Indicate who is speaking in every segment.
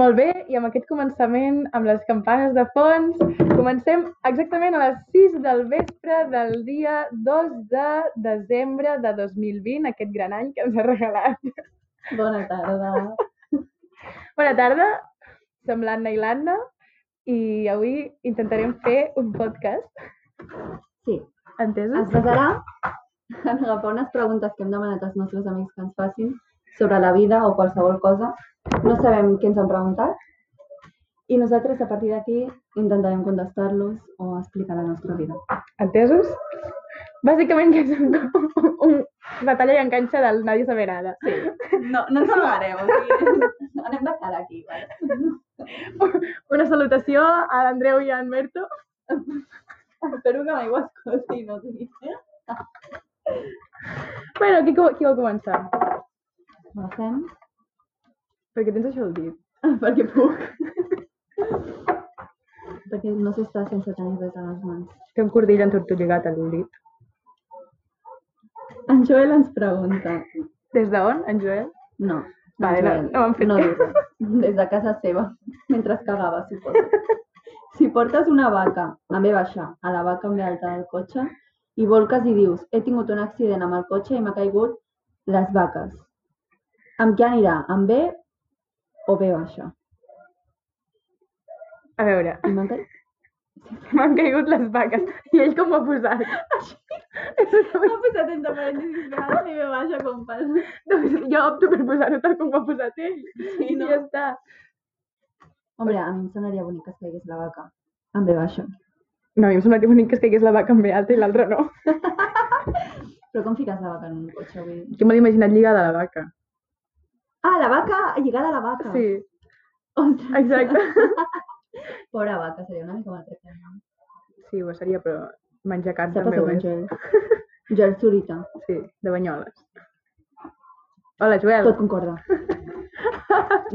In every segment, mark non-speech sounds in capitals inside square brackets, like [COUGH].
Speaker 1: Molt bé, i amb aquest començament, amb les campanes de fons, comencem exactament a les 6 del vespre del dia 2 de desembre de 2020, aquest gran any que ens ha regalat.
Speaker 2: Bona tarda.
Speaker 1: Bona tarda, som l'Anna i l'Anna, i avui intentarem fer un podcast,
Speaker 2: Sí, es
Speaker 1: entesos?
Speaker 2: basarà en agafar unes preguntes que hem demanat als nostres amics que ens facin sobre la vida o qualsevol cosa. No sabem què ens han preguntat i nosaltres a partir d'aquí intentarem contestar-los o explicar la nostra vida.
Speaker 1: Entesos? Bàsicament que és un, un batalla i enganxa del Nadie sabe nada.
Speaker 2: No, no ens amagarem, o sigui, [LAUGHS] anem de cara aquí. Vale?
Speaker 1: Una salutació a l'Andreu i a en Berto.
Speaker 2: Espero que mai ho escolti, no sigui.
Speaker 1: Bueno, qui, co- qui vol començar?
Speaker 2: Ho fem
Speaker 1: Perquè tens això al dit.
Speaker 2: perquè puc. perquè no s'està sense tenir res a les mans.
Speaker 1: Té un cordill entortollegat a l'ulit.
Speaker 2: En Joel ens pregunta.
Speaker 1: Des d'on, en Joel?
Speaker 2: No.
Speaker 1: Vale,
Speaker 2: en
Speaker 1: no-
Speaker 2: Joel,
Speaker 1: no m'han fet
Speaker 2: Ah, no
Speaker 1: cas.
Speaker 2: diu res. Des de casa seva, mentre es cagava, suposo. Si portes una vaca a B baixa, a la vaca amb B alta del cotxe, i volques i dius, he tingut un accident amb el cotxe i m'ha caigut les vaques. Amb què anirà? Amb B o B baixa?
Speaker 1: A veure, [LAUGHS]
Speaker 2: I m'ha caigut...
Speaker 1: m'han caigut les vaques. I ell com ho ha posat?
Speaker 2: M'ha posat entre parèntesis vegades i B baixa, compàs.
Speaker 1: doncs jo opto per posar-ho tal com ho ha posat ell.
Speaker 2: Sí,
Speaker 1: I
Speaker 2: no.
Speaker 1: ja està.
Speaker 2: Hombre, a mi em sonaria bonic que es caigués la vaca. Amb B baixa.
Speaker 1: No, a mi em sembla que bonic que es caigués la vaca amb ve alta i l'altra no.
Speaker 2: Però com fiques la vaca en un cotxe? Vull dir...
Speaker 1: Jo me l'he imaginat lligada a la vaca.
Speaker 2: Ah, la vaca, lligada a la vaca. [LAUGHS]
Speaker 1: Sí,
Speaker 2: Ostres,
Speaker 1: exacte. [LAUGHS]
Speaker 2: pobra vaca, seria una mica maltractada.
Speaker 1: Sí, ho seria, però menjar carn
Speaker 2: S'ha
Speaker 1: també
Speaker 2: passat
Speaker 1: ho
Speaker 2: amb
Speaker 1: és.
Speaker 2: Joel. Joel ¿eh? Zurita.
Speaker 1: Sí, de Banyoles. Hola, Joel.
Speaker 2: Tot concorda.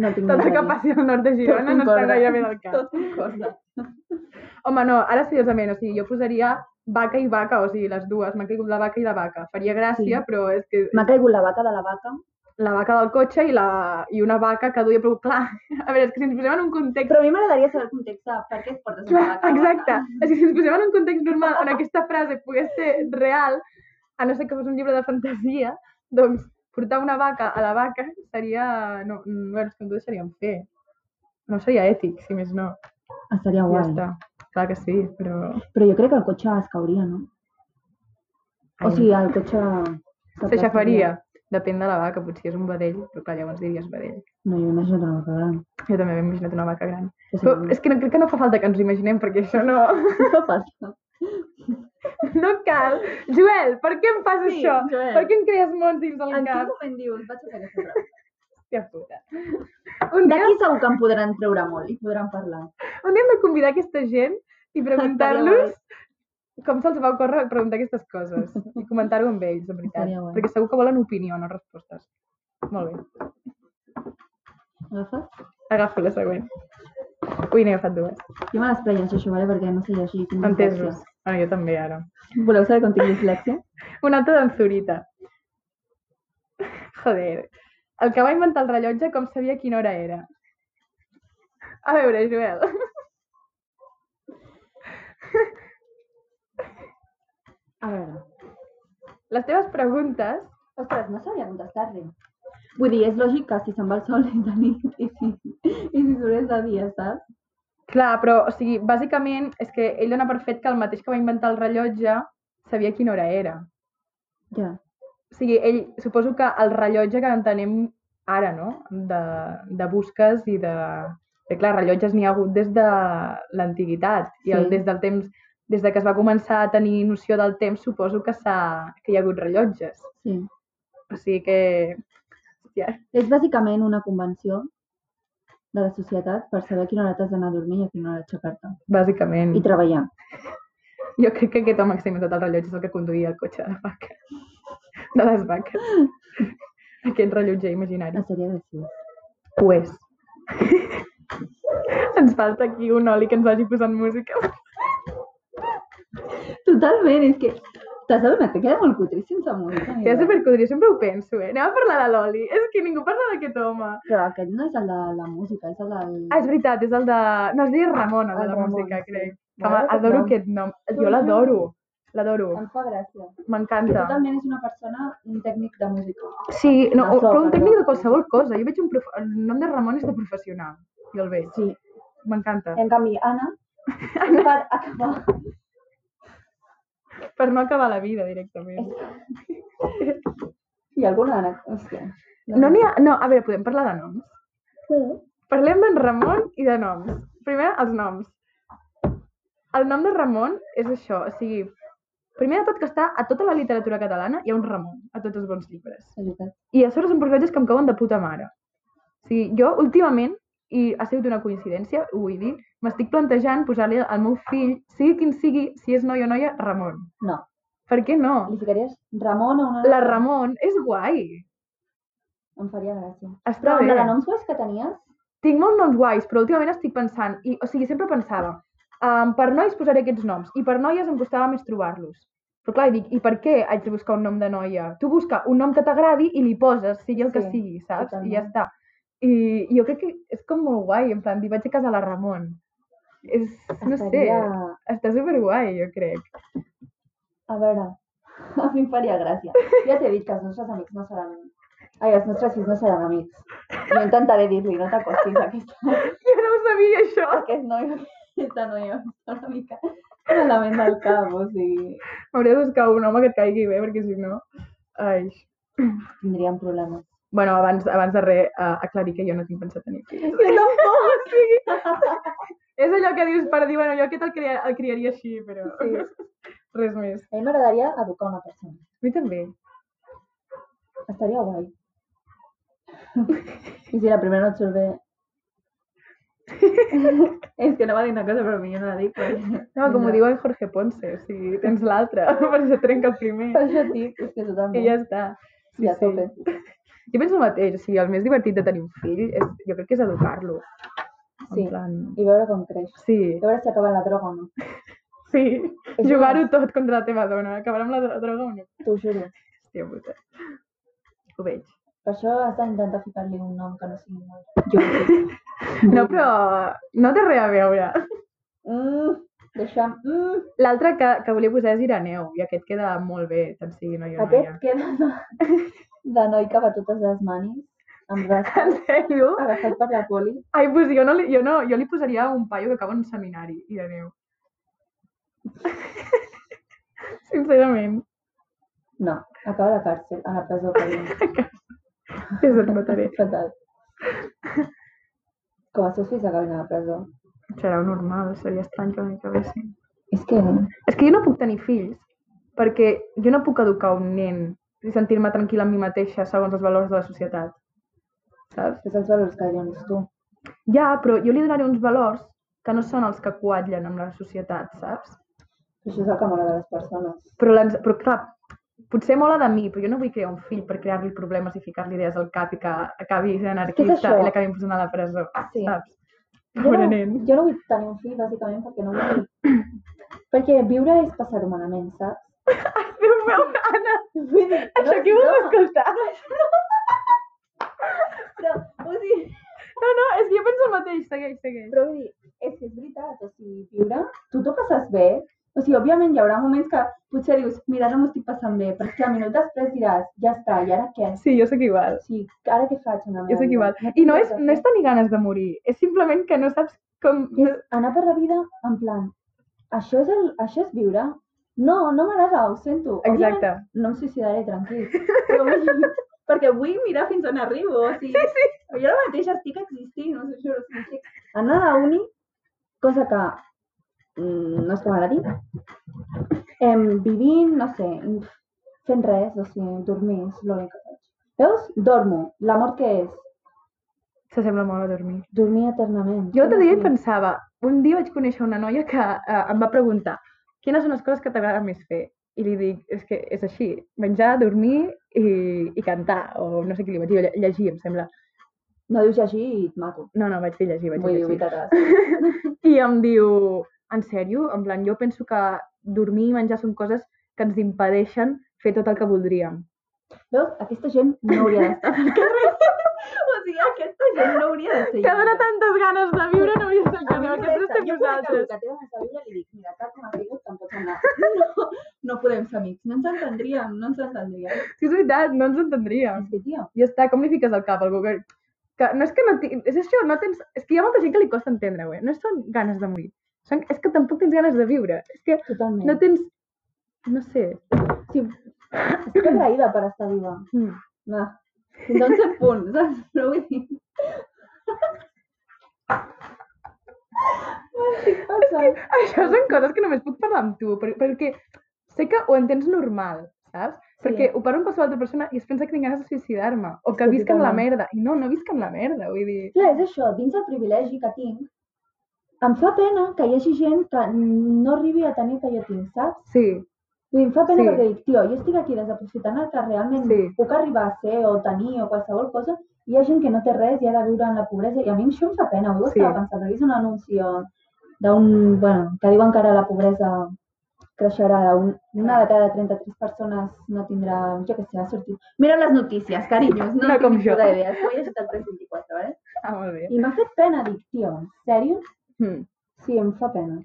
Speaker 2: No tinc
Speaker 1: Tot el
Speaker 2: res a
Speaker 1: que
Speaker 2: dir.
Speaker 1: passi al nord de Girona no està gairebé del cap.
Speaker 2: Tot concorda.
Speaker 1: [LAUGHS] Home, no, ara seriosament, o sigui, jo posaria vaca i vaca, o sigui, les dues, m'ha caigut la vaca i la vaca. Faria gràcia,
Speaker 2: Sí.
Speaker 1: però és que
Speaker 2: M'ha caigut la vaca de la vaca.
Speaker 1: la vaca del cotxe i, la, i una vaca que duia, però clar, [LAUGHS] a veure, és que si ens posem en un context...
Speaker 2: Però a mi m'agradaria saber el context de per què et portes
Speaker 1: Clar,
Speaker 2: una vaca.
Speaker 1: exacte, és que si ens posem en un context normal on aquesta frase pogués ser real, a no ser que fos un llibre de fantasia, doncs portar una vaca a la vaca seria... No, no és que no ho deixaríem fer. No seria ètic, si més no.
Speaker 2: Ah, seria
Speaker 1: Ja
Speaker 2: guai.
Speaker 1: està. Clar que sí, però...
Speaker 2: Però jo crec que el cotxe es cauria, no? O
Speaker 1: Ai.
Speaker 2: sigui, el cotxe...
Speaker 1: S'aixafaria. Depèn de la vaca, potser és un vedell, però clar, llavors diries vedell.
Speaker 2: No, jo imagino una vaca gran.
Speaker 1: Jo també m'he imaginat una vaca gran.
Speaker 2: Que sí,
Speaker 1: Però és que no, crec que no fa falta que ens ho imaginem, perquè això no... [LAUGHS]
Speaker 2: no fa falta.
Speaker 1: No cal. Joel, per què em fas
Speaker 2: Sí,
Speaker 1: això?
Speaker 2: Joel.
Speaker 1: Per què em crees mons dins del
Speaker 2: En quin
Speaker 1: cap?
Speaker 2: moment dius, vaig a fer aquesta pregunta?
Speaker 1: Hòstia puta. [LAUGHS] Un dia,
Speaker 2: D'aquí segur que en podran treure molt i podran parlar.
Speaker 1: un dia hem de convidar aquesta gent i preguntar-los
Speaker 2: guai.
Speaker 1: com se'ls va ocórrer preguntar aquestes coses i comentar-ho amb ells, de veritat.
Speaker 2: Estaria guai.
Speaker 1: Perquè segur que volen opinió, no respostes. Molt bé.
Speaker 2: Agafes?
Speaker 1: Agafo la següent. Ui, n'he agafat dues.
Speaker 2: Jo me les preies, això, vale? perquè no sé llegir. tinc
Speaker 1: Entesos.
Speaker 2: dislexia.
Speaker 1: Ah, jo també, ara.
Speaker 2: Voleu saber quan tinc dislexia?
Speaker 1: Una altra d'en Zurita. Joder. El que va inventar el rellotge com sabia quina hora era. A veure, Joel.
Speaker 2: A veure.
Speaker 1: Les teves preguntes...
Speaker 2: Ostres, no sabia contestar-li. Vull dir, és lògic que si se'n va el sol [LAUGHS] és de nit i si, i si surt és de dia, saps?
Speaker 1: Clar, però, o sigui, bàsicament és que ell dona per fet que el mateix que va inventar el rellotge sabia quina hora era.
Speaker 2: Ja.
Speaker 1: O sigui, ell, suposo que el rellotge que entenem ara, no? De, de busques i de... Perquè, clar, rellotges n'hi ha hagut des de l'antiguitat i el,
Speaker 2: Sí.
Speaker 1: des del temps des de que es va començar a tenir noció del temps, suposo que, s'ha- que hi ha hagut rellotges.
Speaker 2: Sí.
Speaker 1: O sigui que... Hòstia,
Speaker 2: És bàsicament una convenció de la societat per saber a quina hora t'has d'anar a dormir i a quina hora aixecar-te.
Speaker 1: bàsicament.
Speaker 2: I treballar.
Speaker 1: Jo crec que aquest home que s'ha inventat el rellotge és el que conduïa el cotxe de la vaca. De les
Speaker 2: [LAUGHS]
Speaker 1: vaques. Aquest rellotger imaginari.
Speaker 2: La sèrie agressiva.
Speaker 1: Ho és. [LAUGHS] Ens falta aquí un oli que ens vagi posant música.
Speaker 2: Totalment, és que T'has adonat que queda molt cutri sense música.
Speaker 1: Que és supercudri, sempre ho penso, eh? Anem a parlar de l'oli. És que ningú parla d'aquest home.
Speaker 2: Però aquest no és el de la música, és el del...
Speaker 1: Ah, és veritat, és el de... No, es deia Ramon, el de
Speaker 2: El
Speaker 1: la
Speaker 2: Ramon,
Speaker 1: música,
Speaker 2: sí.
Speaker 1: crec. Que
Speaker 2: M'agrada aquest
Speaker 1: adoro
Speaker 2: nom.
Speaker 1: aquest nom.
Speaker 2: Tu
Speaker 1: Jo l'adoro. L'adoro.
Speaker 2: Em fa gràcia.
Speaker 1: M'encanta.
Speaker 2: Totalment és una persona, un tècnic de música.
Speaker 1: Sí, no,
Speaker 2: De so,
Speaker 1: però un tècnic
Speaker 2: perdó.
Speaker 1: de qualsevol cosa. Jo veig un prof... El nom de Ramon és de professional. Jo el veig.
Speaker 2: Sí.
Speaker 1: M'encanta.
Speaker 2: En canvi, Anna,
Speaker 1: [LAUGHS]
Speaker 2: per acabar... Eh.
Speaker 1: Per no acabar la vida directament.
Speaker 2: [LAUGHS] I alguna Anna... Hòstia.
Speaker 1: No n'hi ha... No, a veure, podem parlar de noms.
Speaker 2: Sí.
Speaker 1: Parlem d'en Ramon i de noms. Primer, els noms. El nom de Ramon és això, o sigui... Primer de tot que està a tota la literatura catalana hi ha un Ramon, a tots els bons llibres.
Speaker 2: És veritat.
Speaker 1: I a sobre són personatges que em cauen de puta mare. O sigui, jo últimament, i ha sigut una coincidència, ho vull dir, m'estic plantejant posar-li al meu fill, sigui quin sigui, si és noi o noia, Ramon.
Speaker 2: No.
Speaker 1: Per què no?
Speaker 2: Li ficaries Ramon a una...
Speaker 1: La Ramon és guai.
Speaker 2: Em faria gràcia.
Speaker 1: Està
Speaker 2: Però amb
Speaker 1: bé.
Speaker 2: la de noms guais que tenies,
Speaker 1: Tinc molts noms guais, però últimament estic pensant, i, o sigui, sempre pensava, um, per nois posaré aquests noms, i per noies em costava més trobar-los. Però clar, dic, i per què haig de buscar un nom de noia? Tu busca un nom que t'agradi i li poses, sigui el que
Speaker 2: Sí,
Speaker 1: sigui, saps? I ja
Speaker 2: totalment.
Speaker 1: està. I, I jo crec que és com molt guai, en plan, dir, vaig a casa la Ramon. És, no
Speaker 2: estaria...
Speaker 1: sé, està superguai, jo crec. [LAUGHS]
Speaker 2: A veure, [LAUGHS] a mi em faria gràcia. Ja t'he dit que els nostres amics no seran... Ai, els nostres fills no seran amics. Jo intentaré dir-li, no t'acostis a aquesta,
Speaker 1: Jo no ho sabia,
Speaker 2: a
Speaker 1: això.
Speaker 2: aquest noi, a aquesta noia. Està una mica malament del cap, o sigui...
Speaker 1: M'hauria de buscar un home que et caigui bé, perquè si no... Ai.
Speaker 2: Tindríem problemes.
Speaker 1: Bueno, abans, abans de res, eh, aclarir que jo no tinc pensat tenir fills.
Speaker 2: Jo tampoc!
Speaker 1: És allò que dius per dir, bueno, jo aquest el, cria, el criaria així, però
Speaker 2: Sí.
Speaker 1: res més.
Speaker 2: A mi m'agradaria educar una persona.
Speaker 1: A mi també.
Speaker 2: Estaria guai. I si la primera no et surt bé... [LAUGHS] És que no va dir una cosa, però millor no la dic. Perquè...
Speaker 1: No, com
Speaker 2: Vindrà.
Speaker 1: ho diu el Jorge Ponce, o sigui, tens l'altre, [LAUGHS] per això trenca el primer.
Speaker 2: Per això et dic, és que
Speaker 1: I
Speaker 2: totalment.
Speaker 1: ja està.
Speaker 2: sí, a tope.
Speaker 1: Jo penso el mateix, o sigui, el més divertit de tenir un fill, és, jo crec que és educar-lo.
Speaker 2: Sí.
Speaker 1: En plan...
Speaker 2: I veure com creix.
Speaker 1: Sí,
Speaker 2: A veure si acaba la droga o no.
Speaker 1: sí.
Speaker 2: És
Speaker 1: Jugar-ho tot contra la teva dona. Acabarà amb la dro- droga o no?
Speaker 2: T'ho juro.
Speaker 1: Hòstia puta. Ho veig.
Speaker 2: Per això has d'intentar ficar-li un nom que no sigui molt. Jo.
Speaker 1: No, però no té res a veure.
Speaker 2: [LAUGHS] Mm, deixa'm... Mm.
Speaker 1: L'altre que, que volia posar és Ireneu, i aquest queda molt bé, tant sigui noia o
Speaker 2: Aquest
Speaker 1: noia.
Speaker 2: queda de, [LAUGHS] de noi que va totes les manis, amb
Speaker 1: En [LAUGHS]
Speaker 2: braços,
Speaker 1: sèrio?
Speaker 2: agafat per la poli.
Speaker 1: Ai, pues jo, no, li- jo, no, jo li posaria un paio que acaba en un seminari, i de neu. [LAUGHS] Sincerament,
Speaker 2: No, acaba a la càrcel, a la presó.
Speaker 1: [LAUGHS]
Speaker 2: Per
Speaker 1: és el mataré.
Speaker 2: Fatal. Com els seus fills acaben a la presó.
Speaker 1: Serà normal, seria estrany que no hi cabessin.
Speaker 2: És que...
Speaker 1: És que jo no puc tenir fills, perquè jo no puc educar un nen i sentir-me tranquil·la amb mi mateixa segons els valors de la societat. Saps?
Speaker 2: És els valors que li dones tu.
Speaker 1: Ja, però jo li donaré uns valors que no són els que coatllen amb la societat, saps?
Speaker 2: Això és el que mola de les persones.
Speaker 1: però, l'ens- però clar, potser mola de mi, però jo no vull crear un fill per crear-li problemes i ficar-li idees al cap i que acabi sent anarquista
Speaker 2: això? Ah,
Speaker 1: i l'acabin posant a la presó,
Speaker 2: Sí.
Speaker 1: saps?
Speaker 2: Jo
Speaker 1: Pobre
Speaker 2: no,
Speaker 1: nen.
Speaker 2: jo no vull tenir un fill, bàsicament, perquè no vull... [CLEARS THROAT] perquè viure és passar-ho malament, saps?
Speaker 1: [LAUGHS] Déu meu, Anna,
Speaker 2: Vull dir,
Speaker 1: això qui ho va escoltar?
Speaker 2: però, o sigui,
Speaker 1: No, no, és que jo penso el mateix, segueix, segueix.
Speaker 2: però vull dir, és que és veritat, o sigui, viure, tu t'ho passes bé, o sigui, òbviament hi haurà moments que potser dius, mira, no m'ho estic passant bé, però és que a minut després diràs, ja està, i ara què?
Speaker 1: Sí, jo sóc igual,
Speaker 2: O sigui, ara què faig amb la meva
Speaker 1: jo sóc
Speaker 2: vida?
Speaker 1: igual.
Speaker 2: No
Speaker 1: I no
Speaker 2: tinc
Speaker 1: és,
Speaker 2: res a
Speaker 1: no és
Speaker 2: fer.
Speaker 1: tenir ganes de morir, és simplement que no saps com...
Speaker 2: I és anar per la vida en plan, això és, el, això és viure? No, no m'agrada, ho sento. Òbviament,
Speaker 1: Exacte.
Speaker 2: no em suïcidaré, tranquil. Però [LAUGHS] vull dir, perquè vull mirar fins on arribo. O sigui, sí, sí. Jo ara mateix estic existint, no sé, juro. o sigui, estic Anar a la uni, cosa que mm, no és que m'agradi, em, vivint, no sé, fent res, o sigui, dormir és l'únic que faig. Veus? Dormo. La mort que és?
Speaker 1: S'assembla molt a dormir.
Speaker 2: Dormir eternament.
Speaker 1: Jo l'altre
Speaker 2: Què
Speaker 1: dia
Speaker 2: més
Speaker 1: hi pensava, un dia vaig conèixer una noia que eh, em va preguntar quines són les coses que t'agrada més fer? I li dic, és que és així, menjar, dormir i, i cantar, o no sé què li vaig dir, o lle- llegir, em sembla.
Speaker 2: No dius així i et mato.
Speaker 1: No, no, vaig dir llegir, vaig
Speaker 2: Vull
Speaker 1: dir
Speaker 2: dir,
Speaker 1: llegir.
Speaker 2: vull
Speaker 1: I em diu, en sèrio? En plan, jo penso que dormir i menjar són coses que que ens impedeixen fer tot el que voldríem.
Speaker 2: Veus? Aquesta gent no hauria [LAUGHS] d'estar al carrer. o sigui, aquesta gent no hauria de ser
Speaker 1: Que dona tantes ganes de viure, no havies el
Speaker 2: A
Speaker 1: camí,
Speaker 2: mi em
Speaker 1: que no estem
Speaker 2: molesta. Jo quan acabo
Speaker 1: nosaltres.
Speaker 2: que té ganes de viure li dic, mira, tal com has vingut tampoc anar. [LAUGHS] No, no podem ser amics, no ens entendríem, no ens entendríem.
Speaker 1: Sí, és veritat, no ens entendríem.
Speaker 2: És que, tio,
Speaker 1: Ja està, com li fiques al cap al Google? Que no és que no tinc... És això, no tens... És que hi ha molta gent que li costa entendre, güey. No són ganes de morir. Són... És que tampoc tens ganes de viure. És que
Speaker 2: totalment.
Speaker 1: no tens... No sé.
Speaker 2: sí, estic agraïda per estar viva.
Speaker 1: Mm.
Speaker 2: Va, fins a un cert punt, [LAUGHS] saps? Però vull dir... Estic passant.
Speaker 1: Això són coses que només puc parlar amb tu, per- perquè sé que ho entens normal, saps? Perquè ho parlo amb qualsevol altra persona i es pensa que tinc ganes de suïcidar-me, o que
Speaker 2: que
Speaker 1: visc en la
Speaker 2: totalment.
Speaker 1: merda. I no, no visc en la merda, vull dir...
Speaker 2: Clar, és això, dins del privilegi que tinc, em fa pena que hi hagi gent que no arribi a tenir el que jo tinc, saps?
Speaker 1: Sí,
Speaker 2: Vull dir, em fa pena
Speaker 1: Sí.
Speaker 2: perquè dic, tio, jo estic aquí desaprofitant el que realment
Speaker 1: Sí.
Speaker 2: puc arribar a ser o tenir o qualsevol cosa, i hi ha gent que no té res i ha de viure en la pobresa, i a mi això em fa pena, avui ho
Speaker 1: Sí.
Speaker 2: estava pensant, he vist un anunci o d'un, bueno, que diuen que ara la pobresa creixerà, un, una de cada 33 persones no tindrà, jo què sé, ha sortit. Mira les notícies, carinyos, no,
Speaker 1: No com
Speaker 2: tinc
Speaker 1: jo.
Speaker 2: puta idea, m'ho he llegit el 324, vale?
Speaker 1: ah, molt bé.
Speaker 2: eh? I m'ha fet pena, dic, tio, en sèrio?
Speaker 1: Mm.
Speaker 2: Sí, em fa pena.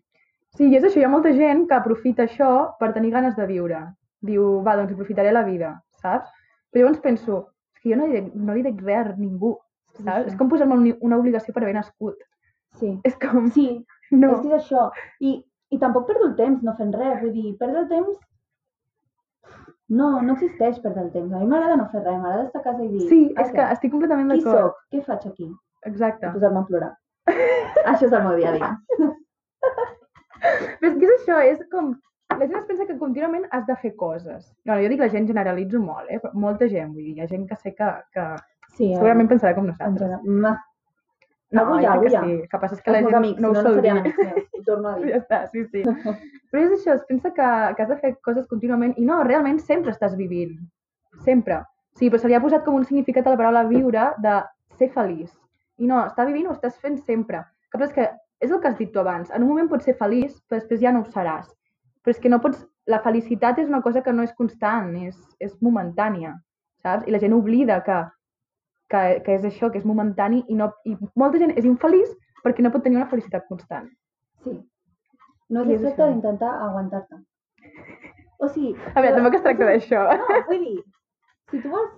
Speaker 1: Sí, i és això, hi ha molta gent que aprofita això per tenir ganes de viure. Diu, va, doncs aprofitaré la vida, saps? Però llavors penso, és que jo no li dec, no li dec res a ningú,
Speaker 2: Sí,
Speaker 1: saps?
Speaker 2: sí.
Speaker 1: És com posar-me una, una obligació per haver nascut.
Speaker 2: Sí.
Speaker 1: És com,
Speaker 2: Sí,
Speaker 1: no.
Speaker 2: És que és això. I, I tampoc perdo el temps no fent res. Vull dir, perdre el temps... No, no existeix perdre el temps. A mi m'agrada no fer res, m'agrada estar a casa i dir...
Speaker 1: Sí,
Speaker 2: "Ah,
Speaker 1: és que
Speaker 2: què?
Speaker 1: estic completament
Speaker 2: Qui
Speaker 1: d'acord.
Speaker 2: sóc? Què faig aquí?
Speaker 1: Exacte.
Speaker 2: I posar-me a
Speaker 1: [LAUGHS]
Speaker 2: plorar. això és el meu dia a dia.
Speaker 1: Però és que és això, és com... La gent es pensa que contínuament has de fer coses. No, jo dic la gent, generalitzo molt, eh? Però molta gent, vull dir, hi ha gent que sé que, que
Speaker 2: Sí,
Speaker 1: segurament pensarà com
Speaker 2: En, en
Speaker 1: nosaltres.
Speaker 2: general. Ma,
Speaker 1: No,
Speaker 2: Avui
Speaker 1: jo
Speaker 2: ja,
Speaker 1: crec que
Speaker 2: avui
Speaker 1: sí. El que passa és que
Speaker 2: els
Speaker 1: la
Speaker 2: meus
Speaker 1: gent
Speaker 2: amics,
Speaker 1: no ho
Speaker 2: no, no
Speaker 1: sol dir.
Speaker 2: serien amics meus. Ho torno a dir.
Speaker 1: [LAUGHS] Ja està, sí, sí. Però és això, es pensa que, que has de fer coses contínuament i no, realment sempre estàs vivint. Sempre. Sí, però se li ha posat com un significat a la paraula viure de ser feliç. I no, està vivint ho estàs fent sempre. El Que passa és que és el que has dit tu abans. En un moment pots ser feliç, però després ja no ho seràs. Però és que no pots... La felicitat és una cosa que no és constant, és, és momentània, saps? I la gent oblida que, que, que és això, que és momentani i, no, i molta gent és infeliç perquè no pot tenir una felicitat constant.
Speaker 2: Sí. No
Speaker 1: Sí, és
Speaker 2: és tracta
Speaker 1: això.
Speaker 2: d'intentar aguantar-te. O sigui...
Speaker 1: A veure, tampoc es tracta d'això.
Speaker 2: No, vull dir, si tu vols...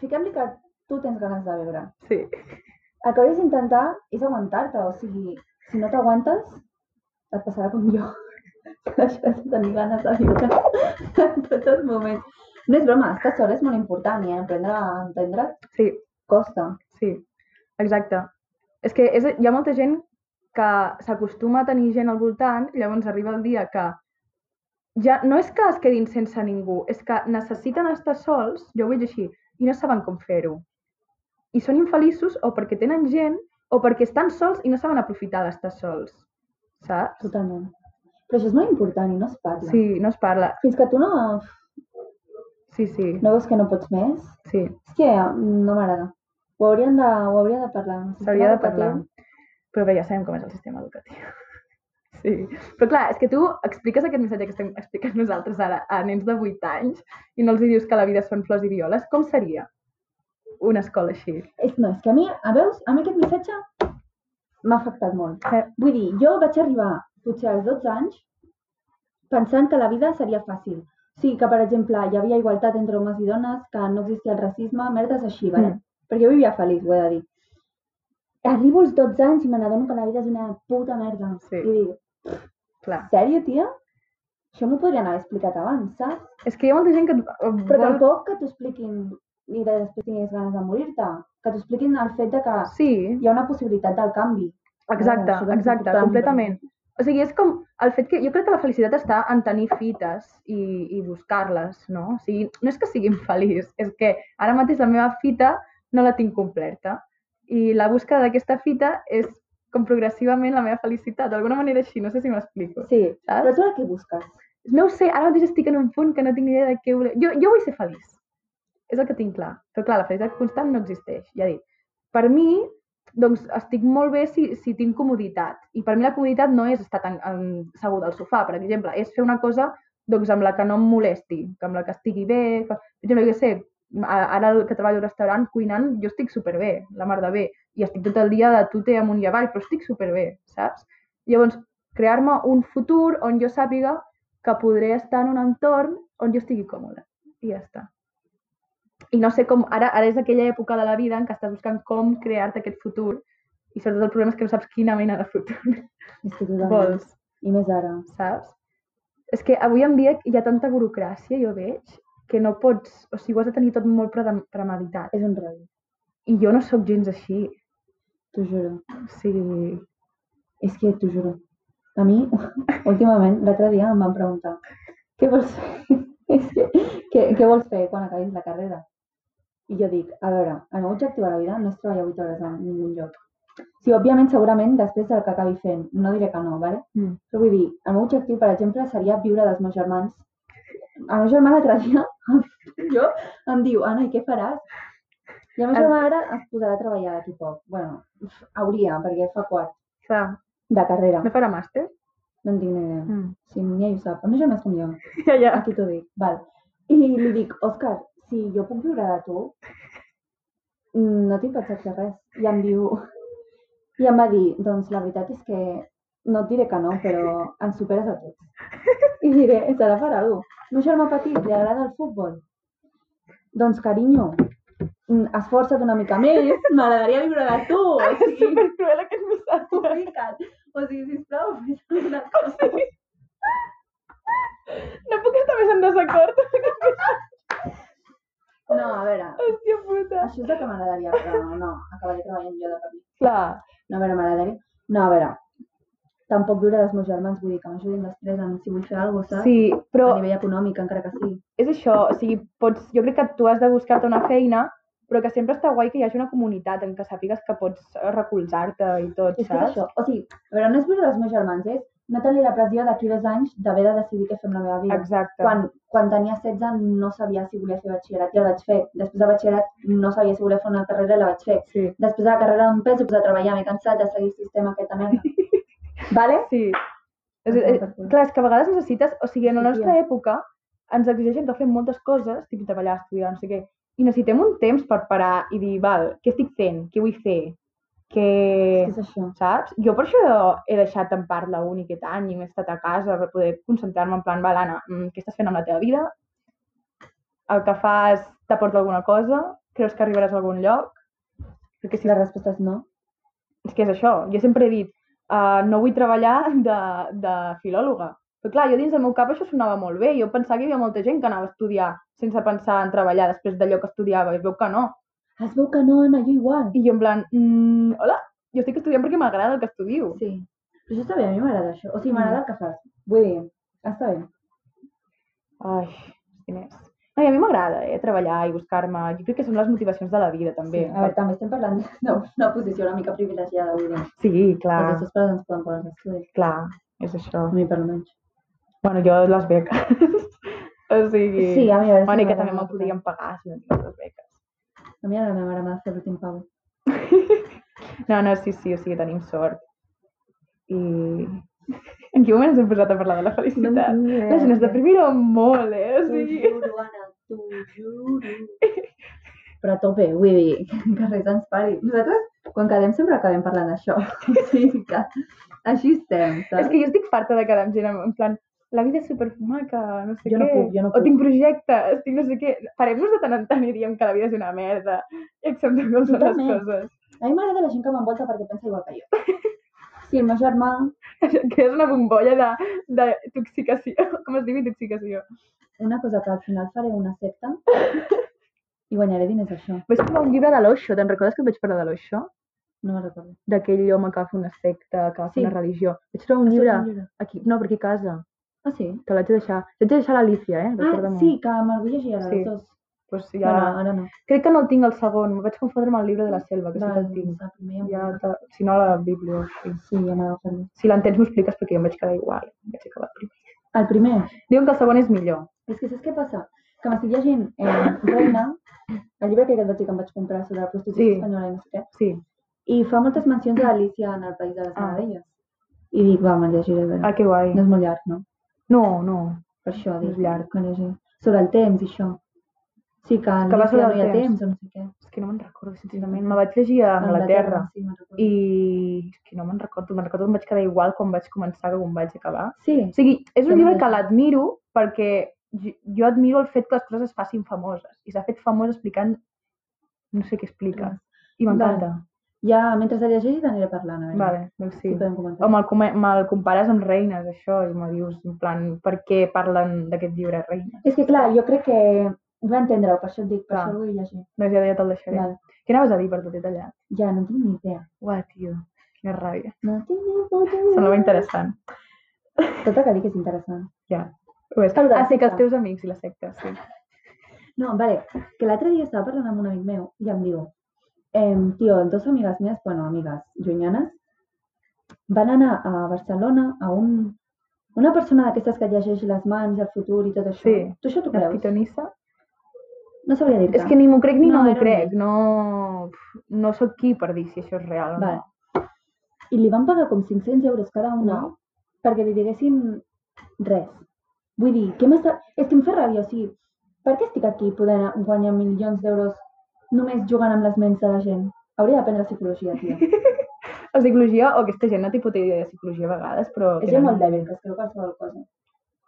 Speaker 2: Fiquem-li que tu tens ganes de viure.
Speaker 1: Sí.
Speaker 2: el que hauries d'intentar és aguantar-te, o sigui, si no t'aguantes, et passarà com jo. [LAUGHS] Que Deixes de tenir ganes de viure en tots els moments. No és broma, estar sola és molt important i aprendre a entendre
Speaker 1: Sí,
Speaker 2: costa.
Speaker 1: sí, exacte. És que és, hi ha molta gent que s'acostuma a tenir gent al voltant i llavors arriba el dia que ja no és que es quedin sense ningú, és que necessiten estar sols, jo ho veig així, i no saben com fer-ho. I són infeliços o perquè tenen gent o perquè estan sols i no saben aprofitar d'estar sols, saps?
Speaker 2: Totalment. Però això és molt important i no es parla.
Speaker 1: Sí, no es parla.
Speaker 2: Fins que tu no,
Speaker 1: Sí, sí,
Speaker 2: no veus que no pots més,
Speaker 1: sí.
Speaker 2: és que mm, no m'agrada. Ho haurien de, ho hauria de parlar. El sistema
Speaker 1: S'hauria de
Speaker 2: educatiu-
Speaker 1: parlar. Però bé, ja sabem com és el sistema educatiu. [LAUGHS] Sí. Però clar, és que tu expliques aquest missatge que estem explicant nosaltres ara a nens de 8 anys i no els hi dius que la vida són flors i violes. Com seria una escola així?
Speaker 2: És, no, és que a mi, a veus, a mi aquest missatge m'ha afectat molt.
Speaker 1: Eh.
Speaker 2: Vull dir, jo vaig arribar potser als 12 anys pensant que la vida seria fàcil. Sí, que per exemple hi havia igualtat entre homes i dones, que no existia el racisme, merdes així, vale?
Speaker 1: Mm.
Speaker 2: Perquè jo vivia feliç, ho he de dir. Arribo als 12 anys i me n'adono que la vida és una puta merda.
Speaker 1: Sí.
Speaker 2: I dic,
Speaker 1: Clar.
Speaker 2: sèrio, tia? Això m'ho podrien haver explicat abans, saps?
Speaker 1: És que hi ha molta gent que... et- eh,
Speaker 2: Però
Speaker 1: vol-
Speaker 2: tampoc que t'ho expliquin i després tinguis ganes de morir-te. Que t'ho expliquin el fet de que
Speaker 1: Sí,
Speaker 2: hi ha una possibilitat del canvi.
Speaker 1: exacte,
Speaker 2: Això també és
Speaker 1: exacte,
Speaker 2: important.
Speaker 1: completament. O sigui, és com el fet que... Jo crec que la felicitat està en tenir fites i, i buscar-les, no? O sigui, no és que sigui [LAUGHS] infeliç, és que ara mateix la meva fita no la tinc completa. I la busca d'aquesta fita és com progressivament la meva felicitat, d'alguna manera així, no sé si m'explico.
Speaker 2: Sí,
Speaker 1: Saps?
Speaker 2: però tu ara què busques?
Speaker 1: No ho sé, ara mateix estic en un punt que no tinc ni idea de què voler... Jo, jo vull ser feliç, és el que tinc clar. Però clar, la felicitat constant no existeix, ja he dit. Per mi, doncs, estic molt bé si, si tinc comoditat. I per mi la comoditat no és estar tan en, segur del sofà, per exemple, és fer una cosa doncs amb la que no em molesti, que amb la que estigui bé... Que... Per exemple, jo què sé, a- ara el que treballo al restaurant cuinant, jo estic superbé, la mar de bé, i estic tot el dia de tute amunt i avall, però estic superbé, saps? Llavors, crear-me un futur on jo sàpiga que podré estar en un entorn on jo estigui còmode. I ja està. I no sé com... Ara, ara és aquella època de la vida en què estàs buscant com crear-te aquest futur i sobretot el problema és que no saps quina mena de futur [LAUGHS]
Speaker 2: És que totalment.
Speaker 1: vols,
Speaker 2: I més ara.
Speaker 1: saps? És que avui en dia hi ha tanta burocràcia, jo veig, que no pots... O sigui, ho has de tenir tot molt predem- premeditat.
Speaker 2: És un rotllo,
Speaker 1: I jo no sóc gens així.
Speaker 2: t'ho juro.
Speaker 1: O sigui...
Speaker 2: És que t'ho juro. A mi, [LAUGHS] últimament, l'altre dia em van preguntar què vols fer? [LAUGHS] És que, què, què vols fer quan acabis la carrera? I jo dic, a veure, el meu objectiu a la vida no és treballar 8 hores en ningú lloc. Sí, òbviament, segurament, després del que acabi fent, no diré que no, ¿vale?
Speaker 1: Mm.
Speaker 2: Però vull dir, el meu objectiu, per exemple, seria viure dels meus germans. El meu germà l'altre dia jo, em [LAUGHS] diu, Anna, i què faràs? I el meu
Speaker 1: Ah.
Speaker 2: germà ara es posarà a treballar d'aquí poc. Bueno, hauria, perquè fa quart
Speaker 1: Clar,
Speaker 2: de carrera.
Speaker 1: no farà màster?
Speaker 2: No en tinc ni idea.
Speaker 1: Mm.
Speaker 2: Si ni ell ho sap. A més, jo no és com jo.
Speaker 1: Ja, ja.
Speaker 2: Aquí t'ho dic. Val. I li dic, Òscar, si jo puc viure de tu, mm, no tinc pensat fer res. I em diu... I em va dir, doncs la veritat és que no et diré que no, però ens superes a tots. I diré, serà per algú. El meu germà petit li agrada el futbol. Doncs, carinyo, mm, esforça't una mica més, m'agradaria viure de tu. O sigui,
Speaker 1: Supercruel aquest missatge.
Speaker 2: complicat. O sigui, sisplau, fes una cosa.
Speaker 1: No puc estar més en desacord [LAUGHS] amb aquest missatge.
Speaker 2: No, a veure,
Speaker 1: Hòstia puta.
Speaker 2: això és el que m'agradaria, però no, acabaré treballant jo de per mi.
Speaker 1: Clar.
Speaker 2: No, a veure, m'agradaria... No, a veure, tampoc viure dels meus germans, vull dir que m'ajudin després en si vull fer alguna cosa,
Speaker 1: Sí, però
Speaker 2: a nivell econòmic, encara que sigui.
Speaker 1: és això, o sigui, pots, jo crec que tu has de buscar-te una feina, però que sempre està guai que hi hagi una comunitat en què sàpigues que pots eh, recolzar-te i tot,
Speaker 2: És que és
Speaker 1: saps?
Speaker 2: això, o sigui, a veure, no és viure dels meus germans, és no tenir la pressió d'aquí dos anys d'haver de decidir què fer amb la meva vida.
Speaker 1: Exacte.
Speaker 2: Quan, quan tenia 16 no sabia si volia fer batxillerat i el vaig fer. Després del batxillerat no sabia si volia fer una carrera i la vaig fer.
Speaker 1: Sí.
Speaker 2: Després de la carrera em penso pues, a treballar, m'he cansat de seguir el sistema aquest de merda. vale?
Speaker 1: Sí. És, és,
Speaker 2: Exacte.
Speaker 1: clar, és que a vegades necessites... O sigui, en la
Speaker 2: Sí,
Speaker 1: nostra
Speaker 2: tia.
Speaker 1: època ens exigeixen de fer moltes coses, tipus treballar, estudiar, no sé què, i necessitem un temps per parar i dir, val, què estic fent? Què vull fer? Què...
Speaker 2: És que és això.
Speaker 1: saps? Jo per això he deixat en part l'únic aquest any i m'he estat a casa per poder concentrar-me en plan, val, Anna, mm, què estàs fent amb la teva vida? El que fas t'aporta alguna cosa? Creus que arribaràs a algun lloc? Perquè si
Speaker 2: La resposta és no.
Speaker 1: és que és això. Jo sempre he dit, uh, no vull treballar de, de filòloga. Però clar, jo dins del meu cap això sonava molt bé. Jo pensava que hi havia molta gent que anava a estudiar sense pensar en treballar després d'allò que estudiava. I es veu que no.
Speaker 2: Es veu que no, Anna, jo igual.
Speaker 1: I jo en plan, mm, hola, jo estic estudiant perquè m'agrada el que estudio.
Speaker 2: Sí. Però això està bé, a mi m'agrada això. O sigui,
Speaker 1: Mm.
Speaker 2: m'agrada el que fas. Vull dir, està bé.
Speaker 1: Ai, diners. No, i a mi m'agrada, eh, treballar i buscar-me. Jo crec que són les motivacions de la vida, també.
Speaker 2: Sí. A veure, també estem parlant [LAUGHS] d'una posició una mica privilegiada, vull dir.
Speaker 1: Sí, clar,
Speaker 2: Els nostres pares ens poden posar els estudis.
Speaker 1: clar, és això.
Speaker 2: A mi, per almenys.
Speaker 1: Bueno, jo les beques. [LAUGHS] o sigui...
Speaker 2: Sí, a mi a veure
Speaker 1: Bueno, i que
Speaker 2: m'agrada
Speaker 1: també me'n
Speaker 2: molt. eh.
Speaker 1: podrien pagar, si no tingués les beques.
Speaker 2: A mi ara la meva mare m'ha de fer l'últim pau.
Speaker 1: No, no, sí, sí, o sigui, tenim sort. I... [LAUGHS] En quin moment ens hem posat a parlar de la felicitat?
Speaker 2: tinc ni idea,
Speaker 1: la gent es
Speaker 2: tia.
Speaker 1: deprimirà molt, eh? O
Speaker 2: T'ho
Speaker 1: sigui...
Speaker 2: juro, Anna, t'ho juro. Però a tope, vull dir, [LAUGHS] que res ens pari. Nosaltres, quan quedem, sempre acabem parlant [LAUGHS] d'això. O sigui que així estem,
Speaker 1: És
Speaker 2: saps?
Speaker 1: que jo estic farta de quedar amb gent en en plan, la vida és supermaca, no sé què.
Speaker 2: Jo no puc, jo no
Speaker 1: O
Speaker 2: puc.
Speaker 1: tinc projectes, tinc no sé què. Farem-nos de tant en tant i diem que la vida és una merda i acceptem com són les
Speaker 2: Totalment.
Speaker 1: coses. [LAUGHS]
Speaker 2: A mi m'agrada la gent que m'envolta perquè pensa igual que jo. Sí, el meu germà,
Speaker 1: Que és una bombolla de, de toxicació. [LAUGHS] Com es diu intoxicació?
Speaker 2: una cosa que al final faré una
Speaker 1: [LAUGHS]
Speaker 2: secta i guanyaré diners d'això.
Speaker 1: Vaig trobar un llibre de l'Oixo. Te'n recordes que et vaig parlar de l'Oixo?
Speaker 2: No me'n recordo.
Speaker 1: D'aquell home que va fer una secta, que va fer
Speaker 2: Sí.
Speaker 1: una religió. Vaig trobar un
Speaker 2: Has
Speaker 1: llibre
Speaker 2: trobat un llibre?
Speaker 1: aquí, no, per aquí a casa.
Speaker 2: Ah, sí?
Speaker 1: Te l'haig de deixar. L'haig de deixar a l'Alicia, eh?
Speaker 2: Ah,
Speaker 1: Recorda-m'ho.
Speaker 2: sí, que me'l vull llegir ara,
Speaker 1: Sí.
Speaker 2: els dos.
Speaker 1: Pues ja...
Speaker 2: Bueno, ara no.
Speaker 1: Crec que no el tinc el segon. Em vaig confondre amb el llibre de la selva, que sí que el tinc.
Speaker 2: doncs el primer ja em
Speaker 1: Ja,
Speaker 2: puc-
Speaker 1: te... si no, a la Bíblia. o Així.
Speaker 2: Sí, ja m'ha agafat.
Speaker 1: Si l'entens, m'ho expliques perquè jo em vaig quedar igual. Em vaig acabar primer.
Speaker 2: El primer?
Speaker 1: Diuen que el segon és millor.
Speaker 2: És que saps què passa? Que m'estic llegint eh, Reina, el llibre que et vaig dir que em vaig comprar sobre la prostitució
Speaker 1: Sí.
Speaker 2: espanyola i no sé què,
Speaker 1: Sí.
Speaker 2: i fa moltes mencions de l'Alicia en el País de les
Speaker 1: Ah.
Speaker 2: Meravelles. I dic, va, me'l llegiré a veure.
Speaker 1: Ah, que guai.
Speaker 2: No és molt llarg, no?
Speaker 1: No, no.
Speaker 2: Per això dic
Speaker 1: És llarg.
Speaker 2: que no sé. Sobre el temps i això. Sí que,
Speaker 1: Que va
Speaker 2: l'Alícia
Speaker 1: sobre el
Speaker 2: no hi ha
Speaker 1: temps.
Speaker 2: temps o no sé què.
Speaker 1: És que no me'n recordo, sincerament. Me vaig llegir a Anglaterra.
Speaker 2: Sí, me'n recordo.
Speaker 1: I és que no me'n recordo, me'n recordo que em vaig quedar igual quan vaig començar que quan vaig acabar.
Speaker 2: Sí,
Speaker 1: O sigui, és
Speaker 2: Jo
Speaker 1: un llibre
Speaker 2: mateixa.
Speaker 1: que l'admiro perquè jo, jo admiro el fet que les coses es facin famoses. I s'ha fet famós explicant no sé què explica. I m'encanta.
Speaker 2: ja mentre la llegeix aniré parlant. A veure.
Speaker 1: Vale, doncs sí.
Speaker 2: Sí, podem comentar.
Speaker 1: Home, el, come- me'l compares amb Reines, això, i me dius, en plan, per què parlen d'aquest llibre, Reines?
Speaker 2: És que clar, jo crec que vull entendre-ho, per això et dic, per
Speaker 1: Clar.
Speaker 2: això el vull llegir.
Speaker 1: Doncs ja, ja te'l deixaré.
Speaker 2: Vale.
Speaker 1: Què anaves a dir, perdó, t'he tallat?
Speaker 2: Ja, no tinc ni idea.
Speaker 1: Uah, tio, quina ràbia.
Speaker 2: No tinc ni idea.
Speaker 1: Semblava interessant.
Speaker 2: Tot el que dic és interessant.
Speaker 1: Ja. Ho és.
Speaker 2: Però de
Speaker 1: Ah, sí, que els
Speaker 2: secta.
Speaker 1: teus amics i la secta, sí.
Speaker 2: No, vale, que l'altre dia estava parlant amb un amic meu i em diu, ehm, tio, dos amigues meves, bueno, amigues llunyanes, van anar a Barcelona a un, una persona d'aquestes que et llegeix les mans, el futur i tot això.
Speaker 1: Sí.
Speaker 2: Tu això t'ho
Speaker 1: La
Speaker 2: creus?
Speaker 1: pitonissa.
Speaker 2: No sabria dir-te.
Speaker 1: És que ni m'ho crec ni
Speaker 2: No,
Speaker 1: no, m'ho
Speaker 2: era un
Speaker 1: crec. No, no sóc qui per dir si això és real o no.
Speaker 2: Vale. I li van pagar com 500 euros cada una
Speaker 1: Uau.
Speaker 2: perquè li diguessin res. Vull dir, què m'està... És que em fa ràbia, o sigui, per què estic aquí podent guanyar milions d'euros només jugant amb les ments de la gent? Hauria d'aprendre psicologia,
Speaker 1: [LAUGHS]
Speaker 2: tio.
Speaker 1: La psicologia, o aquesta gent no té puta idea de psicologia a vegades, però...
Speaker 2: És gent
Speaker 1: tenen-
Speaker 2: molt dèbil, que es creu qualsevol cosa.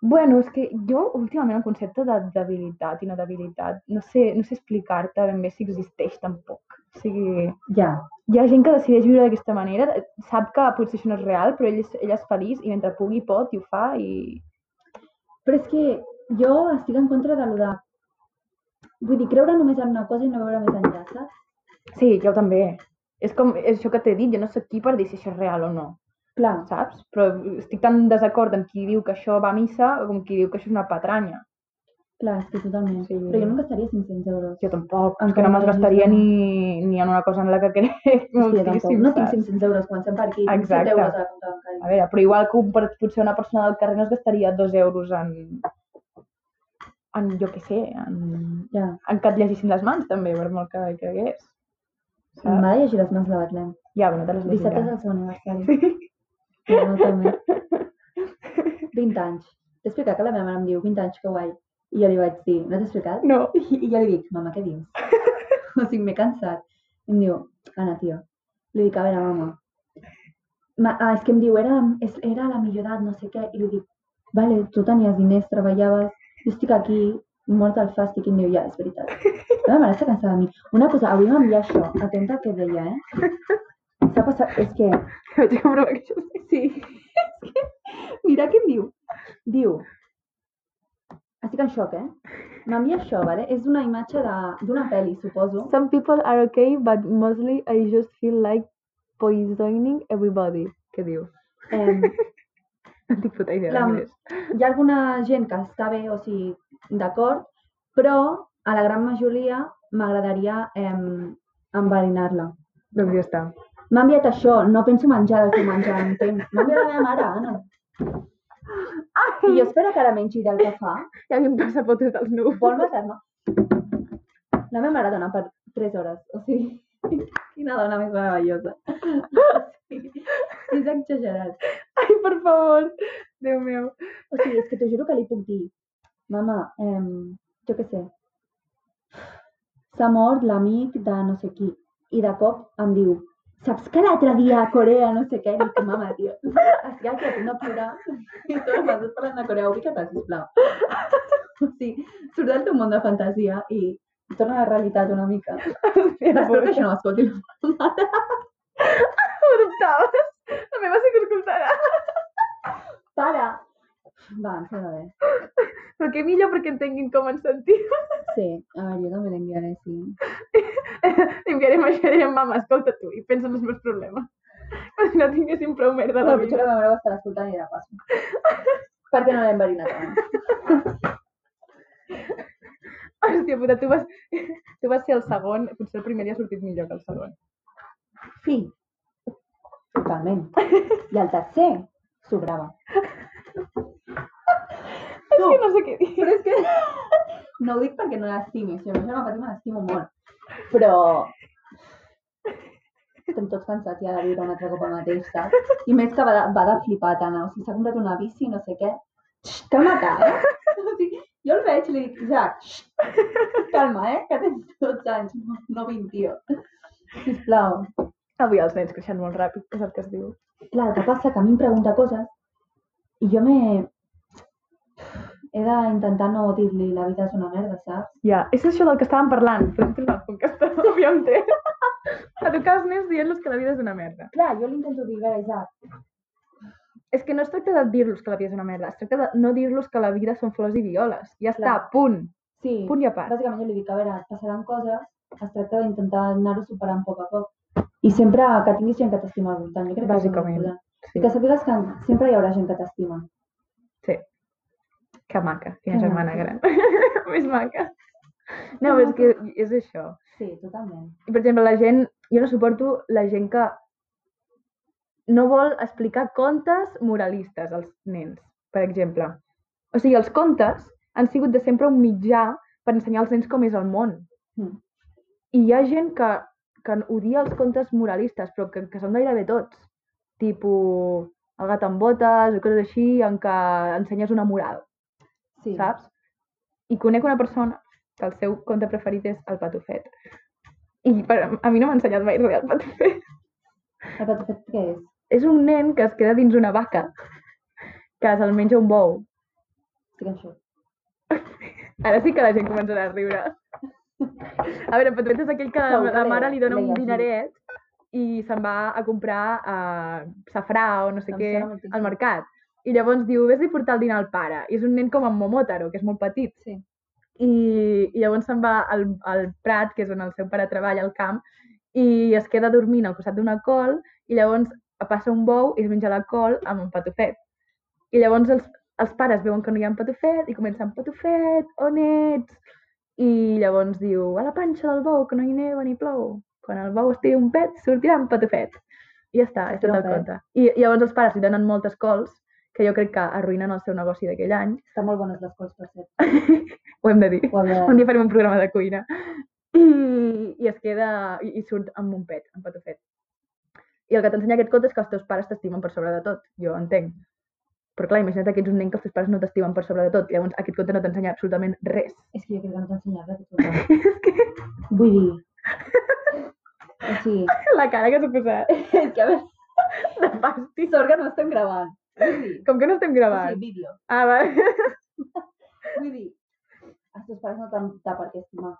Speaker 1: Bueno, és que jo últimament el concepte de debilitat i no debilitat, no sé, no sé explicar-te ben bé si existeix tampoc. O sigui,
Speaker 2: Ja,
Speaker 1: hi ha gent que decideix viure d'aquesta manera, sap que potser això no és real, però ell és, ell és feliç i mentre pugui pot i ho fa i...
Speaker 2: però és que jo estic en contra de lo de... Vull dir, creure només en una cosa i no veure més enllà, saps?
Speaker 1: Sí, jo també. És com és això que t'he dit, jo no sóc qui per dir si això és real o no,
Speaker 2: Clar,
Speaker 1: saps? Però estic tan en desacord amb qui diu que això va a missa com qui diu que això és una patranya.
Speaker 2: clar, és que totalment.
Speaker 1: Sí.
Speaker 2: Però jo no em gastaria 500 euros.
Speaker 1: Jo tampoc, és
Speaker 2: Encara
Speaker 1: que no me'ls
Speaker 2: no
Speaker 1: gastaria
Speaker 2: llegis,
Speaker 1: ni, ni en una cosa en la que crec
Speaker 2: És que jo
Speaker 1: moltíssim,
Speaker 2: tampoc. No tinc
Speaker 1: saps?
Speaker 2: 500 euros, comencem per aquí. Tinc 7
Speaker 1: Exacte.
Speaker 2: euros a la compta bancària.
Speaker 1: A veure, però igual que un, per- potser una persona del carrer no es gastaria dos euros en, en jo què sé, en,
Speaker 2: Ja,
Speaker 1: en que et llegissin les mans, també, per molt que hi cregués.
Speaker 2: em
Speaker 1: Saps?
Speaker 2: va llegir les mans de Betlem.
Speaker 1: Ja, bueno, te les
Speaker 2: Dissabte és
Speaker 1: llegirà.
Speaker 2: el seu aniversari. Sí. No,
Speaker 1: [LAUGHS]
Speaker 2: també. 20 anys. T'he explicat que la meva mare em diu 20 anys, que guai. I jo li vaig dir, no t'he explicat?
Speaker 1: No. [LAUGHS]
Speaker 2: I, i jo li dic, mama, què dius? o sigui, m'he cansat. I em diu, Anna, tio. Li dic, a veure, mama. Ma, ah, és que em diu, era, és, era la millor edat, no sé què. I li dic, vale, tu tenies diners, treballaves, jo estic aquí, mort al fàstic. I em diu, ja, és veritat. La meva mare està cansada de mi. Una cosa, avui vam dir això, atenta al que deia, eh? S'ha passat, és que
Speaker 1: Vaig comprovar que això sí.
Speaker 2: Sí. Mira què em diu. Diu, estic en xoc, eh? M'envia això, vale? És una imatge de- d'una pel·li, suposo.
Speaker 1: Some people are okay, but mostly I just feel like poisoning everybody. Què diu? [LAUGHS]
Speaker 2: Em,
Speaker 1: No tinc puta idea
Speaker 2: La-
Speaker 1: d'anglès.
Speaker 2: hi ha alguna gent que està bé, o sigui, d'acord, però a la gran majoria m'agradaria em, enverinar-la.
Speaker 1: Doncs [LAUGHS] ja està.
Speaker 2: M'ha enviat això, no penso menjar el que menjar, entens? M'ha enviat la meva mare, Anna. I jo espero que ara mengi del que fa.
Speaker 1: Ja havíem passat fotos dels núvols.
Speaker 2: vol matar-me. La meva mare dona per 3 hores, o sigui, [LAUGHS] quina dona més meravellosa. [LAUGHS] Sí, és exagerat.
Speaker 1: Ai, per favor. Déu meu.
Speaker 2: O sigui, és que t'ho juro que li puc dir, mama, em, jo què sé, s'ha mort l'amic de no sé qui, i de cop em diu, saps que l'altre dia a Corea no sé què? I dic, mama, tio, estic aquí a punt de plorar [LAUGHS] i tu m'estàs parlant de Corea, ubica't, sisplau. O sigui, surt del teu món de fantasia i torna a la realitat una mica.
Speaker 1: Hòstia,
Speaker 2: Espero que
Speaker 1: pobra.
Speaker 2: això no m'escolti la meva mare.
Speaker 1: Ho dubtaves? La meva sí que ho escoltarà.
Speaker 2: Para! Va, em sembla bé.
Speaker 1: Però que millor perquè entenguin com ens sentim. [LAUGHS]
Speaker 2: Sí, a veure, jo també l'enviaré, sí.
Speaker 1: T'enviarem això i direm, mama, escolta tu i pensa en els meus problemes. Com si no tinguéssim prou merda a
Speaker 2: Però
Speaker 1: la
Speaker 2: potser
Speaker 1: vida.
Speaker 2: la meva mare ho estarà escoltant i dirà passo. [LAUGHS] Per què no l'he enverinat abans?
Speaker 1: Hòstia puta, tu vas, [LAUGHS] tu vas ser el segon, potser el primer dia ha sortit millor que el segon.
Speaker 2: Sí. Totalment. I el tercer sobrava.
Speaker 1: És que no sé què dir.
Speaker 2: Però és que no ho dic perquè no l'estimi. Si jo no patim, l'estimo molt. Però estem tots cansats ja de viure un altre cop el mateix, saps? I més que va de, va de flipar tant, o sigui, s'ha comprat una bici, no sé què. Xxt, calma't, eh? [LAUGHS] O sigui, jo el veig i li dic, Isaac, xxt, calma, eh, que tens 12 anys, no, no 21. Sisplau.
Speaker 1: Avui els nens creixen molt ràpid, és el que es diu.
Speaker 2: Clar, el que passa que a mi em pregunta coses i jo me... He d'intentar no dir-li la vida és una merda, saps?
Speaker 1: Ja, és això del que estàvem parlant, però hem tornat com que estàvem aviam té. A tocar els nens dient-los que la vida és una merda.
Speaker 2: Clar, jo li intento dir, a veure, Isaac,
Speaker 1: És que no es tracta de dir-los que la vida és una merda, es tracta de no dir-los que la vida són flors i violes. Ja està,
Speaker 2: Clar.
Speaker 1: punt.
Speaker 2: sí,
Speaker 1: Punt i a part.
Speaker 2: bàsicament jo li dic, a veure, et passaran coses, es tracta d'intentar anar-ho superant a poc a poc. I sempre que tinguis gent que t'estima al voltant, jo crec que és molt
Speaker 1: Bàsicament,
Speaker 2: important.
Speaker 1: sí.
Speaker 2: I que sàpigues que sempre hi haurà gent que t'estima.
Speaker 1: Sí. Que maca, quina
Speaker 2: Que
Speaker 1: germana
Speaker 2: maca.
Speaker 1: gran. [LAUGHS] Més maca. No, però és que és això.
Speaker 2: Sí, totalment.
Speaker 1: I, per exemple, la gent... Jo no suporto la gent que no vol explicar contes moralistes als nens, per exemple. O sigui, els contes han sigut de sempre un mitjà per ensenyar als nens com és el món.
Speaker 2: Mm.
Speaker 1: I hi ha gent que, que odia els contes moralistes, però que, que són gairebé tots. Tipo, el gat amb botes o coses així en què ensenyes una moral
Speaker 2: Sí.
Speaker 1: saps? I conec una persona que el seu conte preferit és el patufet. I per, a mi no m'ha ensenyat mai res el patufet.
Speaker 2: El que t'he fet què és?
Speaker 1: És un nen que es queda dins una vaca, que se'l menja un bou.
Speaker 2: Estic en xoc.
Speaker 1: Ara sí que la gent començarà a riure. A veure, el patufet és aquell que
Speaker 2: Segur que
Speaker 1: la
Speaker 2: l'he-
Speaker 1: mare li dona
Speaker 2: l'he
Speaker 1: un
Speaker 2: llegit.
Speaker 1: dineret i se'n va a comprar eh, safrà o no sé
Speaker 2: Em
Speaker 1: què
Speaker 2: sona moltíssim.
Speaker 1: al mercat. I llavors diu, vés-li a portar el dinar al pare. I és un nen com en Momotaro, que és molt petit.
Speaker 2: Sí.
Speaker 1: i, i llavors se'n va al, al Prat, que és on el seu pare treballa, al camp, i es queda dormint al costat d'una col, i llavors passa un bou i es menja la col amb un patufet. I llavors els, els pares veuen que no hi ha patufet i comencen, patufet, on ets? I llavors diu, a la panxa del bou, que no hi neva ni plou. Quan el bou estigui un pet, sortirà un patufet. I ja està, és tot
Speaker 2: Sortirà
Speaker 1: el
Speaker 2: un pet.
Speaker 1: conte. I, i llavors els pares li donen moltes cols, que jo crec que arruïnen el seu negoci d'aquell any.
Speaker 2: Estan molt bones les cols, per [LAUGHS] cert.
Speaker 1: Ho hem de dir.
Speaker 2: Ho havia
Speaker 1: Un dia farem un programa de cuina. I, i es queda... I, i surt amb un pet, amb patufet. I el que t'ensenya aquest conte és que els teus pares t'estimen per sobre de tot. Jo entenc. Però clar, imagina't que ets un nen que els teus pares no t'estimen per sobre de tot. Llavors aquest conte no t'ensenya absolutament res. [LAUGHS]
Speaker 2: És que jo crec que no t'ensenyava aquest [LAUGHS] programa. Vull dir... [LAUGHS] O sigui,
Speaker 1: La cara que s'ha posat
Speaker 2: és que a veure,
Speaker 1: de fàstic.
Speaker 2: sort que no estem gravant. Vull dir,
Speaker 1: Com que no estem
Speaker 2: o sigui,
Speaker 1: gravant?
Speaker 2: vídeo.
Speaker 1: Ah, va. [LAUGHS]
Speaker 2: Vull dir, els teus pares no t'han de per què estimar.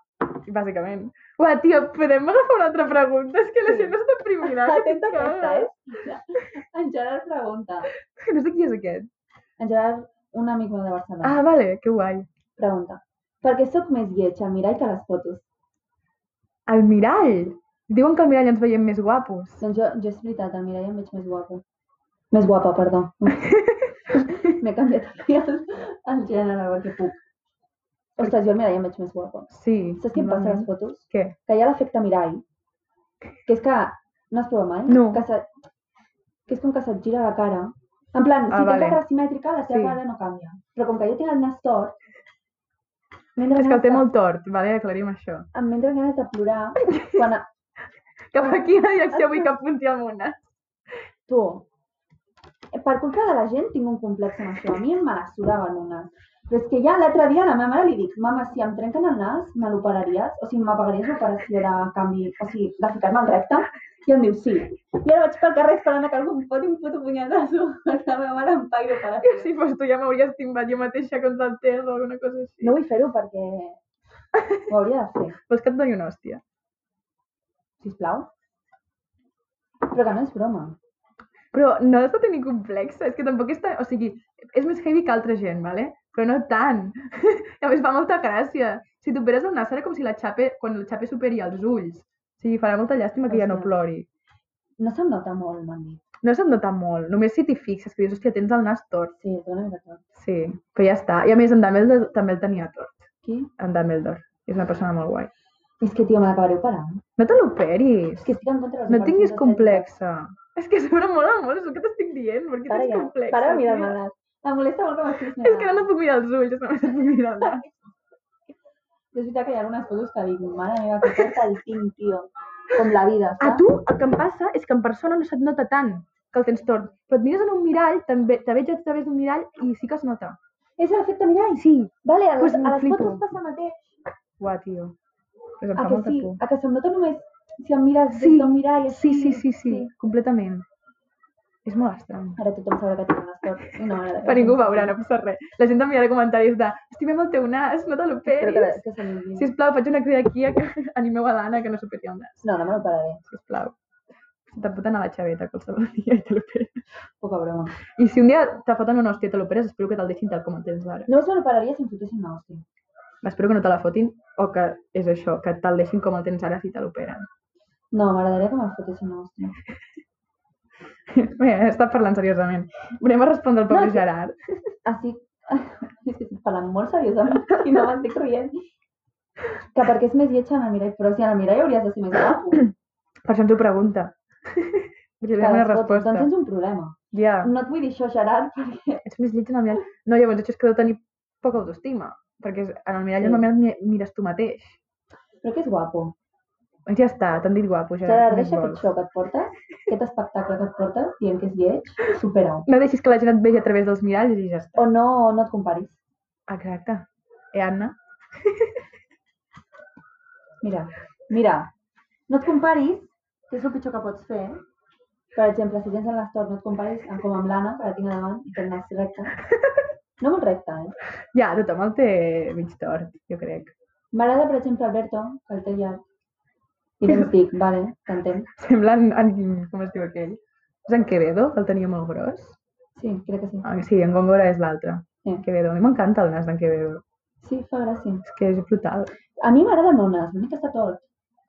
Speaker 1: Bàsicament. Uah, tio, podem agafar una altra pregunta? És que la
Speaker 2: Sí.
Speaker 1: gent està primigada.
Speaker 2: [LAUGHS] Atenta aquesta, eh? [LAUGHS] En Gerard pregunta.
Speaker 1: No sé qui és aquest.
Speaker 2: En Gerard, un amic meu de Barcelona,
Speaker 1: Ah, vale, que guai.
Speaker 2: pregunta. Per què sóc més lleig al mirall que a les fotos?
Speaker 1: El mirall. Diuen que al mirall ens veiem més guapos.
Speaker 2: Doncs jo, jo és veritat, al mirall em veig més guapa. Més guapa,
Speaker 1: [LAUGHS]
Speaker 2: perdó. M'he canviat aquí el, el gènere perquè puc. Ostres, jo al mirall em veig més guapa.
Speaker 1: Sí.
Speaker 2: Saps què em passa a les fotos?
Speaker 1: Què?
Speaker 2: Que hi ha l'efecte mirall, que és que... No has provat mai?
Speaker 1: No.
Speaker 2: Que, se, que és com que se't gira la cara. En plan, si
Speaker 1: Ah,
Speaker 2: tens
Speaker 1: vale.
Speaker 2: la cara simètrica, la teva
Speaker 1: Sí.
Speaker 2: cara no canvia. Però com que jo tinc el nas tort,
Speaker 1: És que el té
Speaker 2: ganes
Speaker 1: molt tort, vale? aclarim això.
Speaker 2: de- em entren ganes de plorar quan... a-
Speaker 1: Cap a quina direcció vull que apunti el món?
Speaker 2: Tu, Eh, per culpa de la gent tinc un complex amb això. A mi em me la sudava el meu nas. Però és que ja l'altre dia a la meva mare li dic, mama, si em trenquen el nas, me l'operaries? O sigui, m'apagaries l'operació de canvi, o sigui, de ficar-me al recte? I em diu, sí. I ara vaig pel carrer esperant que algú em foti un puto punyetazo [LAUGHS] perquè la meva mare em pagui l'operació.
Speaker 1: Si fos tu ja m'hauries timbat jo mateixa contra el terra o alguna cosa així.
Speaker 2: No vull fer-ho perquè ho hauria de fer,
Speaker 1: Vols que et doni una hòstia?
Speaker 2: sisplau. Però que no és broma.
Speaker 1: Però no has de tenir complexa, és que tampoc és tan... O sigui, és més heavy que altra gent, vale? Però no tant. [LAUGHS] I a més fa molta gràcia. Si t'operes el nas serà com si la xape, quan la xape superi els ulls. O sigui, farà molta llàstima que ja no
Speaker 2: Hòstia.
Speaker 1: plori.
Speaker 2: No se'm nota molt, m'han dit.
Speaker 1: No se't nota molt, només si t'hi fixes, que dius, hòstia, tens el nas tort.
Speaker 2: Sí, et dona una mica tort.
Speaker 1: Sí, però ja està. I a més, en Dumbledore també el tenia tort.
Speaker 2: Qui?
Speaker 1: en Dumbledore. És una persona molt guai.
Speaker 2: És que, tio, me l'acabaré operant.
Speaker 1: No te l'operis.
Speaker 2: És que estic en contra de les
Speaker 1: No tinguis
Speaker 2: operacions
Speaker 1: complexa. És que a sobre mola molt, és el que t'estic dient. Per què
Speaker 2: estètiques. Para
Speaker 1: tens
Speaker 2: ja,
Speaker 1: complexa?
Speaker 2: para de mirar-me
Speaker 1: tia?
Speaker 2: el nas. Em molesta molt que m'estiguis mirant.
Speaker 1: És que ara no puc mirar els ulls, només et puc mirar el
Speaker 2: [LAUGHS]
Speaker 1: nas.
Speaker 2: Però és veritat que hi ha algunes fotos que dic, mare meva, que porta el tinc, tio. Com la vida,
Speaker 1: A
Speaker 2: saps?
Speaker 1: tu el que em passa és que en persona no se't nota tant que el tens tort. Però et mires en un mirall, també te veig a través d'un mirall i sí que es nota.
Speaker 3: És l'efecte mirall.
Speaker 1: Sí.
Speaker 3: Vale, a les,
Speaker 1: Pues
Speaker 3: pues a les
Speaker 1: flipo.
Speaker 3: fotos passa el mateix.
Speaker 1: Uah, tio. Pues em
Speaker 3: A
Speaker 1: fa
Speaker 3: que
Speaker 1: molta
Speaker 3: sí,
Speaker 1: por.
Speaker 3: a que se'm nota només si em mires
Speaker 1: Sí.
Speaker 3: des d'un mirall.
Speaker 1: Ah, Sí,
Speaker 3: així.
Speaker 1: sí, sí, sí, completament. És molt estrany.
Speaker 2: Ara tothom sabrà que tinc un esport i no
Speaker 1: [LAUGHS]
Speaker 2: m'agrada.
Speaker 1: Però ningú ho veurà, no passa res. La gent enviarà comentaris de estimem el teu nas, no te
Speaker 2: Espero que,
Speaker 1: l'operis.
Speaker 2: que se m'oblidi.
Speaker 1: Sisplau, faig una crida aquí a que [LAUGHS] animeu a l'Anna que no s'operi el nas,
Speaker 2: No, no me lo pararé.
Speaker 1: sisplau. Se te'n pot anar a la xaveta qualsevol dia i te l'operes.
Speaker 2: Poca broma.
Speaker 1: I si un dia te foten una hòstia i te l'operes, espero que te'l deixin tal com el tens ara.
Speaker 2: Només me lo pararia si em fotessin una hòstia.
Speaker 1: Espero que no te la fotin o que és això, que te'l deixin com el tens ara si te l'operen.
Speaker 2: No, m'agradaria que me'l fotessin una hòstia.
Speaker 1: [LAUGHS] Bé, està parlant seriosament. Anem a respondre al pobre
Speaker 2: No, sí.
Speaker 1: Gerard.
Speaker 2: Així, [LAUGHS] és que estic parlant molt [LAUGHS] seriosament i no m'estic rient. Que perquè és més lleig en el mirall, però si en el mirall hauries de ser més guapo.
Speaker 1: [LAUGHS]
Speaker 2: Que
Speaker 1: Per això ens ho pregunta.
Speaker 2: [LAUGHS]
Speaker 1: Perquè li
Speaker 2: les
Speaker 1: donem una
Speaker 2: fotos.
Speaker 1: resposta.
Speaker 2: Doncs tens un problema.
Speaker 1: Ja,
Speaker 2: No et vull dir això, Gerard, perquè...
Speaker 1: ets més lleig en el mirall. No, llavors això és que deu tenir poca autoestima. Perquè és- en el mirall
Speaker 2: Sí.
Speaker 1: normalment et mi- mires tu mateix.
Speaker 2: Però que és guapo.
Speaker 1: Doncs ja està, t'han dit guapo, Gerard. què
Speaker 2: Gerard,
Speaker 1: més
Speaker 2: deixa
Speaker 1: vols?
Speaker 2: aquest show que et portes, aquest espectacle que et portes, dient que és lleig, supera-ho.
Speaker 1: No deixis que la gent et vegi a través dels miralls i ja està.
Speaker 2: O no, no et comparis.
Speaker 1: Exacte. Eh, Anna?
Speaker 2: Mira, mira, no et comparis, que és el pitjor que pots fer. Per exemple, si tens el nas tort, no et comparis amb, com amb l'Anna, que la tinc a davant, i té el nas recte. No molt recte, eh?
Speaker 1: Ja, tothom el té mig tort, jo crec.
Speaker 2: M'agrada, per exemple, Alberto, que el té llarg.
Speaker 1: [LAUGHS]
Speaker 2: I doncs dic, vale, t'entenc.
Speaker 1: Sembla en, en... com es diu aquell? És en Quevedo, el tenia molt gros.
Speaker 2: Sí, crec que sí.
Speaker 1: Ah, sí, en Góngora és l'altre.
Speaker 2: Sí.
Speaker 1: Quevedo. A mi m'encanta el nas d'en Quevedo.
Speaker 2: Sí, fa gràcia.
Speaker 1: És que és brutal.
Speaker 2: A mi m'agrada el meu nas, una mica està tort.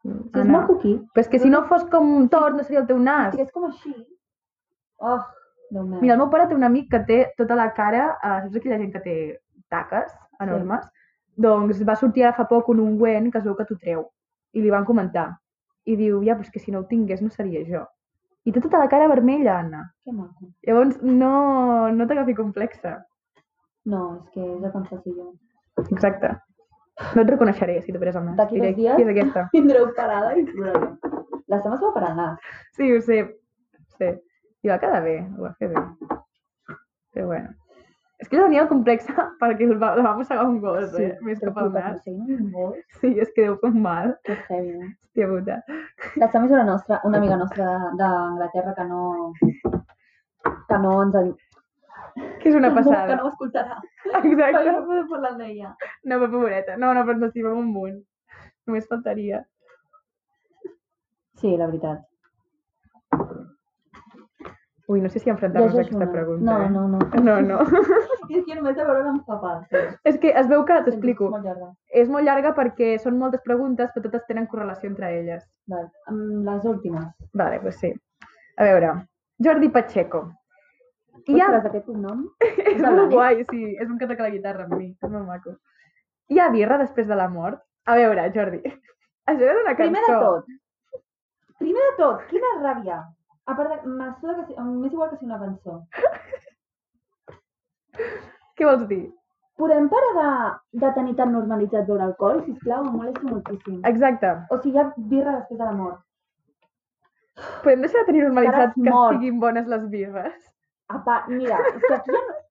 Speaker 2: Sí, és
Speaker 1: Anna.
Speaker 2: molt Mm. coquí.
Speaker 1: Però és que si no fos com tort, no seria el teu nas.
Speaker 2: Sí, és com així. Oh, Déu meu.
Speaker 1: Mira, el meu pare té un amic que té tota la cara, eh, saps aquella gent que té taques enormes? Doncs va sortir ara fa poc un ungüent que es veu que t'ho treu. I li van comentar. I diu, ja, però és que si no ho tingués no seria jo. I té tota la cara vermella, Anna.
Speaker 2: Que maco.
Speaker 1: Llavors, no, no t'agafi complexa.
Speaker 2: No, és que és el que em faci jo.
Speaker 1: Exacte. No et reconeixeré si t'operes el nas.
Speaker 2: D'aquí dos dies
Speaker 1: Qui és aquesta?
Speaker 2: tindreu parada i ploraré. La Sama es va ah. operar el nas.
Speaker 1: Sí, ho sé. Ho sé. I va quedar bé, ho va fer bé. Però bueno. És que ella tenia el complex [LAUGHS] perquè el va, la va mossegar un gos, eh? Més que pel nas. [LAUGHS] Sí, és que deu fer un mal.
Speaker 2: És heavy, no?
Speaker 1: Hòstia puta.
Speaker 2: La Sam és una, nostra, una amiga nostra d'Anglaterra que no... que no ens... en-
Speaker 1: Que és una passada.
Speaker 2: Que no ho escoltarà. Perquè
Speaker 1: Exacte.
Speaker 2: no podem parlar amb ella.
Speaker 1: No, però pobreta. No, no, però ens estimem un munt. Només faltaria.
Speaker 2: Sí, la veritat.
Speaker 1: Ui, no sé si enfrontar-nos a
Speaker 2: Llegeix
Speaker 1: aquesta
Speaker 2: una.
Speaker 1: pregunta. eh.
Speaker 2: No, no, [LAUGHS] no.
Speaker 1: No, no.
Speaker 2: I és que només de veure-la em fa pal.
Speaker 1: és que es veu que, [LAUGHS] t'explico,
Speaker 2: És molt llarga.
Speaker 1: és molt llarga perquè són moltes preguntes, però totes tenen correlació entre elles.
Speaker 2: Val. Amb les últimes.
Speaker 1: Vale, doncs sí. A veure, Jordi Pacheco. Hi ha
Speaker 2: Ostres, aquest
Speaker 1: [LAUGHS]
Speaker 2: cognom...
Speaker 1: És
Speaker 2: de
Speaker 1: molt
Speaker 2: l'ànim.
Speaker 1: guai, sí. És un que toca la guitarra amb mi. És molt maco. Hi ha birra després de la mort? A veure, Jordi, [LAUGHS] això és una cançó.
Speaker 2: Primer de tot, primer de tot, quina ràbia. A part de, me suda que si- m'és igual que si una cançó.
Speaker 1: Què vols dir?
Speaker 2: Podem parar de, de tenir tan normalitzat veure alcohol, sisplau, em molesta moltíssim.
Speaker 1: Exacte.
Speaker 2: O sigui, hi ha birra després de la mort.
Speaker 1: Podem deixar de tenir normalitzat
Speaker 2: Estaràs
Speaker 1: que
Speaker 2: mort.
Speaker 1: siguin bones les birres?
Speaker 2: A part, mira, és que aquí ja no...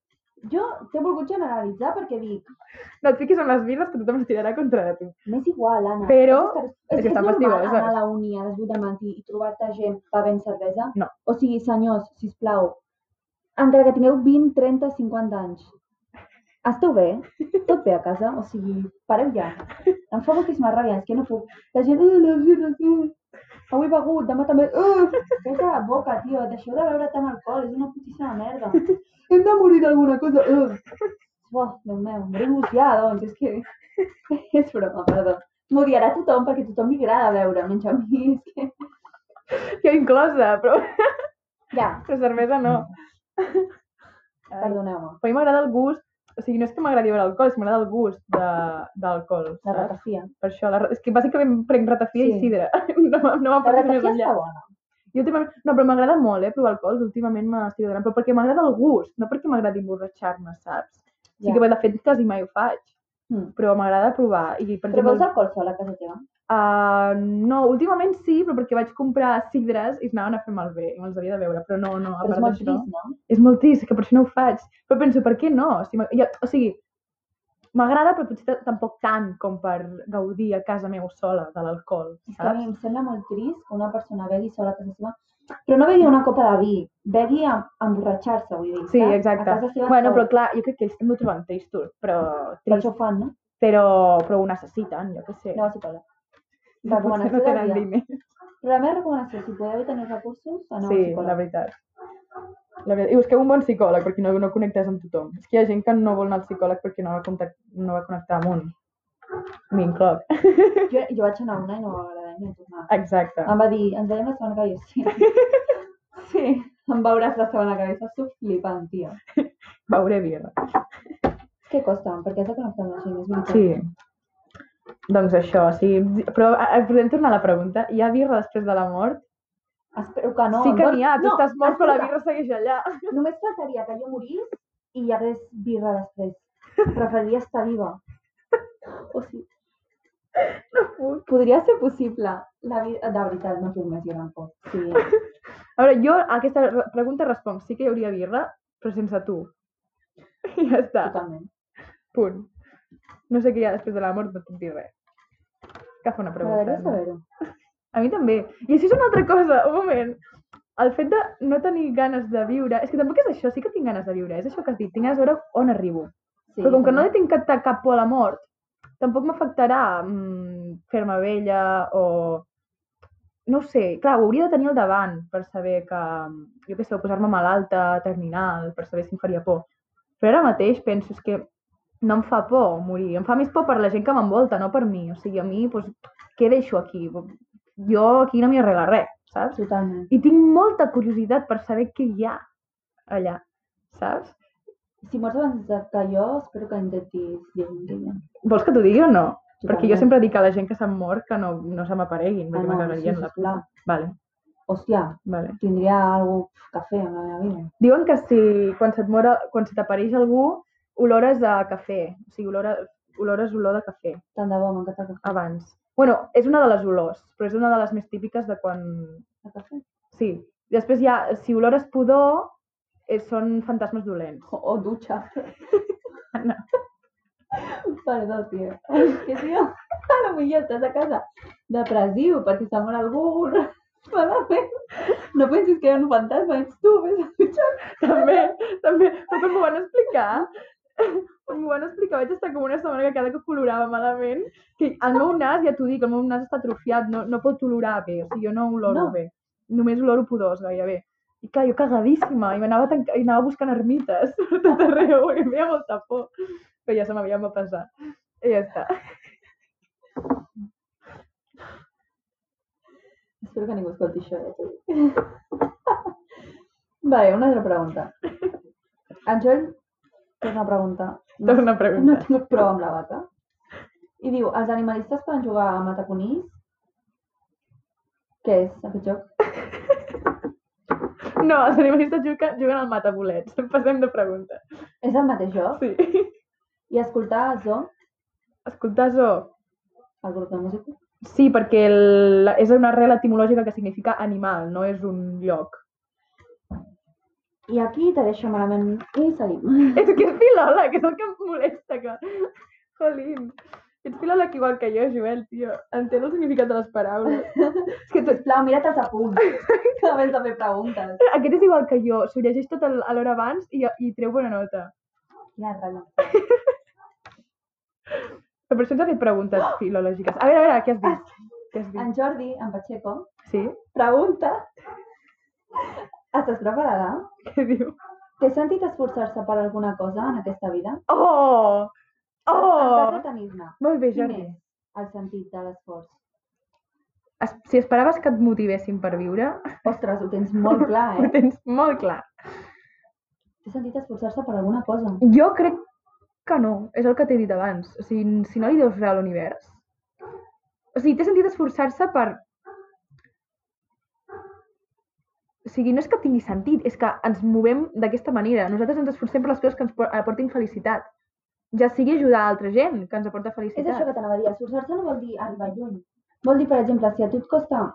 Speaker 2: Jo t'he volgut generalitzar perquè dic,
Speaker 1: No et fiquis amb les birres que tothom es tirarà contra de tu.
Speaker 2: m'és igual, Anna.
Speaker 1: Però
Speaker 2: és,
Speaker 1: és que estan
Speaker 2: normal
Speaker 1: fastigoses.
Speaker 2: anar a la uni a les 8 del matí i trobar-te gent bevent cervesa?
Speaker 1: No.
Speaker 2: O sigui, senyors, sisplau, encara que tingueu 20, 30, 50 anys, esteu bé? Tot bé a casa? O sigui, pareu ja. Em fa moltíssima ràbia, és que no puc. La gent, eh, les birres, eh. Avui begut, demà també. Eh. Fes la boca, tio, deixeu de beure tant alcohol, és una putíssima merda. Hem de morir d'alguna cosa. Eh. Uah, Déu meu, morim-vos ja, doncs, és que... [LAUGHS] És broma, perdó. M'odiarà tothom perquè a tothom li agrada veure, menys a mi. És que... [LAUGHS]
Speaker 1: Jo inclosa, però, [LAUGHS]
Speaker 2: Ja,
Speaker 1: però cervesa no.
Speaker 2: perdoneu-me.
Speaker 1: A mi m'agrada el gust, o sigui, no és que m'agradi veure alcohol, és que m'agrada el gust de- d'alcohol.
Speaker 2: La
Speaker 1: saps?
Speaker 2: ratafia.
Speaker 1: Per això, la... ra- és que bàsicament prenc ratafia
Speaker 2: Sí.
Speaker 1: i sidra. [LAUGHS] No, me- no
Speaker 2: La
Speaker 1: m'aportes més
Speaker 2: ratafia
Speaker 1: enllà.
Speaker 2: està bona.
Speaker 1: Jo últimament... No, però m'agrada molt, eh, provar alcohols. Últimament m'estic adonant, però perquè m'agrada el gust, no perquè m'agradi emborratxar-me, saps? Sí
Speaker 2: Ja.
Speaker 1: que, bé, de fet, quasi mai ho faig.
Speaker 2: Hmm.
Speaker 4: Mm.
Speaker 1: però m'agrada provar. I, per
Speaker 2: Però
Speaker 1: exemple,
Speaker 2: veus alcohol sol a casa teva?
Speaker 1: ah, no, últimament sí, però perquè vaig comprar cidres i es anaven a fer malbé i me'ls havia de beure, però no, no, a
Speaker 2: Però és
Speaker 1: part
Speaker 2: molt
Speaker 1: d'això.
Speaker 2: trist, no?
Speaker 1: És molt trist, que per això no ho faig. Però penso, per què no? Si m'ag- ja, o sigui, m'agrada, però potser t- tampoc tant com per gaudir a casa meu sola de l'alcohol,
Speaker 2: És que a mi
Speaker 1: saps?
Speaker 2: em sembla molt trist que una persona begui sola a casa seva, però no begui una copa de vi, begui a, a emborratxar-se, vull dir,
Speaker 1: Sí,
Speaker 2: saps?
Speaker 1: exacte.
Speaker 2: A casa seva
Speaker 1: Bueno,
Speaker 2: sol.
Speaker 1: però clar, jo crec que ells també ho troben tristos, però,
Speaker 2: Per
Speaker 1: trist,
Speaker 2: això ho fan, no?
Speaker 1: però, però ho necessiten, jo què sé.
Speaker 2: Aneu al psicòleg.
Speaker 1: Potser
Speaker 2: Recomanació
Speaker 1: no
Speaker 2: del
Speaker 1: tenen
Speaker 2: dia.
Speaker 1: diners.
Speaker 2: Però la meva recomanació, si podeu tenir recursos, aneu
Speaker 1: Sí,
Speaker 2: al
Speaker 1: la
Speaker 2: psicòleg.
Speaker 1: veritat. La veritat. I busqueu un bon psicòleg perquè no, no connectes amb tothom. És que hi ha gent que no vol anar al psicòleg perquè no va, contact, no va connectar amb un. M'incloc.
Speaker 2: Jo, jo vaig anar una i no m'agradava ni tornar.
Speaker 1: Exacte.
Speaker 2: Em va dir, ens veiem la setmana que ve.
Speaker 1: [LAUGHS]
Speaker 2: Sí. sí, em veuràs la setmana que ve. Estàs tu flipant, tio.
Speaker 1: Beuré birra.
Speaker 2: És que costa, perquè has de connectar amb la gent, és veritat.
Speaker 1: Sí. Doncs això, sí. Però eh, podem tornar a la pregunta. Hi ha birra després de la mort?
Speaker 2: Espero que no.
Speaker 1: sí
Speaker 2: em
Speaker 1: que
Speaker 2: vols-
Speaker 1: n'hi ha. Tu
Speaker 2: no,
Speaker 1: estàs mort, però la
Speaker 2: escolta,
Speaker 1: birra segueix allà.
Speaker 2: Només faltaria que jo morís i hi hagués birra després. Preferiria estar viva. O sigui,
Speaker 1: puc.
Speaker 2: podria ser possible. La vi... De veritat, no puc més, jo tampoc. Sí.
Speaker 1: A veure, jo a aquesta re- pregunta responc. Sí que hi hauria birra, però sense
Speaker 2: [LAUGHS]
Speaker 1: tu. I ja està.
Speaker 2: Totalment.
Speaker 1: Punt. No sé què hi ha després de la mort, no et puc dir res. Agafa una pregunta.
Speaker 2: M'agradaria
Speaker 1: no?
Speaker 2: saber-ho.
Speaker 1: A mi també. I això és una altra cosa, un moment. El fet de no tenir ganes de viure... És que tampoc és això, sí que tinc ganes de viure. És això que has dit, tinc ganes de veure on arribo.
Speaker 2: Sí,
Speaker 1: Però com que no
Speaker 2: també.
Speaker 1: li tinc cap, cap por a la mort, tampoc m'afectarà mm, fer-me vella o... No ho sé, clar, ho hauria de tenir al davant per saber que, jo què sé, o posar-me malalta, terminal, per saber si em faria por. Però ara mateix penso és que no em fa por morir, em fa més por per la gent que m'envolta, no per mi. O sigui, a mi, doncs, què deixo aquí? Jo aquí no m'hi arregla res, saps?
Speaker 2: Totalment.
Speaker 1: I tinc molta curiositat per saber què hi ha allà, saps?
Speaker 2: Si mors abans de que jo, espero que intentis dir un dia.
Speaker 1: Vols que t'ho digui o no? Perquè jo
Speaker 2: Totalment.
Speaker 1: sempre dic a la gent que s'han mort que no, no se m'apareguin,
Speaker 2: Ah,
Speaker 1: perquè
Speaker 2: no,
Speaker 1: m'acabarien
Speaker 2: sí,
Speaker 1: la
Speaker 2: sisplau.
Speaker 1: puta. Vale,
Speaker 2: Hòstia,
Speaker 1: vale.
Speaker 2: tindria alguna cosa que fer amb la meva vida.
Speaker 1: Diuen que si quan se't mora, quan se t'apareix algú, olores a cafè. O sigui, olora, olores olor de cafè
Speaker 2: Tant de bo, m'encanta el cafè.
Speaker 1: abans. bueno, és una de les olors, però és una de les més típiques de quan...
Speaker 2: El cafè.
Speaker 1: Sí. Després hi ha, si olores pudor, eh, són fantasmes dolents.
Speaker 2: O, o dutxa. [LAUGHS]
Speaker 1: Anna.
Speaker 2: Perdó, tio. Ai, és que, tio, [LAUGHS] a lo millor estàs a casa depressiu perquè s'ha mort algú. [LAUGHS] Malament. No pensis que era un fantasma, ets tu, vés a dutxar.
Speaker 1: també, també. Però quan m'ho van explicar, quan m'ho van explicar, vaig estar com una setmana que cada que colorava malament, que el meu nas, ja t'ho dic, el meu nas està atrofiat, no, no pot olorar bé, o sigui, jo no oloro
Speaker 2: No.
Speaker 1: bé. Només oloro pudors, gairebé. I clar, jo cagadíssima, i anava, tanca... i anava buscant ermites [LAUGHS] per tot arreu, i em feia molta por. Però ja se m'havia passat. I ja està.
Speaker 2: Espero que ningú escolti això. eh, tu. [LAUGHS] Vale, una altra pregunta. En Joel té una pregunta. No
Speaker 1: Torna a
Speaker 2: No
Speaker 1: preguntar.
Speaker 2: tinc prou amb la vaca. I diu, els animalistes poden jugar a mataconís? Què és aquest joc?
Speaker 1: No, els animalistes juguen, juguen al matabolets. Passem de pregunta.
Speaker 2: És el mateix joc?
Speaker 1: Sí.
Speaker 2: I escoltar el zoo,
Speaker 1: Escolta, Zo,
Speaker 2: el grup de música?
Speaker 1: Sí, perquè el, la- és una arrel etimològica que significa animal, no és un lloc. [LAUGHS]
Speaker 2: I aquí te deixo malament i seguim.
Speaker 1: És que és filòleg, és el que em molesta. Que... Jolín, ets filòleg igual que jo, Joel, tio. Entén el significat de les paraules. és [LAUGHS] que tu,
Speaker 2: Sisplau, mira't els apunts. [LAUGHS] Que abans de fer preguntes.
Speaker 1: [LAUGHS] aquest és igual que jo, s'ho llegeix tot el- a l'hora abans i, i treu bona nota.
Speaker 2: Quina ratlla.
Speaker 1: Però per això ens ha fet preguntes [GASPS] filològiques. A veure, a veure, què has dit? Què has dit?
Speaker 2: En Jordi, en Pacheco,
Speaker 1: Sí?
Speaker 2: pregunta. Estàs preparada?
Speaker 1: Què diu?
Speaker 2: Té sentit esforçar-se per alguna cosa en aquesta vida?
Speaker 1: Oh!
Speaker 2: En cas
Speaker 1: Oh!
Speaker 2: de tenir-ne,
Speaker 1: Molt bé,
Speaker 2: quin
Speaker 1: Jordi.
Speaker 2: és el sentit de l'esforç?
Speaker 1: Es, si esperaves que et motivessin per viure, [LAUGHS]
Speaker 2: Ostres, ho tens molt clar,
Speaker 1: ho
Speaker 2: eh?
Speaker 1: [LAUGHS] tens molt clar.
Speaker 2: Té sentit esforçar-se per alguna cosa.
Speaker 1: Jo crec que no, és el que t'he dit abans. O sigui, n- si no li deus res a l'univers... O sigui, té sentit esforçar-se per... O sigui, no és que tingui sentit, és que ens movem d'aquesta manera. Nosaltres ens esforcem per les coses que ens por- aportin felicitat. ja sigui ajudar a altra gent, que ens aporta
Speaker 2: És això
Speaker 1: felicitat.
Speaker 2: que t'anava a dir, esforçar-se no vol dir arribar lluny. Vol dir, per exemple, si a tu et costa,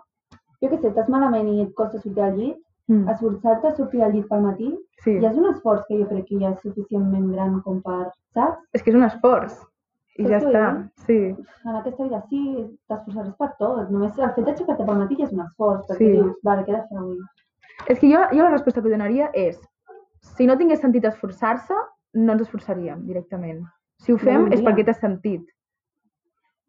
Speaker 2: jo què sé, estàs malament i et costa sortir al llit,
Speaker 1: Mm.
Speaker 2: esforçar-te a sortir al llit pel matí
Speaker 1: Sí.
Speaker 2: ja és un esforç que jo crec que ja és suficientment gran com per, saps?
Speaker 1: És que és un esforç. I
Speaker 2: Saps
Speaker 1: ja
Speaker 2: què
Speaker 1: està.
Speaker 2: vull
Speaker 1: Sí,
Speaker 2: En aquesta vida sí, t'esforçaràs per tot. Només el fet d'aixecar-te pel matí ja és un esforç, perquè
Speaker 1: Sí.
Speaker 2: dius, vale, què he de fer avui?
Speaker 1: És que jo, jo la resposta que donaria és si no tingués sentit esforçar-se, no ens esforçaríem directament. Si ho fem
Speaker 2: voldria.
Speaker 1: és perquè t'has sentit.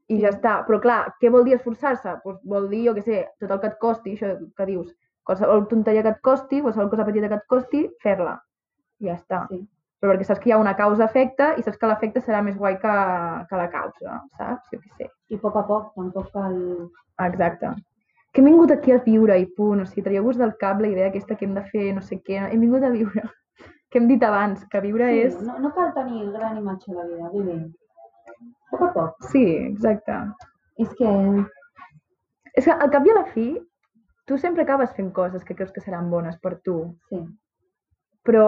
Speaker 1: I ja està. Però clar, què vol dir esforçar-se? Pues vol dir, jo què sé, tot el que et costi, això que dius, qualsevol tonteria que et costi, qualsevol cosa petita que et costi, fer-la. I ja està.
Speaker 2: Sí.
Speaker 1: Però perquè saps que hi ha una causa-efecte i saps que l'efecte serà més guai que, que la causa, saps? Jo què sé.
Speaker 2: I a poc a poc, tampoc cal...
Speaker 1: Exacte. Que hem vingut aquí a viure i punt. O sigui, traieu-vos del cap la idea aquesta que hem de fer, no sé què. Hem vingut a viure. [LAUGHS] Que hem dit abans, que viure
Speaker 2: Sí,
Speaker 1: és...
Speaker 2: no, no cal tenir gran imatge de vida, vull dir, a poc a poc.
Speaker 1: Sí, exacte.
Speaker 2: És que
Speaker 1: És que al cap i a la fi, tu sempre acabes fent coses que creus que seran bones per tu,
Speaker 2: sí,
Speaker 1: però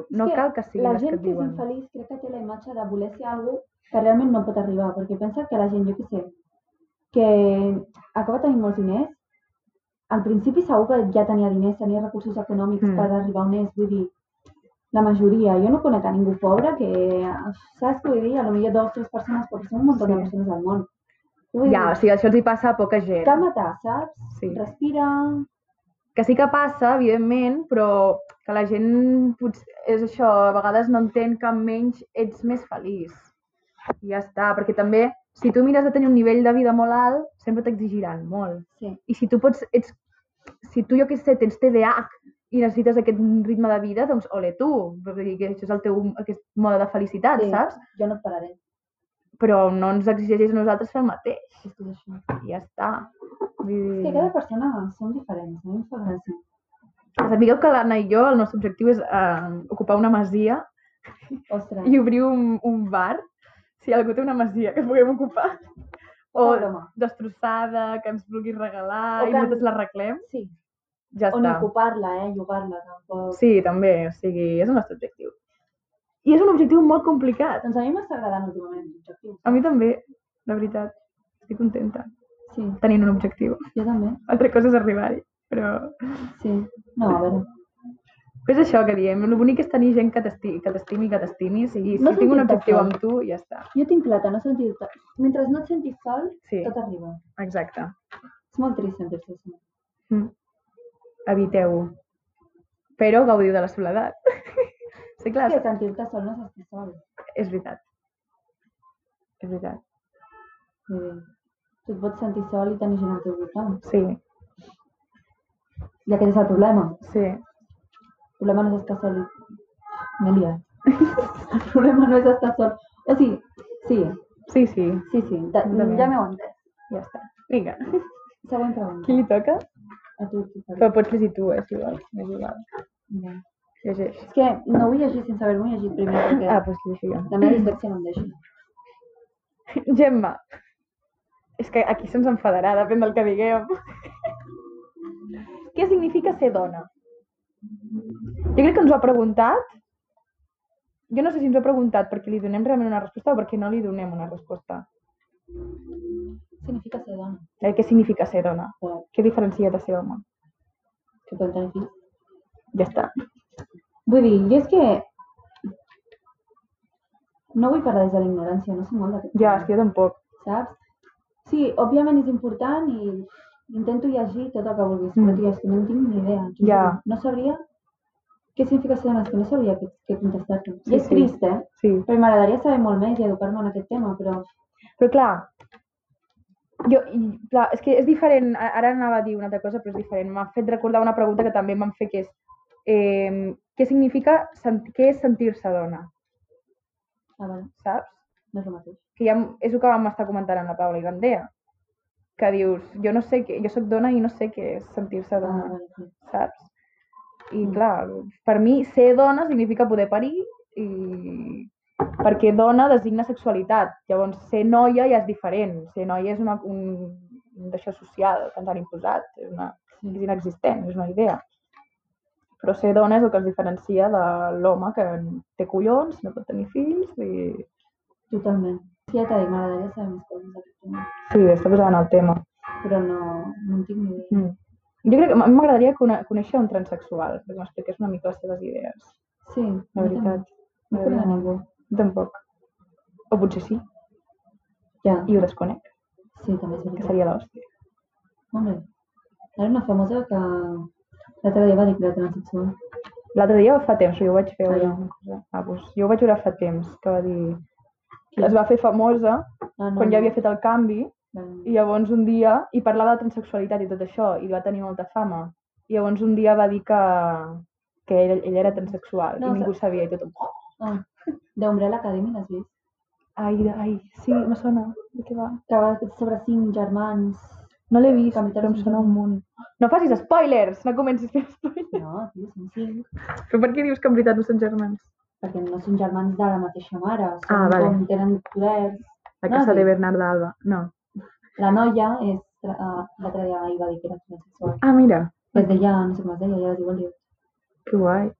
Speaker 2: És
Speaker 1: no
Speaker 2: que
Speaker 1: cal que siguin
Speaker 2: la
Speaker 1: les que
Speaker 2: gent
Speaker 1: et
Speaker 2: que és
Speaker 1: diuen.
Speaker 2: infeliç crec que té la imatge de voler ser algú que realment no pot arribar, perquè pensa que la gent, jo què sé, que acaba tenint molts diners, al principi segur que ja tenia diners, tenia recursos econòmics
Speaker 1: Mm.
Speaker 2: per arribar on és, vull dir, la majoria, jo no conec a ningú pobre que, saps què vull dir? A lo millor dos, tres persones, perquè són un munt de
Speaker 1: Sí.
Speaker 2: persones al món. Vull
Speaker 1: Ja, o sigui, això els hi passa a poca gent.
Speaker 2: dir, calma-te, saps?
Speaker 1: Sí.
Speaker 2: Respira,
Speaker 1: Que sí que passa, evidentment, però que la gent potser, és això, a vegades no entén que menys ets més feliç. I ja està, perquè també si tu mires de tenir un nivell de vida molt alt, sempre t'exigiran molt.
Speaker 2: sí.
Speaker 1: I si tu pots, ets, si tu, jo què sé, tens TDAH i necessites aquest ritme de vida, doncs ole tu, vull dir que això és el teu aquest mode de felicitat,
Speaker 2: Sí.
Speaker 1: Ah, saps?
Speaker 2: Jo no et pararé.
Speaker 1: Però no ens exigeixis a nosaltres fer el mateix.
Speaker 2: És que és això.
Speaker 1: I ja està. Vull dir...
Speaker 2: És que cada persona són diferents, a mi em fa gràcia.
Speaker 1: Sapigueu que l'Anna i jo, el nostre objectiu és eh, ocupar una masia
Speaker 2: Ostres,
Speaker 1: i obrir un, un bar. Si algú té una masia que puguem ocupar. O
Speaker 2: Poca broma.
Speaker 1: destrossada, que ens vulguis regalar
Speaker 2: O
Speaker 1: i
Speaker 2: que ens-
Speaker 1: nosaltres la arreglem,
Speaker 2: sí.
Speaker 1: ja
Speaker 2: O ni
Speaker 1: està.
Speaker 2: ocupar-la, eh? Llogar-la, tampoc.
Speaker 1: Sí, també, o sigui, és el nostre objectiu. I és un objectiu molt complicat.
Speaker 2: Doncs a mi m'està agradant últimament l'objectiu.
Speaker 1: A mi també, la veritat. Estic contenta
Speaker 2: Sí,
Speaker 1: tenint un objectiu.
Speaker 2: jo també.
Speaker 1: Altra cosa és arribar-hi, però...
Speaker 2: Sí. No, a veure.
Speaker 1: Però és això que diem, el bonic és tenir gent que t'esti- que t'estimi, que t'estimis, i si
Speaker 2: No
Speaker 1: tinc un
Speaker 2: sentir-te
Speaker 1: objectiu
Speaker 2: sol.
Speaker 1: amb tu, ja està.
Speaker 2: Jo tinc plata, no sentir... Mentre no et sentis sol,
Speaker 1: Sí.
Speaker 2: tot arriba.
Speaker 1: Exacte.
Speaker 2: És molt trist sentir-se sol.
Speaker 1: Mm. Eviteu-ho. Però gaudiu de la soledat. [LAUGHS] sí, clar,
Speaker 2: És que sentir-te sol no s'està sol.
Speaker 1: és veritat. És veritat.
Speaker 2: Vull dir, tu et pots sentir Eh, sol i tenir gent al teu voltant.
Speaker 1: Sí,
Speaker 2: I aquest és el problema.
Speaker 1: sí.
Speaker 2: El problema no és estar sol. M'he [LAUGHS] liat. el problema no és estar sol. O sigui, sí,
Speaker 1: Sí, sí,
Speaker 2: sí, sí. De,
Speaker 1: També.
Speaker 2: ja m'heu entès.
Speaker 1: ja està. Vinga. [LAUGHS]
Speaker 2: Següent
Speaker 1: Qui
Speaker 2: pregunta.
Speaker 1: li toca?
Speaker 2: A tu, tu, Fabi.
Speaker 1: Però pots llegir tu, eh, si vols. M'és igual.
Speaker 2: Bé.
Speaker 1: Llegeix.
Speaker 2: És que no vull llegir sense haver-m'ho llegit primer, perquè
Speaker 1: Ah, doncs llegeixo jo.
Speaker 2: la meva dislexia no em deixa.
Speaker 1: [LAUGHS] Gemma. És que aquí se'ns enfadarà, depèn del que digueu. [LAUGHS] Què significa ser dona? Jo crec que ens ho ha preguntat. Jo no sé si ens ho ha preguntat perquè li donem realment una resposta o perquè no li donem una resposta.
Speaker 2: Significa ser dona.
Speaker 1: Eh, què significa ser dona?
Speaker 2: Però
Speaker 1: Què diferencia de ser home?
Speaker 2: que poden tenir fills.
Speaker 1: Ja està.
Speaker 2: Vull dir, jo és que... No vull parlar des de la ignorància, no sé molt d'aquest
Speaker 1: Ja, és que jo tampoc.
Speaker 2: tema, saps? Sí, òbviament és important i intento llegir tot el que vulguis,
Speaker 1: Mm.
Speaker 2: però tia, és que no en tinc ni idea. t'ho
Speaker 1: Ja.
Speaker 2: juro. No sabria què significa ser dona, és que no sabria què, què contestar-te.
Speaker 1: Sí,
Speaker 2: I és
Speaker 1: sí.
Speaker 2: trist, eh?
Speaker 1: Sí.
Speaker 2: Perquè m'agradaria saber molt més i educar-me en aquest tema, però
Speaker 1: Però clar, jo, i, clar, és que és diferent, a- ara anava a dir una altra cosa, però és diferent. M'ha fet recordar una pregunta que també em van fer, que és eh, què significa, sent- què és sentir-se dona,
Speaker 2: ah, vale,
Speaker 1: saps?
Speaker 2: no és el mateix.
Speaker 1: Que ja m- és el que vam estar comentant amb la Paula i l'Andrea, que dius, jo no sé què, jo sóc dona i no sé què és sentir-se
Speaker 2: Ah,
Speaker 1: dona,
Speaker 2: vale, sí.
Speaker 1: saps? I
Speaker 2: Mm.
Speaker 1: clar, per mi ser dona significa poder parir i perquè dona designa sexualitat. Llavors, ser noia ja és diferent. Ser noia és una, un, un d'això social que ens han imposat. És, una,
Speaker 2: Sí.
Speaker 1: és inexistent, és una idea. Però ser dona és el que els diferencia de l'home que té collons, no pot tenir fills i...
Speaker 2: Totalment. Sí, ja t'ha dit, m'agradaria saber més coses d'aquest tema,
Speaker 1: Sí, està posant el tema.
Speaker 2: però no, no en tinc ni idea.
Speaker 1: Mm. Jo crec que a mi m'agradaria cone- conèixer un transexual, perquè m'expliqués una mica les seves idees,
Speaker 2: Sí,
Speaker 1: la
Speaker 2: jo
Speaker 1: veritat.
Speaker 2: també. No conec a ningú.
Speaker 1: Jo tampoc. O potser sí,
Speaker 2: Ja,
Speaker 1: i ho desconec,
Speaker 2: sí, també és
Speaker 1: que
Speaker 2: veritat.
Speaker 1: seria l'hòstia.
Speaker 2: Home, era una famosa que l'altre dia va dir que era transsexual.
Speaker 1: L'altre dia fa temps, jo ho vaig fer.
Speaker 2: Ah, ja.
Speaker 1: una cosa. Ah, doncs, jo ho vaig veure fa temps, que va dir... Es va fer famosa
Speaker 2: Ah,
Speaker 1: quan ja havia fet el canvi
Speaker 2: Vale.
Speaker 1: i llavors un dia... I parlava de transexualitat i tot això, i va tenir molta fama. I llavors un dia va dir que, que ell, ell era transexual
Speaker 2: No,
Speaker 1: i ningú ho sabia i tothom... "Oh,
Speaker 2: Ah, d'Umbrella Academy l'has vist?
Speaker 1: Ai, de- ai, sí, me sona. De què va?
Speaker 2: Que va sobre cinc germans.
Speaker 1: No l'he vist,
Speaker 2: Capitans
Speaker 1: però em sona un munt. No facis spoilers! No comencis a fer spoilers.
Speaker 2: No, tio, són cinc.
Speaker 1: Però per què dius que en veritat no són germans?
Speaker 2: Perquè no són germans de la mateixa mare. Són
Speaker 1: Ah, vale.
Speaker 2: Com tenen poders.
Speaker 1: La
Speaker 2: No,
Speaker 1: casa
Speaker 2: sí.
Speaker 1: de Bernarda Alba. No.
Speaker 2: La noia és... tra- ah, L'altre dia hi va dir que era transsexual.
Speaker 1: Ah, mira,
Speaker 2: Es deia, no sé com es deia, ja es diu Oliu.
Speaker 1: que guai.